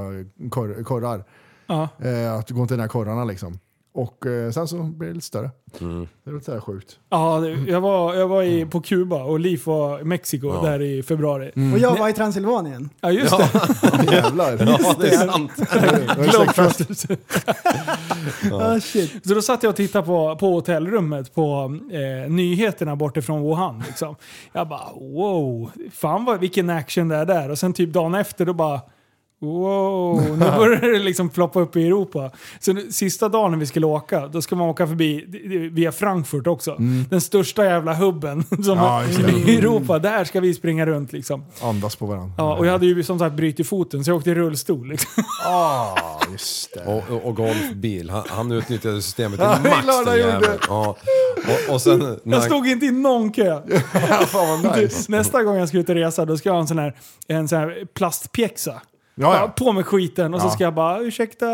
kor korrar.
Ja.
Eh, att gå inte den här korrarna liksom. Och eh, sen så blev det lite större. Det låter så här sjukt.
Ja, det- jag var, jag var i, på Kuba och Liv var i Mexiko
Ja.
där i februari.
Och jag var i Transylvanien.
Mm. Ja, just det.
Jävlar.
Ja, det är sant.
Globetrotters.
Ah, shit.
Så då satt jag och tittade på, på hotellrummet på eh, nyheterna bortifrån Wuhan. Liksom. Jag bara wow, fan vad, vilken action det är där. Och sen typ dagen efter då bara Wow, nu börjar det liksom ploppa upp i Europa. Så nu, sista dagen när vi skulle åka, då ska man åka förbi via Frankfurt också. Den största jävla hubben som
Mm. Ja, just det.
i Europa. Där ska vi springa runt liksom.
Andas på varandra.
Ja, och jag hade ju som sagt brutit foten så jag åkte i rullstol. Liksom.
Ah, just det.
Och, och, och golfbil. Han, han utnyttjade systemet
Ja, det
till
är
max
klart
den
han gjorde.
jäveln. Ja. Och, och sen...
Jag stod inte i någon kö.
nice.
Du, Typ, Nästa gång jag ska ut och resa då ska jag ha en sån här, en sån här plastpjäxa.
Ja, ja.
Bara På med skiten och så
Ja.
ska jag bara ursäkta,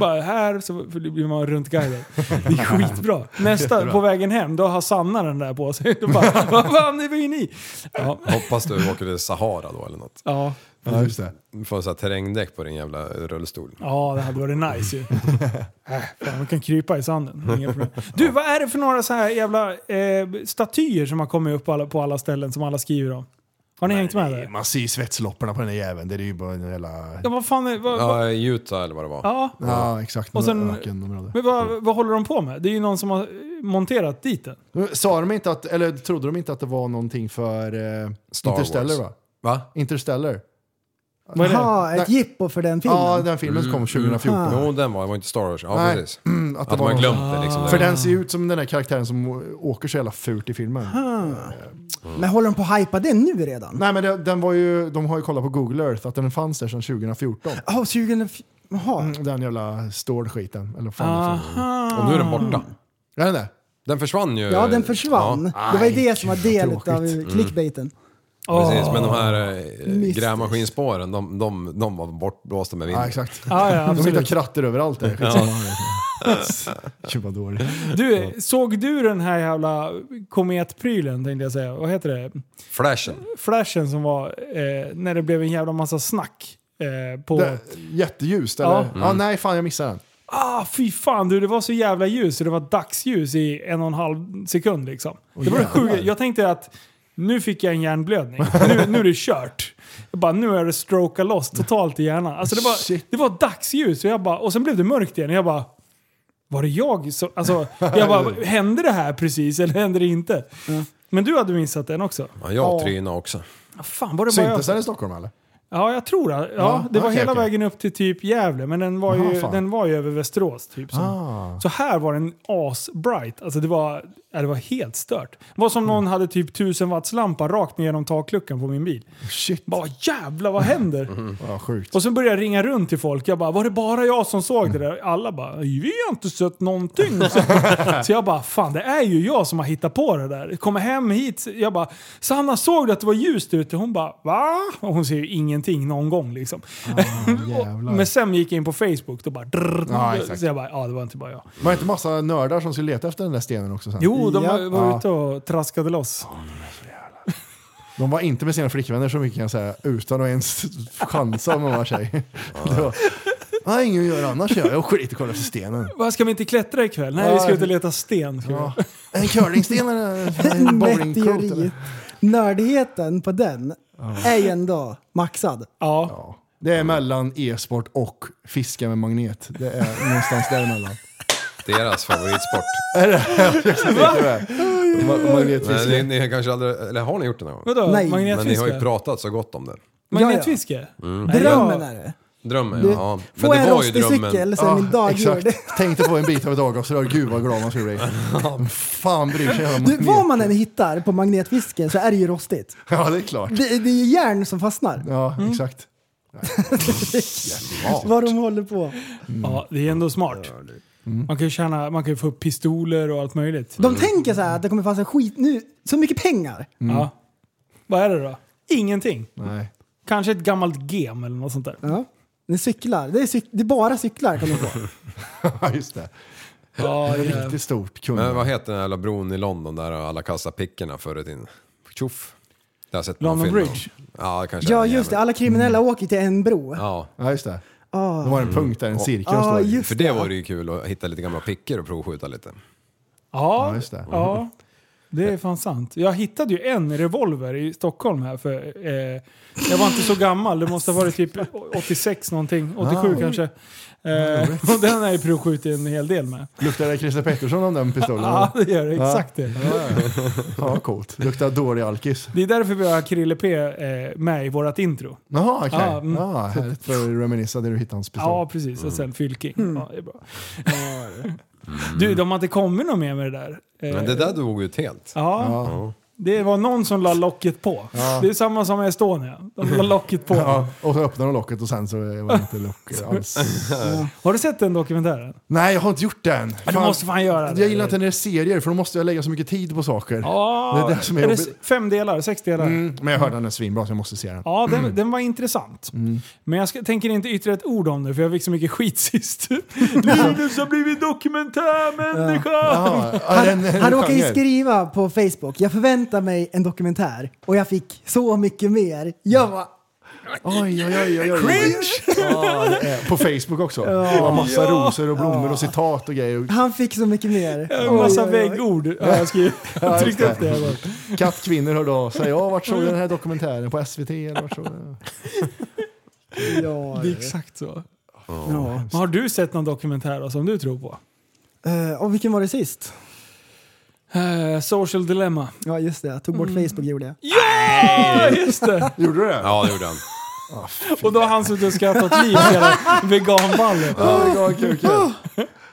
bara här, så blir man runtguidad. Det är skitbra. Nästa,
Jättebra.
på vägen hem, då har Sanna den där på sig. Då bara, vad fan det var ju ni? Ja.
Hoppas du åker till Sahara då eller något.
Ja.
Ja, just det.
Du får så här terrängdäck på din jävla rullstol.
ja, det hade varit nice ju. Äh, fan, man kan krypa i sanden. Inga problem. Du, vad är det för några så här jävla eh, statyer som har kommit upp på alla, på alla ställen som alla skriver om? Har ni hängt med där?
Man ser ju svetslopporna på den där jäveln. Det är ju bara en jävla...
Ja, vad fan är, vad, vad,
Ja, i Utah eller vad det var.
Ja.
Ja, exakt.
Och sen-
Ökenområde.
men vad, vad håller de på med? Det är ju någon som har eh, monterat dit den.
Sa de inte att, eller trodde de inte att det var någonting för eh,
Star
Interstellar
Wars.
va?
Va?
Interstellar.
Vad är det?
Jaha, ett
Nej.
jippo för den filmen?
Ja, den filmen kom 2014.
Mm. Jo, den var, det var inte Star Wars. Ja,
Nej.
precis.
Mm,
att
det
man
någon-
glömt det
Ah.
liksom.
För den ser ju ut som den där karaktären som åker så jävla fult i filmen.
Ah. Men håller de på att hypa den nu redan?
Nej men det, den var ju, de har ju kollat på Google Earth att den fanns där sedan 2014.
Ah.
Jaha, 2004. Jaha.
Mm, Den jävla stålskiten. Eller vad fan
Ah.
det är för-
Aha.
Och nu är den borta.
Är den det?
Den försvann ju.
Ja, den försvann. Det var ju det som var del
vad
av
Mm.
tråkigt.
clickbaiten.
Ja, precis, men de här eh,
Mystiskt.
grävmaskinspåren, de, de, de var bortblåsta med vinden.
Ja, exakt.
Ja, ja,
de
absolut.
hittar kratter överallt där. Skitsamma. Gud vad dåligt.
Du, såg du den här jävla kometprylen tänkte jag säga. Vad heter det?
Flashen.
Flashen som var eh, när det blev en jävla massa snack. Eh, på...
Det, jätteljust eller?
Ja.
Ja.
Mm.
nej fan jag missade den.
Ah, fy fan du, det var så jävla ljus. så Det var dagsljus i en och en halv sekund liksom. det var det sjuka. Jag tänkte att nu fick jag en hjärnblödning. Nu, nu är det kört. Jag bara, nu är det stroka loss totalt i hjärnan. Alltså det var,
Shit.
det var dagsljus och, jag bara, och sen blev det mörkt igen. Och jag bara, var det jag som... Alltså, jag bara, hände det här precis eller hände det inte? Men du hade missat den också.
Ja, jag trynade också.
Ah, Fan, var det bara jag?
Syntes den i Stockholm eller?
Ja, jag tror det. Ja,
Ja,
det var
okej,
hela
okej.
vägen upp till typ Gävle, men den var,
Jaha,
ju,
fan.
den var ju över Västerås. Typ, som.
Ah.
Så här var den asbright. Alltså det var, ja, det var helt stört. Det var som
Mm.
någon hade typ 1000 wattslampa rakt ner genom takluckan på min bil.
Shit. Mm.
Bara jävlar vad händer?
Ja, sjukt.
Och så började jag ringa runt till folk. Jag bara, var det bara jag som såg det där? Alla bara, vi har inte sett någonting. Så, så jag bara, fan det är ju jag som har hittat på det där. Kommer hem hit, jag bara, Sanna såg du att det var ljust ute? Hon bara, va? Och hon ser ju ingenting någon gång liksom.
Ah, jävlar.
Men sen gick jag in på Facebook, då bara, drrrr,
Ja, exakt.
så jag bara, ja det var inte bara jag.
Var det inte massa nördar som skulle leta efter den där stenen också sen?
Jo, de
Ja.
var, var ute och traskade loss.
De var inte med sina flickvänner så mycket kan jag säga, utan att ens chansa om man var tjej. Det var, Nej, ingen gör annars jag. Jag skiter i att kolla efter stenen.
Vad ska vi inte klättra ikväll? Nej, vi ska ut och leta sten. ska vi.
Ja. En curlingsten eller en bowlingklot? eller?
Meteorit. Nördigheten på den är ju ändå maxad.
Ja.
Det är mellan e-sport och fiska med magnet. Det är någonstans däremellan.
Deras favoritsport.
Ma-
Men ni,
Magnetfiske.
ni har kanske aldrig, eller har ni gjort det någon gång?
Vadå?
Nej.
Men ni har ju
Magnetfiske?
pratat så gott om det.
Magnetfiske?
Drömmen är det.
Drömmen,
Du,
ja. Men
Får jag
det
en
var ju
rostig
drömmen.
cykel så är min dag
exakt.
gjord.
Tänkte på en bit av ett avgasrör. Gud vad glad man skulle bli. Fan bryr sig om
Du, vad
magnet.
man än hittar på magnetfiske så är det ju rostigt.
Ja, det är klart.
Det, det är ju järn som fastnar.
Ja, exakt.
Vad de håller på.
Ja, det är ändå smart. Man kan ju tjäna, man kan ju få upp pistoler och allt möjligt.
Mm.
De tänker så här att det kommer fanns en skit nu, så mycket pengar.
Ja. Vad är det då? Ingenting.
Nej.
Kanske ett gammalt gem eller något sånt där.
Ja. Det är cyklar, det är, cyk- det är bara cyklar kan de få.
Ja, just det.
Ja,
Det är Riktigt stort
Men
kund.
vad heter den här jävla bron i London där alla kastar pickorna förr i tiden? Tjoff. Det har jag sett någon
London
film om.
Bridge.
Ja, det kanske är
Ja
den
just det,
jäveln.
alla kriminella åker till en bro.
Ja,
Ja, just det.
Ah.
Det var en punkt där, en
Ah,
cirkel
Ja, Eh.
står i.
just
för det var det ju kul att hitta lite gamla pickor och provskjuta lite.
Ja,
Ja, just det.
ja. Det är fan sant. Jag hittade ju en revolver i Stockholm här för... Eh, jag var inte så gammal, det måste ha varit typ 86 någonting, 87
Ah.
kanske. Eh, och den har jag ju provskjutit en hel del med.
Luktar det Christer Pettersson om den pistolen?
Ja, det gör det.
Ja.
Exakt det.
Ja, ja coolt. Luktar dålig alkis.
Det är därför vi har Krille P eh, med i vårt intro.
Jaha, okej.
Ja, mm.
Ja, härligt. För att reminissa där du hittade hans pistol.
Ja, precis.
Mm.
Och sen Fylking. Ja, det är bra.
Mm.
Du, de har inte kommit något mer med det där. Eh,
Men det där dog ut helt.
Ja.
Ja.
Det var någon som la locket på.
Ja.
Det är samma som Estonia. De la locket på.
Ja, och så öppnar de locket och sen så var det inte lock alls. Ja.
Har du sett den dokumentären?
Nej, jag har inte gjort den.
Ja, du måste fan göra det.
Jag gillar inte när det är serier för då måste jag lägga så mycket tid på saker.
Ja,
det är det som är,
är det
jobbigt.
s- fem delar, sex delar.
Mm, men jag hörde den är svinbra så jag måste se den.
Ja, den, den var intressant.
Mm.
Men jag ska, tänker inte yttra ett ord om det för jag fick så mycket skit sist. Linus har blivit dokumentärmänniska!
Ja. Ja, den-
Han,
den
han råkade ju
genren.
skriva på Facebook, jag förväntar mig en dokumentär. Och jag fick så mycket mer. Jag var...
Oj, oj, oj, oj, oj. Ja, det är- på Facebook också.
Ja.
Det var massa
Ja.
rosor och blommor och citat och grejer.
Han fick så mycket mer.
En massa
Oj, oj, oj.
väggord har jag skrivit. Jag tryckte upp det. här bara.
Kattkvinnor hörde av sig. Ja, vart såg du den här dokumentären? På SVT eller vart såg du den?
Ja,
Det är exakt så.
Ja.
Men Har du sett någon dokumentär då, som du tror på?
Eh, och vilken var det sist?
Eh, social Dilemma.
Ja just det, jag tog bort Facebook gjorde jag.
Mm. Ja, just det!
Gjorde du det?
Ja, det gjorde han.
Och då har han suttit och skrattat liv hela veganballen.
Oj,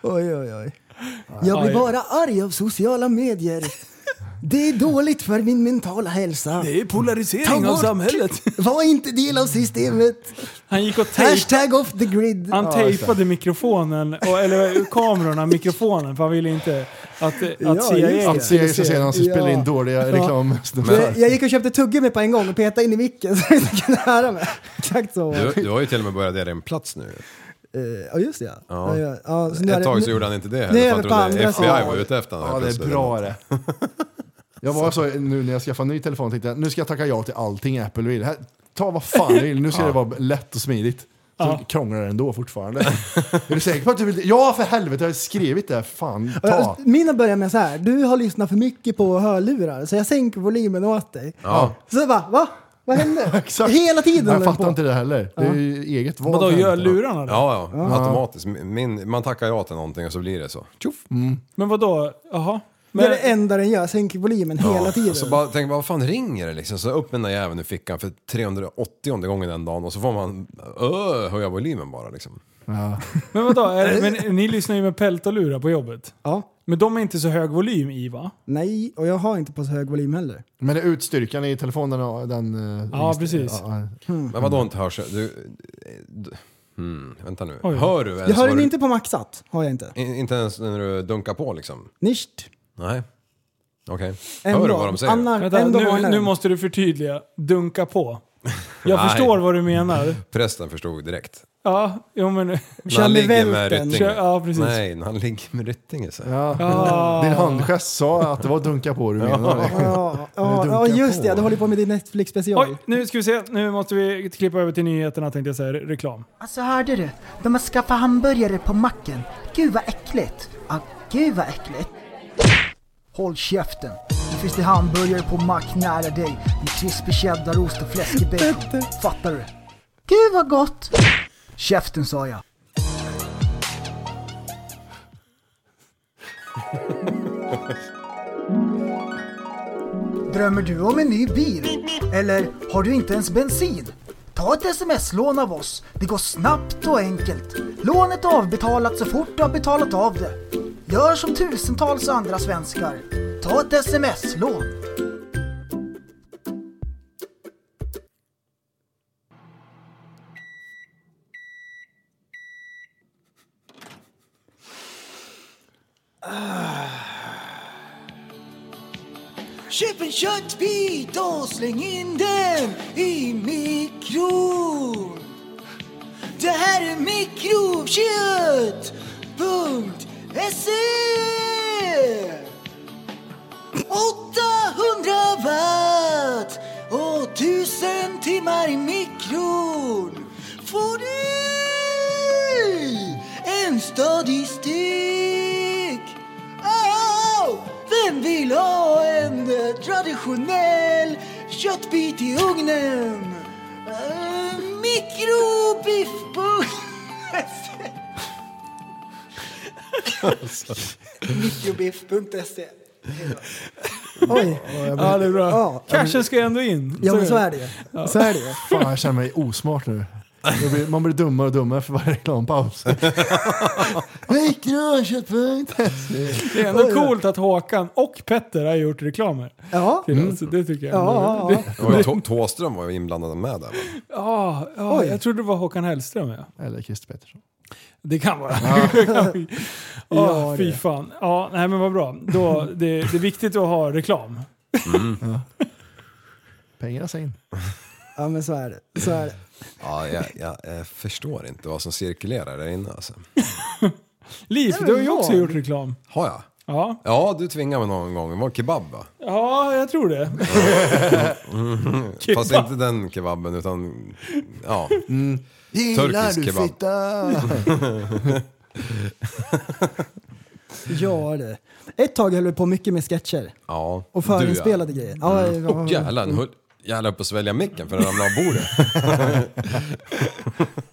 oj, oj.
Ja,
Jag blir
ja.
bara arg av sociala medier. Det är dåligt för min mentala hälsa.
Det är
Ta
polarisering av
bort.
samhället.
Var inte del av systemet.
Han gick och tejp-
Hashtag off the grid.
han tejpade mikrofonen, och, eller kamerorna, mikrofonen för han ville inte att, att
Ja, just
CIA
det.
Att se just se när som
Ja.
spelar in dåliga
Ja.
reklamsnuttar.
Jag, jag gick och köpte tuggummi på en gång och petade in i micken så jag inte kunde höra mig. Exakt så.
Du, du har ju till och med börjat dela en plats nu.
Eh, Ja just det ja.
Ja.
ja. ja, så nu är
Ett
det-
tag så
nu-
gjorde han inte det
nu är
heller. för
vi på
Han trodde
andra
FBI var
sidan.
ute efter honom.
Ja, det är bra det. Jag var så nu när jag skaffade ny telefon tänkte jag nu ska jag tacka ja till allting Apple vill. Här, ta vad fan du vill, nu ska
Ja.
det vara lätt och smidigt. Så
Ja.
krånglar det ändå fortfarande. är du säker på att du vill? Ja för helvete, jag har skrivit det. Fan, ta.
Mina börjar med så här. Du har lyssnat för mycket på hörlurar så jag sänker volymen åt dig.
Ja.
Så jag bara, va? Vad hände?
Exakt.
Hela tiden
Jag
håller den
fattar
på.
inte det heller. Det är ju eget val.
Vadå,
för
gör
helvete.
lurarna det?
Ja, ja. Automatiskt. Min, man tackar ja till någonting och så blir det så. Tjoff!
Men vadå, jaha?
Det är
Men,
det enda den gör, sänker volymen hela tiden.
Och så alltså bara, tänker man, vad fan ringer det liksom? Så upp med den där jäveln i fickan för 380 gången den dagen och så får man öh, höja volymen bara liksom.
men vadå, är, men ni lyssnar ju med pält och lurar på jobbet.
Ja.
Men de är inte så hög volym i va?
Nej, och jag har inte på så hög volym heller.
Men det är utstyrkan i telefonen och den... eh,
Ja,
registrerar-
precis.
Ja,
Mm.
Men vadå inte hörs? Du, du, hmm, vänta nu.
Oj.
Hör du ens
Jag har
vad
den
du,
inte på maxat. Har jag inte.
in- inte ens när du dunkar på liksom?
Nicht.
Nej. Okej.
En
Hör du
dag.
vad de säger?
Anna-
Vänta,
Ändå har
nu,
den.
nu måste du förtydliga. Dunka på. Jag
Nej.
förstår vad du menar.
Prästen förstod direkt.
Ja, jo men...
När han ligger med
Kör-
Ryttinge.
Ja, precis.
Nej, när han ligger med Ryttinge så.
Ja.
Ja.
Din handgest sa att det var dunka på du menade.
Ja, ja,
dunkar
ja just det.
på.
Du håller på med din Netflix-special.
Oj, nu ska vi se. Nu måste vi klippa över till nyheterna tänkte jag säga. Re- Reklam.
Alltså hörde du? De har skaffat hamburgare på macken. Gud vad äckligt! Ja, gud vad äckligt! Håll käften! Nu finns det hamburgare på mack nära dig med krispig cheddarost och fläskig bacon. Fattar du? Gud vad gott! Käften sa jag. Drömmer du om en ny bil? Eller har du inte ens bensin? Ta ett sms-lån av oss. Det går snabbt och enkelt. Lånet är avbetalat så fort du har betalat av det. Gör som tusentals andra svenskar. Ta ett sms-lån.
Köp en köttbit och släng in den i mikron. Det här är mikrovkött.se 800 watt och 1000 timmar i mikron får du en stadig stek. Au! vem vill ha en traditionell köttbit i ugnen. Uh, Mikrobiffbulle. Mikrobiff.se.
Oj.
Ja, det är bra.
Ja.
Cashen ska ju ändå in.
Ja, men så är det ju.
Ja.
Så är det ju.
Fan, jag känner mig osmart nu. Jag blir, man blir dummare och dummare för varje reklampaus. Mikroköttpunkt.se.
Det är ändå coolt att Håkan och Petter har gjort reklamer.
Ja.
Till oss. Det tycker jag. ändå.
Ja,
Det-
Det var ju Tå- Tåström var ju inblandad med där.
Ja, ja
Oj.
jag trodde det var Håkan Hellström. Ja.
Eller Christer Pettersson.
Det kan vara.
Ja.
Ja.
Ja,
fy
det.
fan. Ja, nej men vad bra. Då, det, det är viktigt att ha reklam.
Ja. Pengarna ska in.
Ja, men så är det. Så är det.
Ja, jag, jag, eh, förstår inte vad som cirkulerar där inne alltså.
Liv,
Ja,
du har ju
ja.
också gjort reklam.
Har jag?
Ja.
Ja, du tvingade mig någon gång. Det var kebab va?
Ja, jag tror det.
Mm.
Kebab.
Fast inte den kebaben utan, ja.
Gillar
Turkisk
du
kebab.
fitta? Ja, det. Ett tag höll vi på mycket med sketcher.
ja.
Och förinspelade grejer. Ja,
Mm.
ja, ja.
Oh, jävlar, nu höll jag höll på att svälja micken för den ramlade av bordet.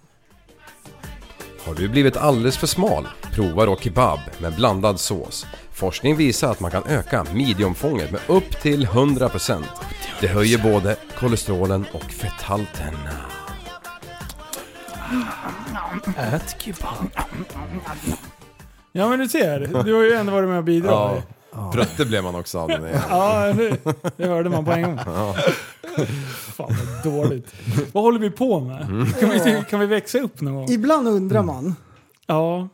Har du blivit alldeles för smal? Prova då kebab med blandad sås. Forskning visar att man kan öka midjeomfånget med upp till 100%. Det höjer både kolesterolen och fetthalten.
Ät kebab. Ja men du ser, du har ju ändå varit med och bidragit.
Ja. Brötte blev man också av den igen.
Ja, det, det hörde man på en gång.
Ja.
Fan vad dåligt. Vad håller vi på med? Kan vi, kan vi växa upp någon gång?
Ibland undrar man.
Ja.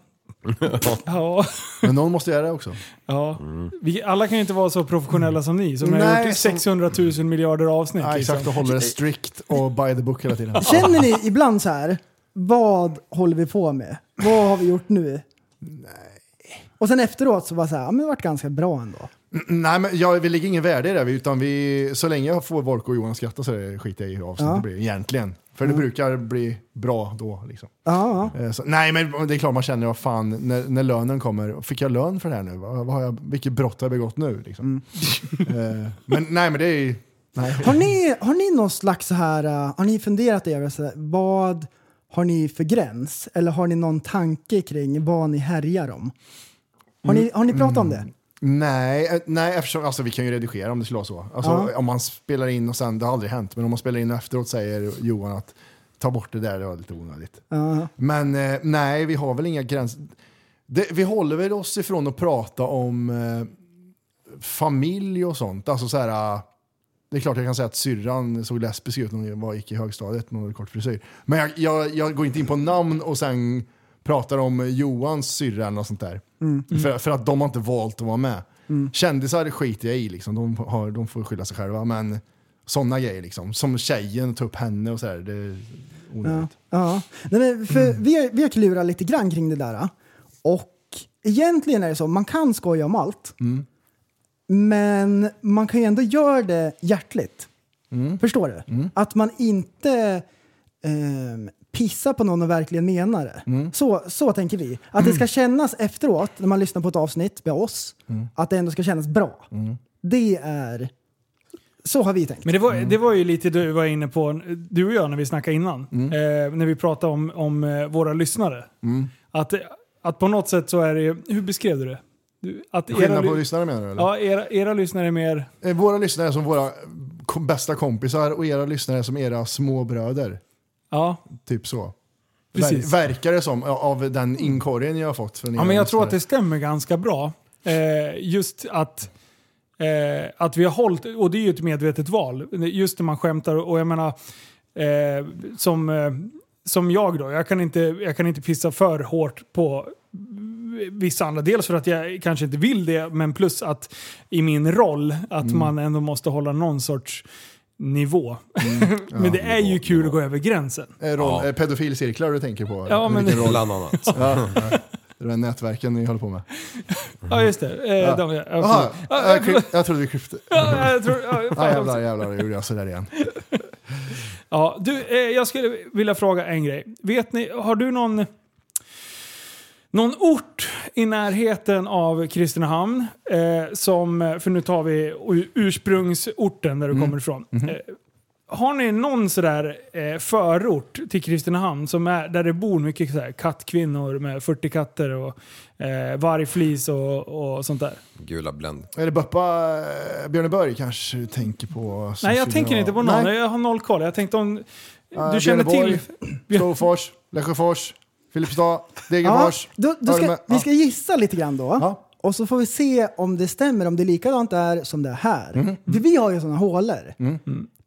Ja.
Men någon måste göra det också.
ja. Vi, alla kan ju inte vara så professionella som ni som har
Nej,
gjort
som-
600 000 miljarder avsnitt. liksom.
Ja, exakt, och håller det strikt och by the book hela tiden.
Känner ni ibland så här, vad håller vi på med? Vad har vi gjort nu? Nej. Och sen efteråt så var så här, ja men det vart ganska bra ändå.
Mm, Nej, men jag, vi lägger ingen värde i det, utan vi, så länge jag får Volko och Johan skratta så är det- skiter jag i hur avsnittet
Ja.
blir egentligen. För det brukar bli bra då. Liksom.
Ja,
Eh, Så, nej, men det är klart man känner, vad fan, när, när lönen kommer, fick jag lön för det här nu? Vad, vad har jag, vilket brott har jag begått nu? Liksom. Eh, men nej, men det är ju... Nej.
Har ni, har ni någon slags så här, uh, har ni funderat över så här, vad har ni för gräns? Eller har ni någon tanke kring vad ni härjar om? Har ni, har ni pratat om det?
Nej, eh, nej eftersom, alltså, vi kan ju redigera om det skulle vara så. Alltså,
Ja.
Om man spelar in och sen, det har aldrig hänt, men om man spelar in och efteråt säger Johan att ta bort det där, det var lite onödigt.
Ja.
Men eh, nej, vi har väl inga gränser. Det, vi håller väl oss ifrån att prata om eh, familj och sånt. Alltså så här, eh, det är klart jag kan säga att syrran såg lesbisk ut när hon var, gick i högstadiet med en kort frisyr. Men jag, jag, jag går inte in på namn och sen pratar om Johans syrra eller något sånt där.
Mm.
För, för att de har inte valt att vara med.
Mm.
Kändisar skiter jag i, liksom. de, har, de får skylla sig själva. Men sådana grejer, liksom. som tjejen, ta upp henne och sådär. Det är
Ja.
onödigt.
ja. Nej, men för vi, har, vi har klurat lite grann kring det där. Och egentligen är det så, man kan skoja om allt.
Mm.
Men man kan ju ändå göra det hjärtligt. Förstår du? Att man inte ehm, pissar på någon och verkligen menar det. Så, så tänker vi. Att det ska kännas efteråt, när man lyssnar på ett avsnitt med oss, att det ändå ska kännas bra. Det är... Så har vi tänkt.
Men det var,
Mm.
det var ju lite du var inne på, du och jag när vi snackade innan,
Mm.
eh, när vi pratade om, om eh, våra lyssnare. Att, eh, att på något sätt så är det ju- hur beskrev du det? Du, att
Skillnad på
ly-
lyssnare menar du? Eller?
Ja, era, era lyssnare är mer...
Eh, Våra lyssnare är som våra kom- bästa kompisar och era lyssnare är som era små bröder.
Ja.
Typ så. Ver-
Precis.
verkar det som ja, av den inkorgen jag har fått från
Ja,
era
men jag tror
lyssnare.
att det stämmer ganska bra. Eh, just att, eh, att vi har hållit, och det är ju ett medvetet val, just när man skämtar och jag menar, eh, som, eh, som jag då, jag kan, inte, jag kan inte pissa för hårt på vissa andra. Dels för att jag kanske inte vill det, men plus att i min roll, att
Mm.
man ändå måste hålla någon sorts nivå.
Mm.
men det är ju kul att gå över gränsen.
Eh, roll, eh, pedofilcirklar du tänker på?
Ja, men-
Vilken roll?
Bland annat.
ja, ja. Det där nätverken ni håller på med.
Ja, just det. Eh,
Ja.
de- ja,
Aha,
förlåt. Ja,
jag,
förlåt.
kryp, jag trodde vi krypte.
Ja, jag tror- ja,
Ja,
fan
jävlar, jävlar, nu gjorde jag sådär igen.
Ja, du, eh, jag skulle vilja fråga en grej. Vet ni, har du någon... Någon ort i närheten av Kristinehamn, eh, som, för nu tar vi u- ursprungsorten där du
Mm.
kommer ifrån.
Mhm.
Eh, har ni någon sådär eh, förort till Kristinehamn som är, där det bor mycket sådär, kattkvinnor med 40 katter och eh, vargflis och, och sånt där?
Gula Blend.
Är det Böppa eh, Björneborg kanske du tänker på? som
Nej, jag
skulle
tänker
vara-
inte på någon.
Nej.
Jag har noll koll. Jag tänkte om...
Eh,
du känner till...
Björneborg, Storfors, Lesjöfors, Filipstad, Degerfors.
då, då
Har du
ska,
med?
vi
Ja.
ska gissa lite grann då. Och så får vi se om det stämmer, om det är likadant där som det är här. För vi har ju sådana hålor.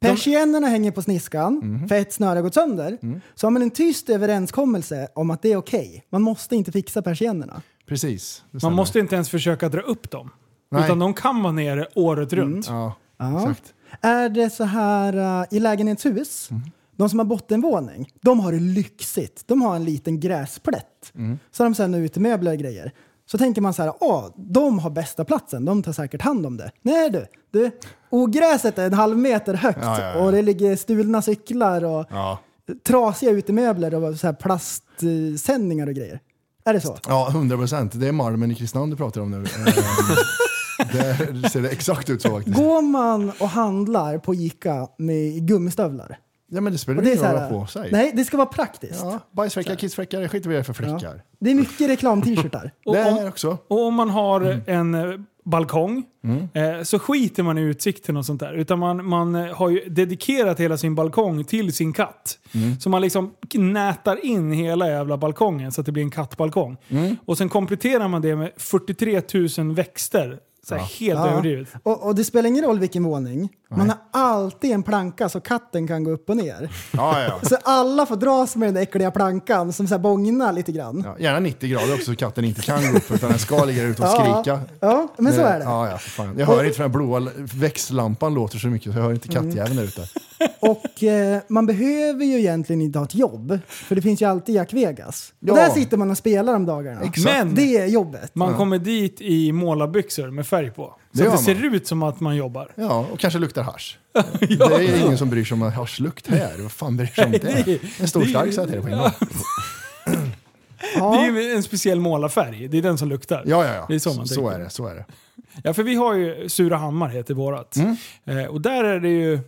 Persiennerna hänger på sniskan
Mhm.
för ett snöre har gått sönder.
Mm.
Så har man en tyst överenskommelse om att det är okej. Man måste inte fixa persiennerna.
Precis. det
Man
stämmer.
måste inte ens försöka dra upp dem.
Nej. Mm.
Utan de kan vara nere året runt.
Ja,
Ja. Är det så här eh, i lägenhetshus, de som har bottenvåning, de har det lyxigt. De har en liten gräsplätt. Så har de sen utemöbler och grejer. Så tänker man så här, åh, de har bästa platsen, de tar säkert hand om det. Nej du, du ogräset är en halv meter högt
Ja, ja, ja.
och det ligger stulna cyklar och
Ja.
trasiga utemöbler och så här plastsändningar och grejer. Är det så?
Ja, 100 procent. Det är Malmen i Kristinehamn du pratar om nu. Eh, Där ser det exakt ut så faktiskt.
Går man och handlar på Ica med gummistövlar?
Ja, men det spelar
Och det är
ingen
så
roll
här,
vad på sig.
Nej, det ska vara praktiskt.
Ja, bajsfläckar, kissfläckar, det skiter vi i för fläckar.
Det är mycket reklam-t-shirtar.
Och om,
också.
och om man har
Mm.
en eh, balkong eh, så skiter man i utsikten och sånt där. Utan man, man eh, har ju dedikerat hela sin balkong till sin katt.
Mm.
Så man liksom nätar in hela jävla balkongen så att det blir en kattbalkong.
Mm.
Och sen kompletterar man det med 43 000 växter. Så här helt
Ja.
överdrivet.
Och, och det spelar ingen roll vilken våning. Man har alltid en planka så katten kan gå upp och ner.
Ja, ja.
Så alla får dras med den där äckliga plankan som så här bångnar lite grann.
Ja, Gärna 90 grader också så katten inte kan gå upp utan den ska ligga ute och
Ja.
skrika.
Ja, men så är det.
Ja, ja, för fan. Jag hör inte för den blåa l- växtlampan låter så mycket så jag hör inte
Mm.
kattjäveln där ute.
Och eh, man behöver ju egentligen inte ha ett jobb, för det finns ju alltid Jack Vegas.
Ja.
Och där sitter man och spelar om dagarna.
Men-
det är jobbet.
Man kommer dit i målarbyxor med färg på.
Det
Så
gör
att det
man.
ser ut som att man jobbar.
Ja, och kanske luktar hasch. Det är ingen som bryr sig om haschlukt här. Vad fan bryr sig om
Nej,
det?
det-
En stor
det-
stark säger jag till dig på en gång.
Det är ju en speciell målarfärg. Det är den som luktar.
Ja, ja, ja.
Det är så man
Så- så
tänker.
är det, så är det.
Ja, för vi har ju Surahammar heter vårat. Eh, och där är det ju...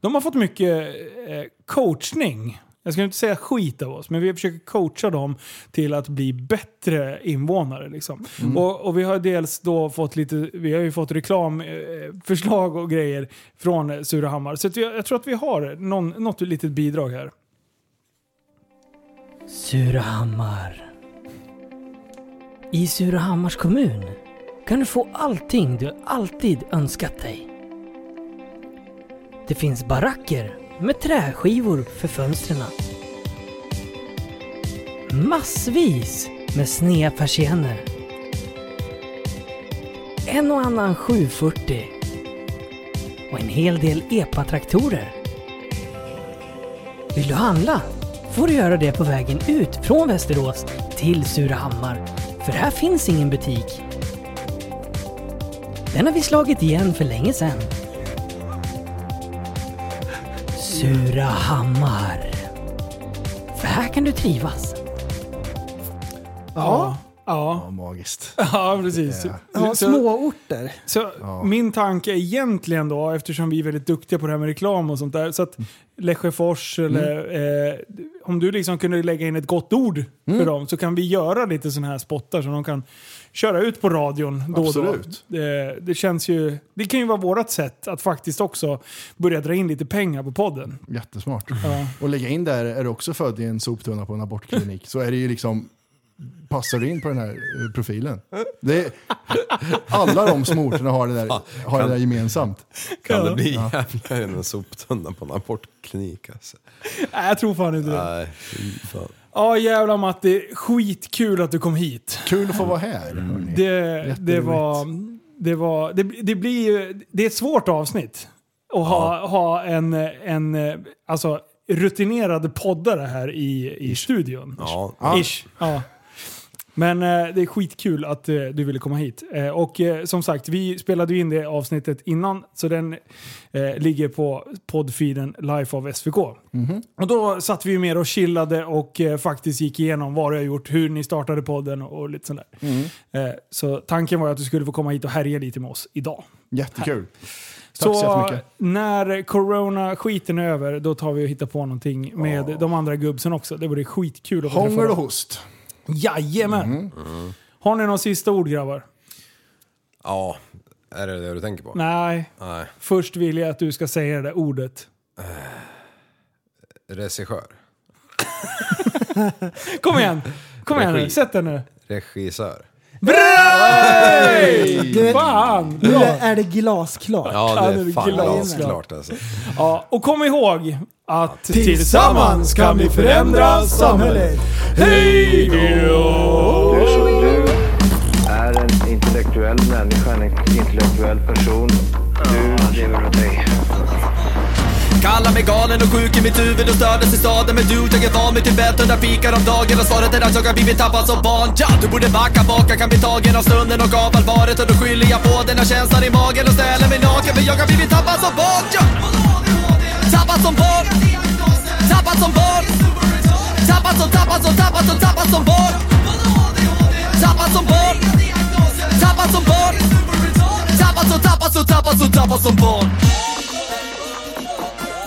De har fått mycket eh, coachning. Jag ska inte säga skit av oss, men vi försöker coacha dem till att bli bättre invånare. Liksom. Och, och vi har dels då fått lite, vi har ju fått reklamförslag och grejer från eh, Surahammar. Så att jag, jag tror att vi har någon, något litet bidrag här.
Surahammar. I Surahammars kommun kan du få allting du alltid önskat dig. Det finns baracker med träskivor för fönstren. Massvis med sneda persienner. En och annan 740. Och en hel del EPA-traktorer. Vill du handla får du göra det på vägen ut från Västerås till Surahammar. För här finns ingen butik. Den har vi slagit igen för länge sedan. Surahammar. För här kan du trivas.
Ja. Ja.
ja magiskt. Eh,
Ja,
Alltså,
precis.
Ja,
Så-
småorter.
Så min tanke egentligen då, eftersom vi är väldigt duktiga på det här med reklam och sånt där, så att Lesjöfors eller eh, om du liksom kunde lägga in ett gott ord för dem så kan vi göra lite sådana här spottar som de kan köra ut på radion då och då.
Absolut.
Det, det känns ju, det kan ju vara vårt sätt att faktiskt också börja dra in lite pengar på podden.
Jättesmart.
Ja.
Och lägga in där, är du också född i en soptunna på en abortklinik så är det ju liksom, passar du in på den här eh, profilen? Det är, alla de smorterna har det där, har det där gemensamt.
Kan det bli jävligare än en soptunna på en abortklinik alltså?
Nej, jag tror fan inte det.
Nej, fy fan.
Ja jävlar Matti, skitkul att du kom hit.
Kul att få vara här. hörni.
Det, det var... Det, var det, det, blir ju, det är ett svårt avsnitt. Att ha, ha en, en alltså, rutinerad poddare här i, i studion.
Ja.
Ish. Ja. Men eh, det är skitkul att eh, du ville komma hit. Eh, och eh, som sagt, vi spelade ju in det avsnittet innan, så den eh, ligger på poddfeeden Life of SVK.
Mhm.
Och då satt vi ju mer och chillade och eh, faktiskt gick igenom vad du har gjort, hur ni startade podden och, och lite sånt där.
Mm.
Eh, så tanken var ju att du skulle få komma hit och härja lite med oss idag.
Jättekul. Tack så
Så
jättemycket.
när corona-skiten är över, då tar vi och hittar på någonting med de andra gubbsen också. Det vore skitkul att få
Hångel
träffa
och
dem.
host.
Jajamän! Mm. Har ni några sista ord grabbar?
Ja, är det det du tänker på?
Nej.
Nej.
Först vill jag att du ska säga det där ordet.
Regissör.
Kom igen! Kom igen nu,
Regi.
sätt den nu.
Regissör.
Bra!
Du,
Fan!
nu
Bra!
är det glasklart.
Ja, det är fan
killar.
glasklart alltså.
Ja, och kom ihåg att
tillsammans kan vi förändra samhället.
Hej
Du som du är en intellektuell människa, en intellektuell person. Du lever av dig.
Kallar mig galen och sjuk i mitt huvud och stördes i staden Men du, jag är van vid Tibet under fikar om dagen Och svaret är att jag har blivit tappad som barn ja, Du borde backa bak, jag kan bli tagen av stunden och av allvaret Och då skyller jag på den här känslan i magen och ställer mig naken För jag har blivit tappad som barn ja. Tappad som barn Tappad som barn Tappad som, tappad som, tappad som, tappad som barn Tappad som barn Tappad som barn Tappad som, tappad som, tappad som, tappad som barn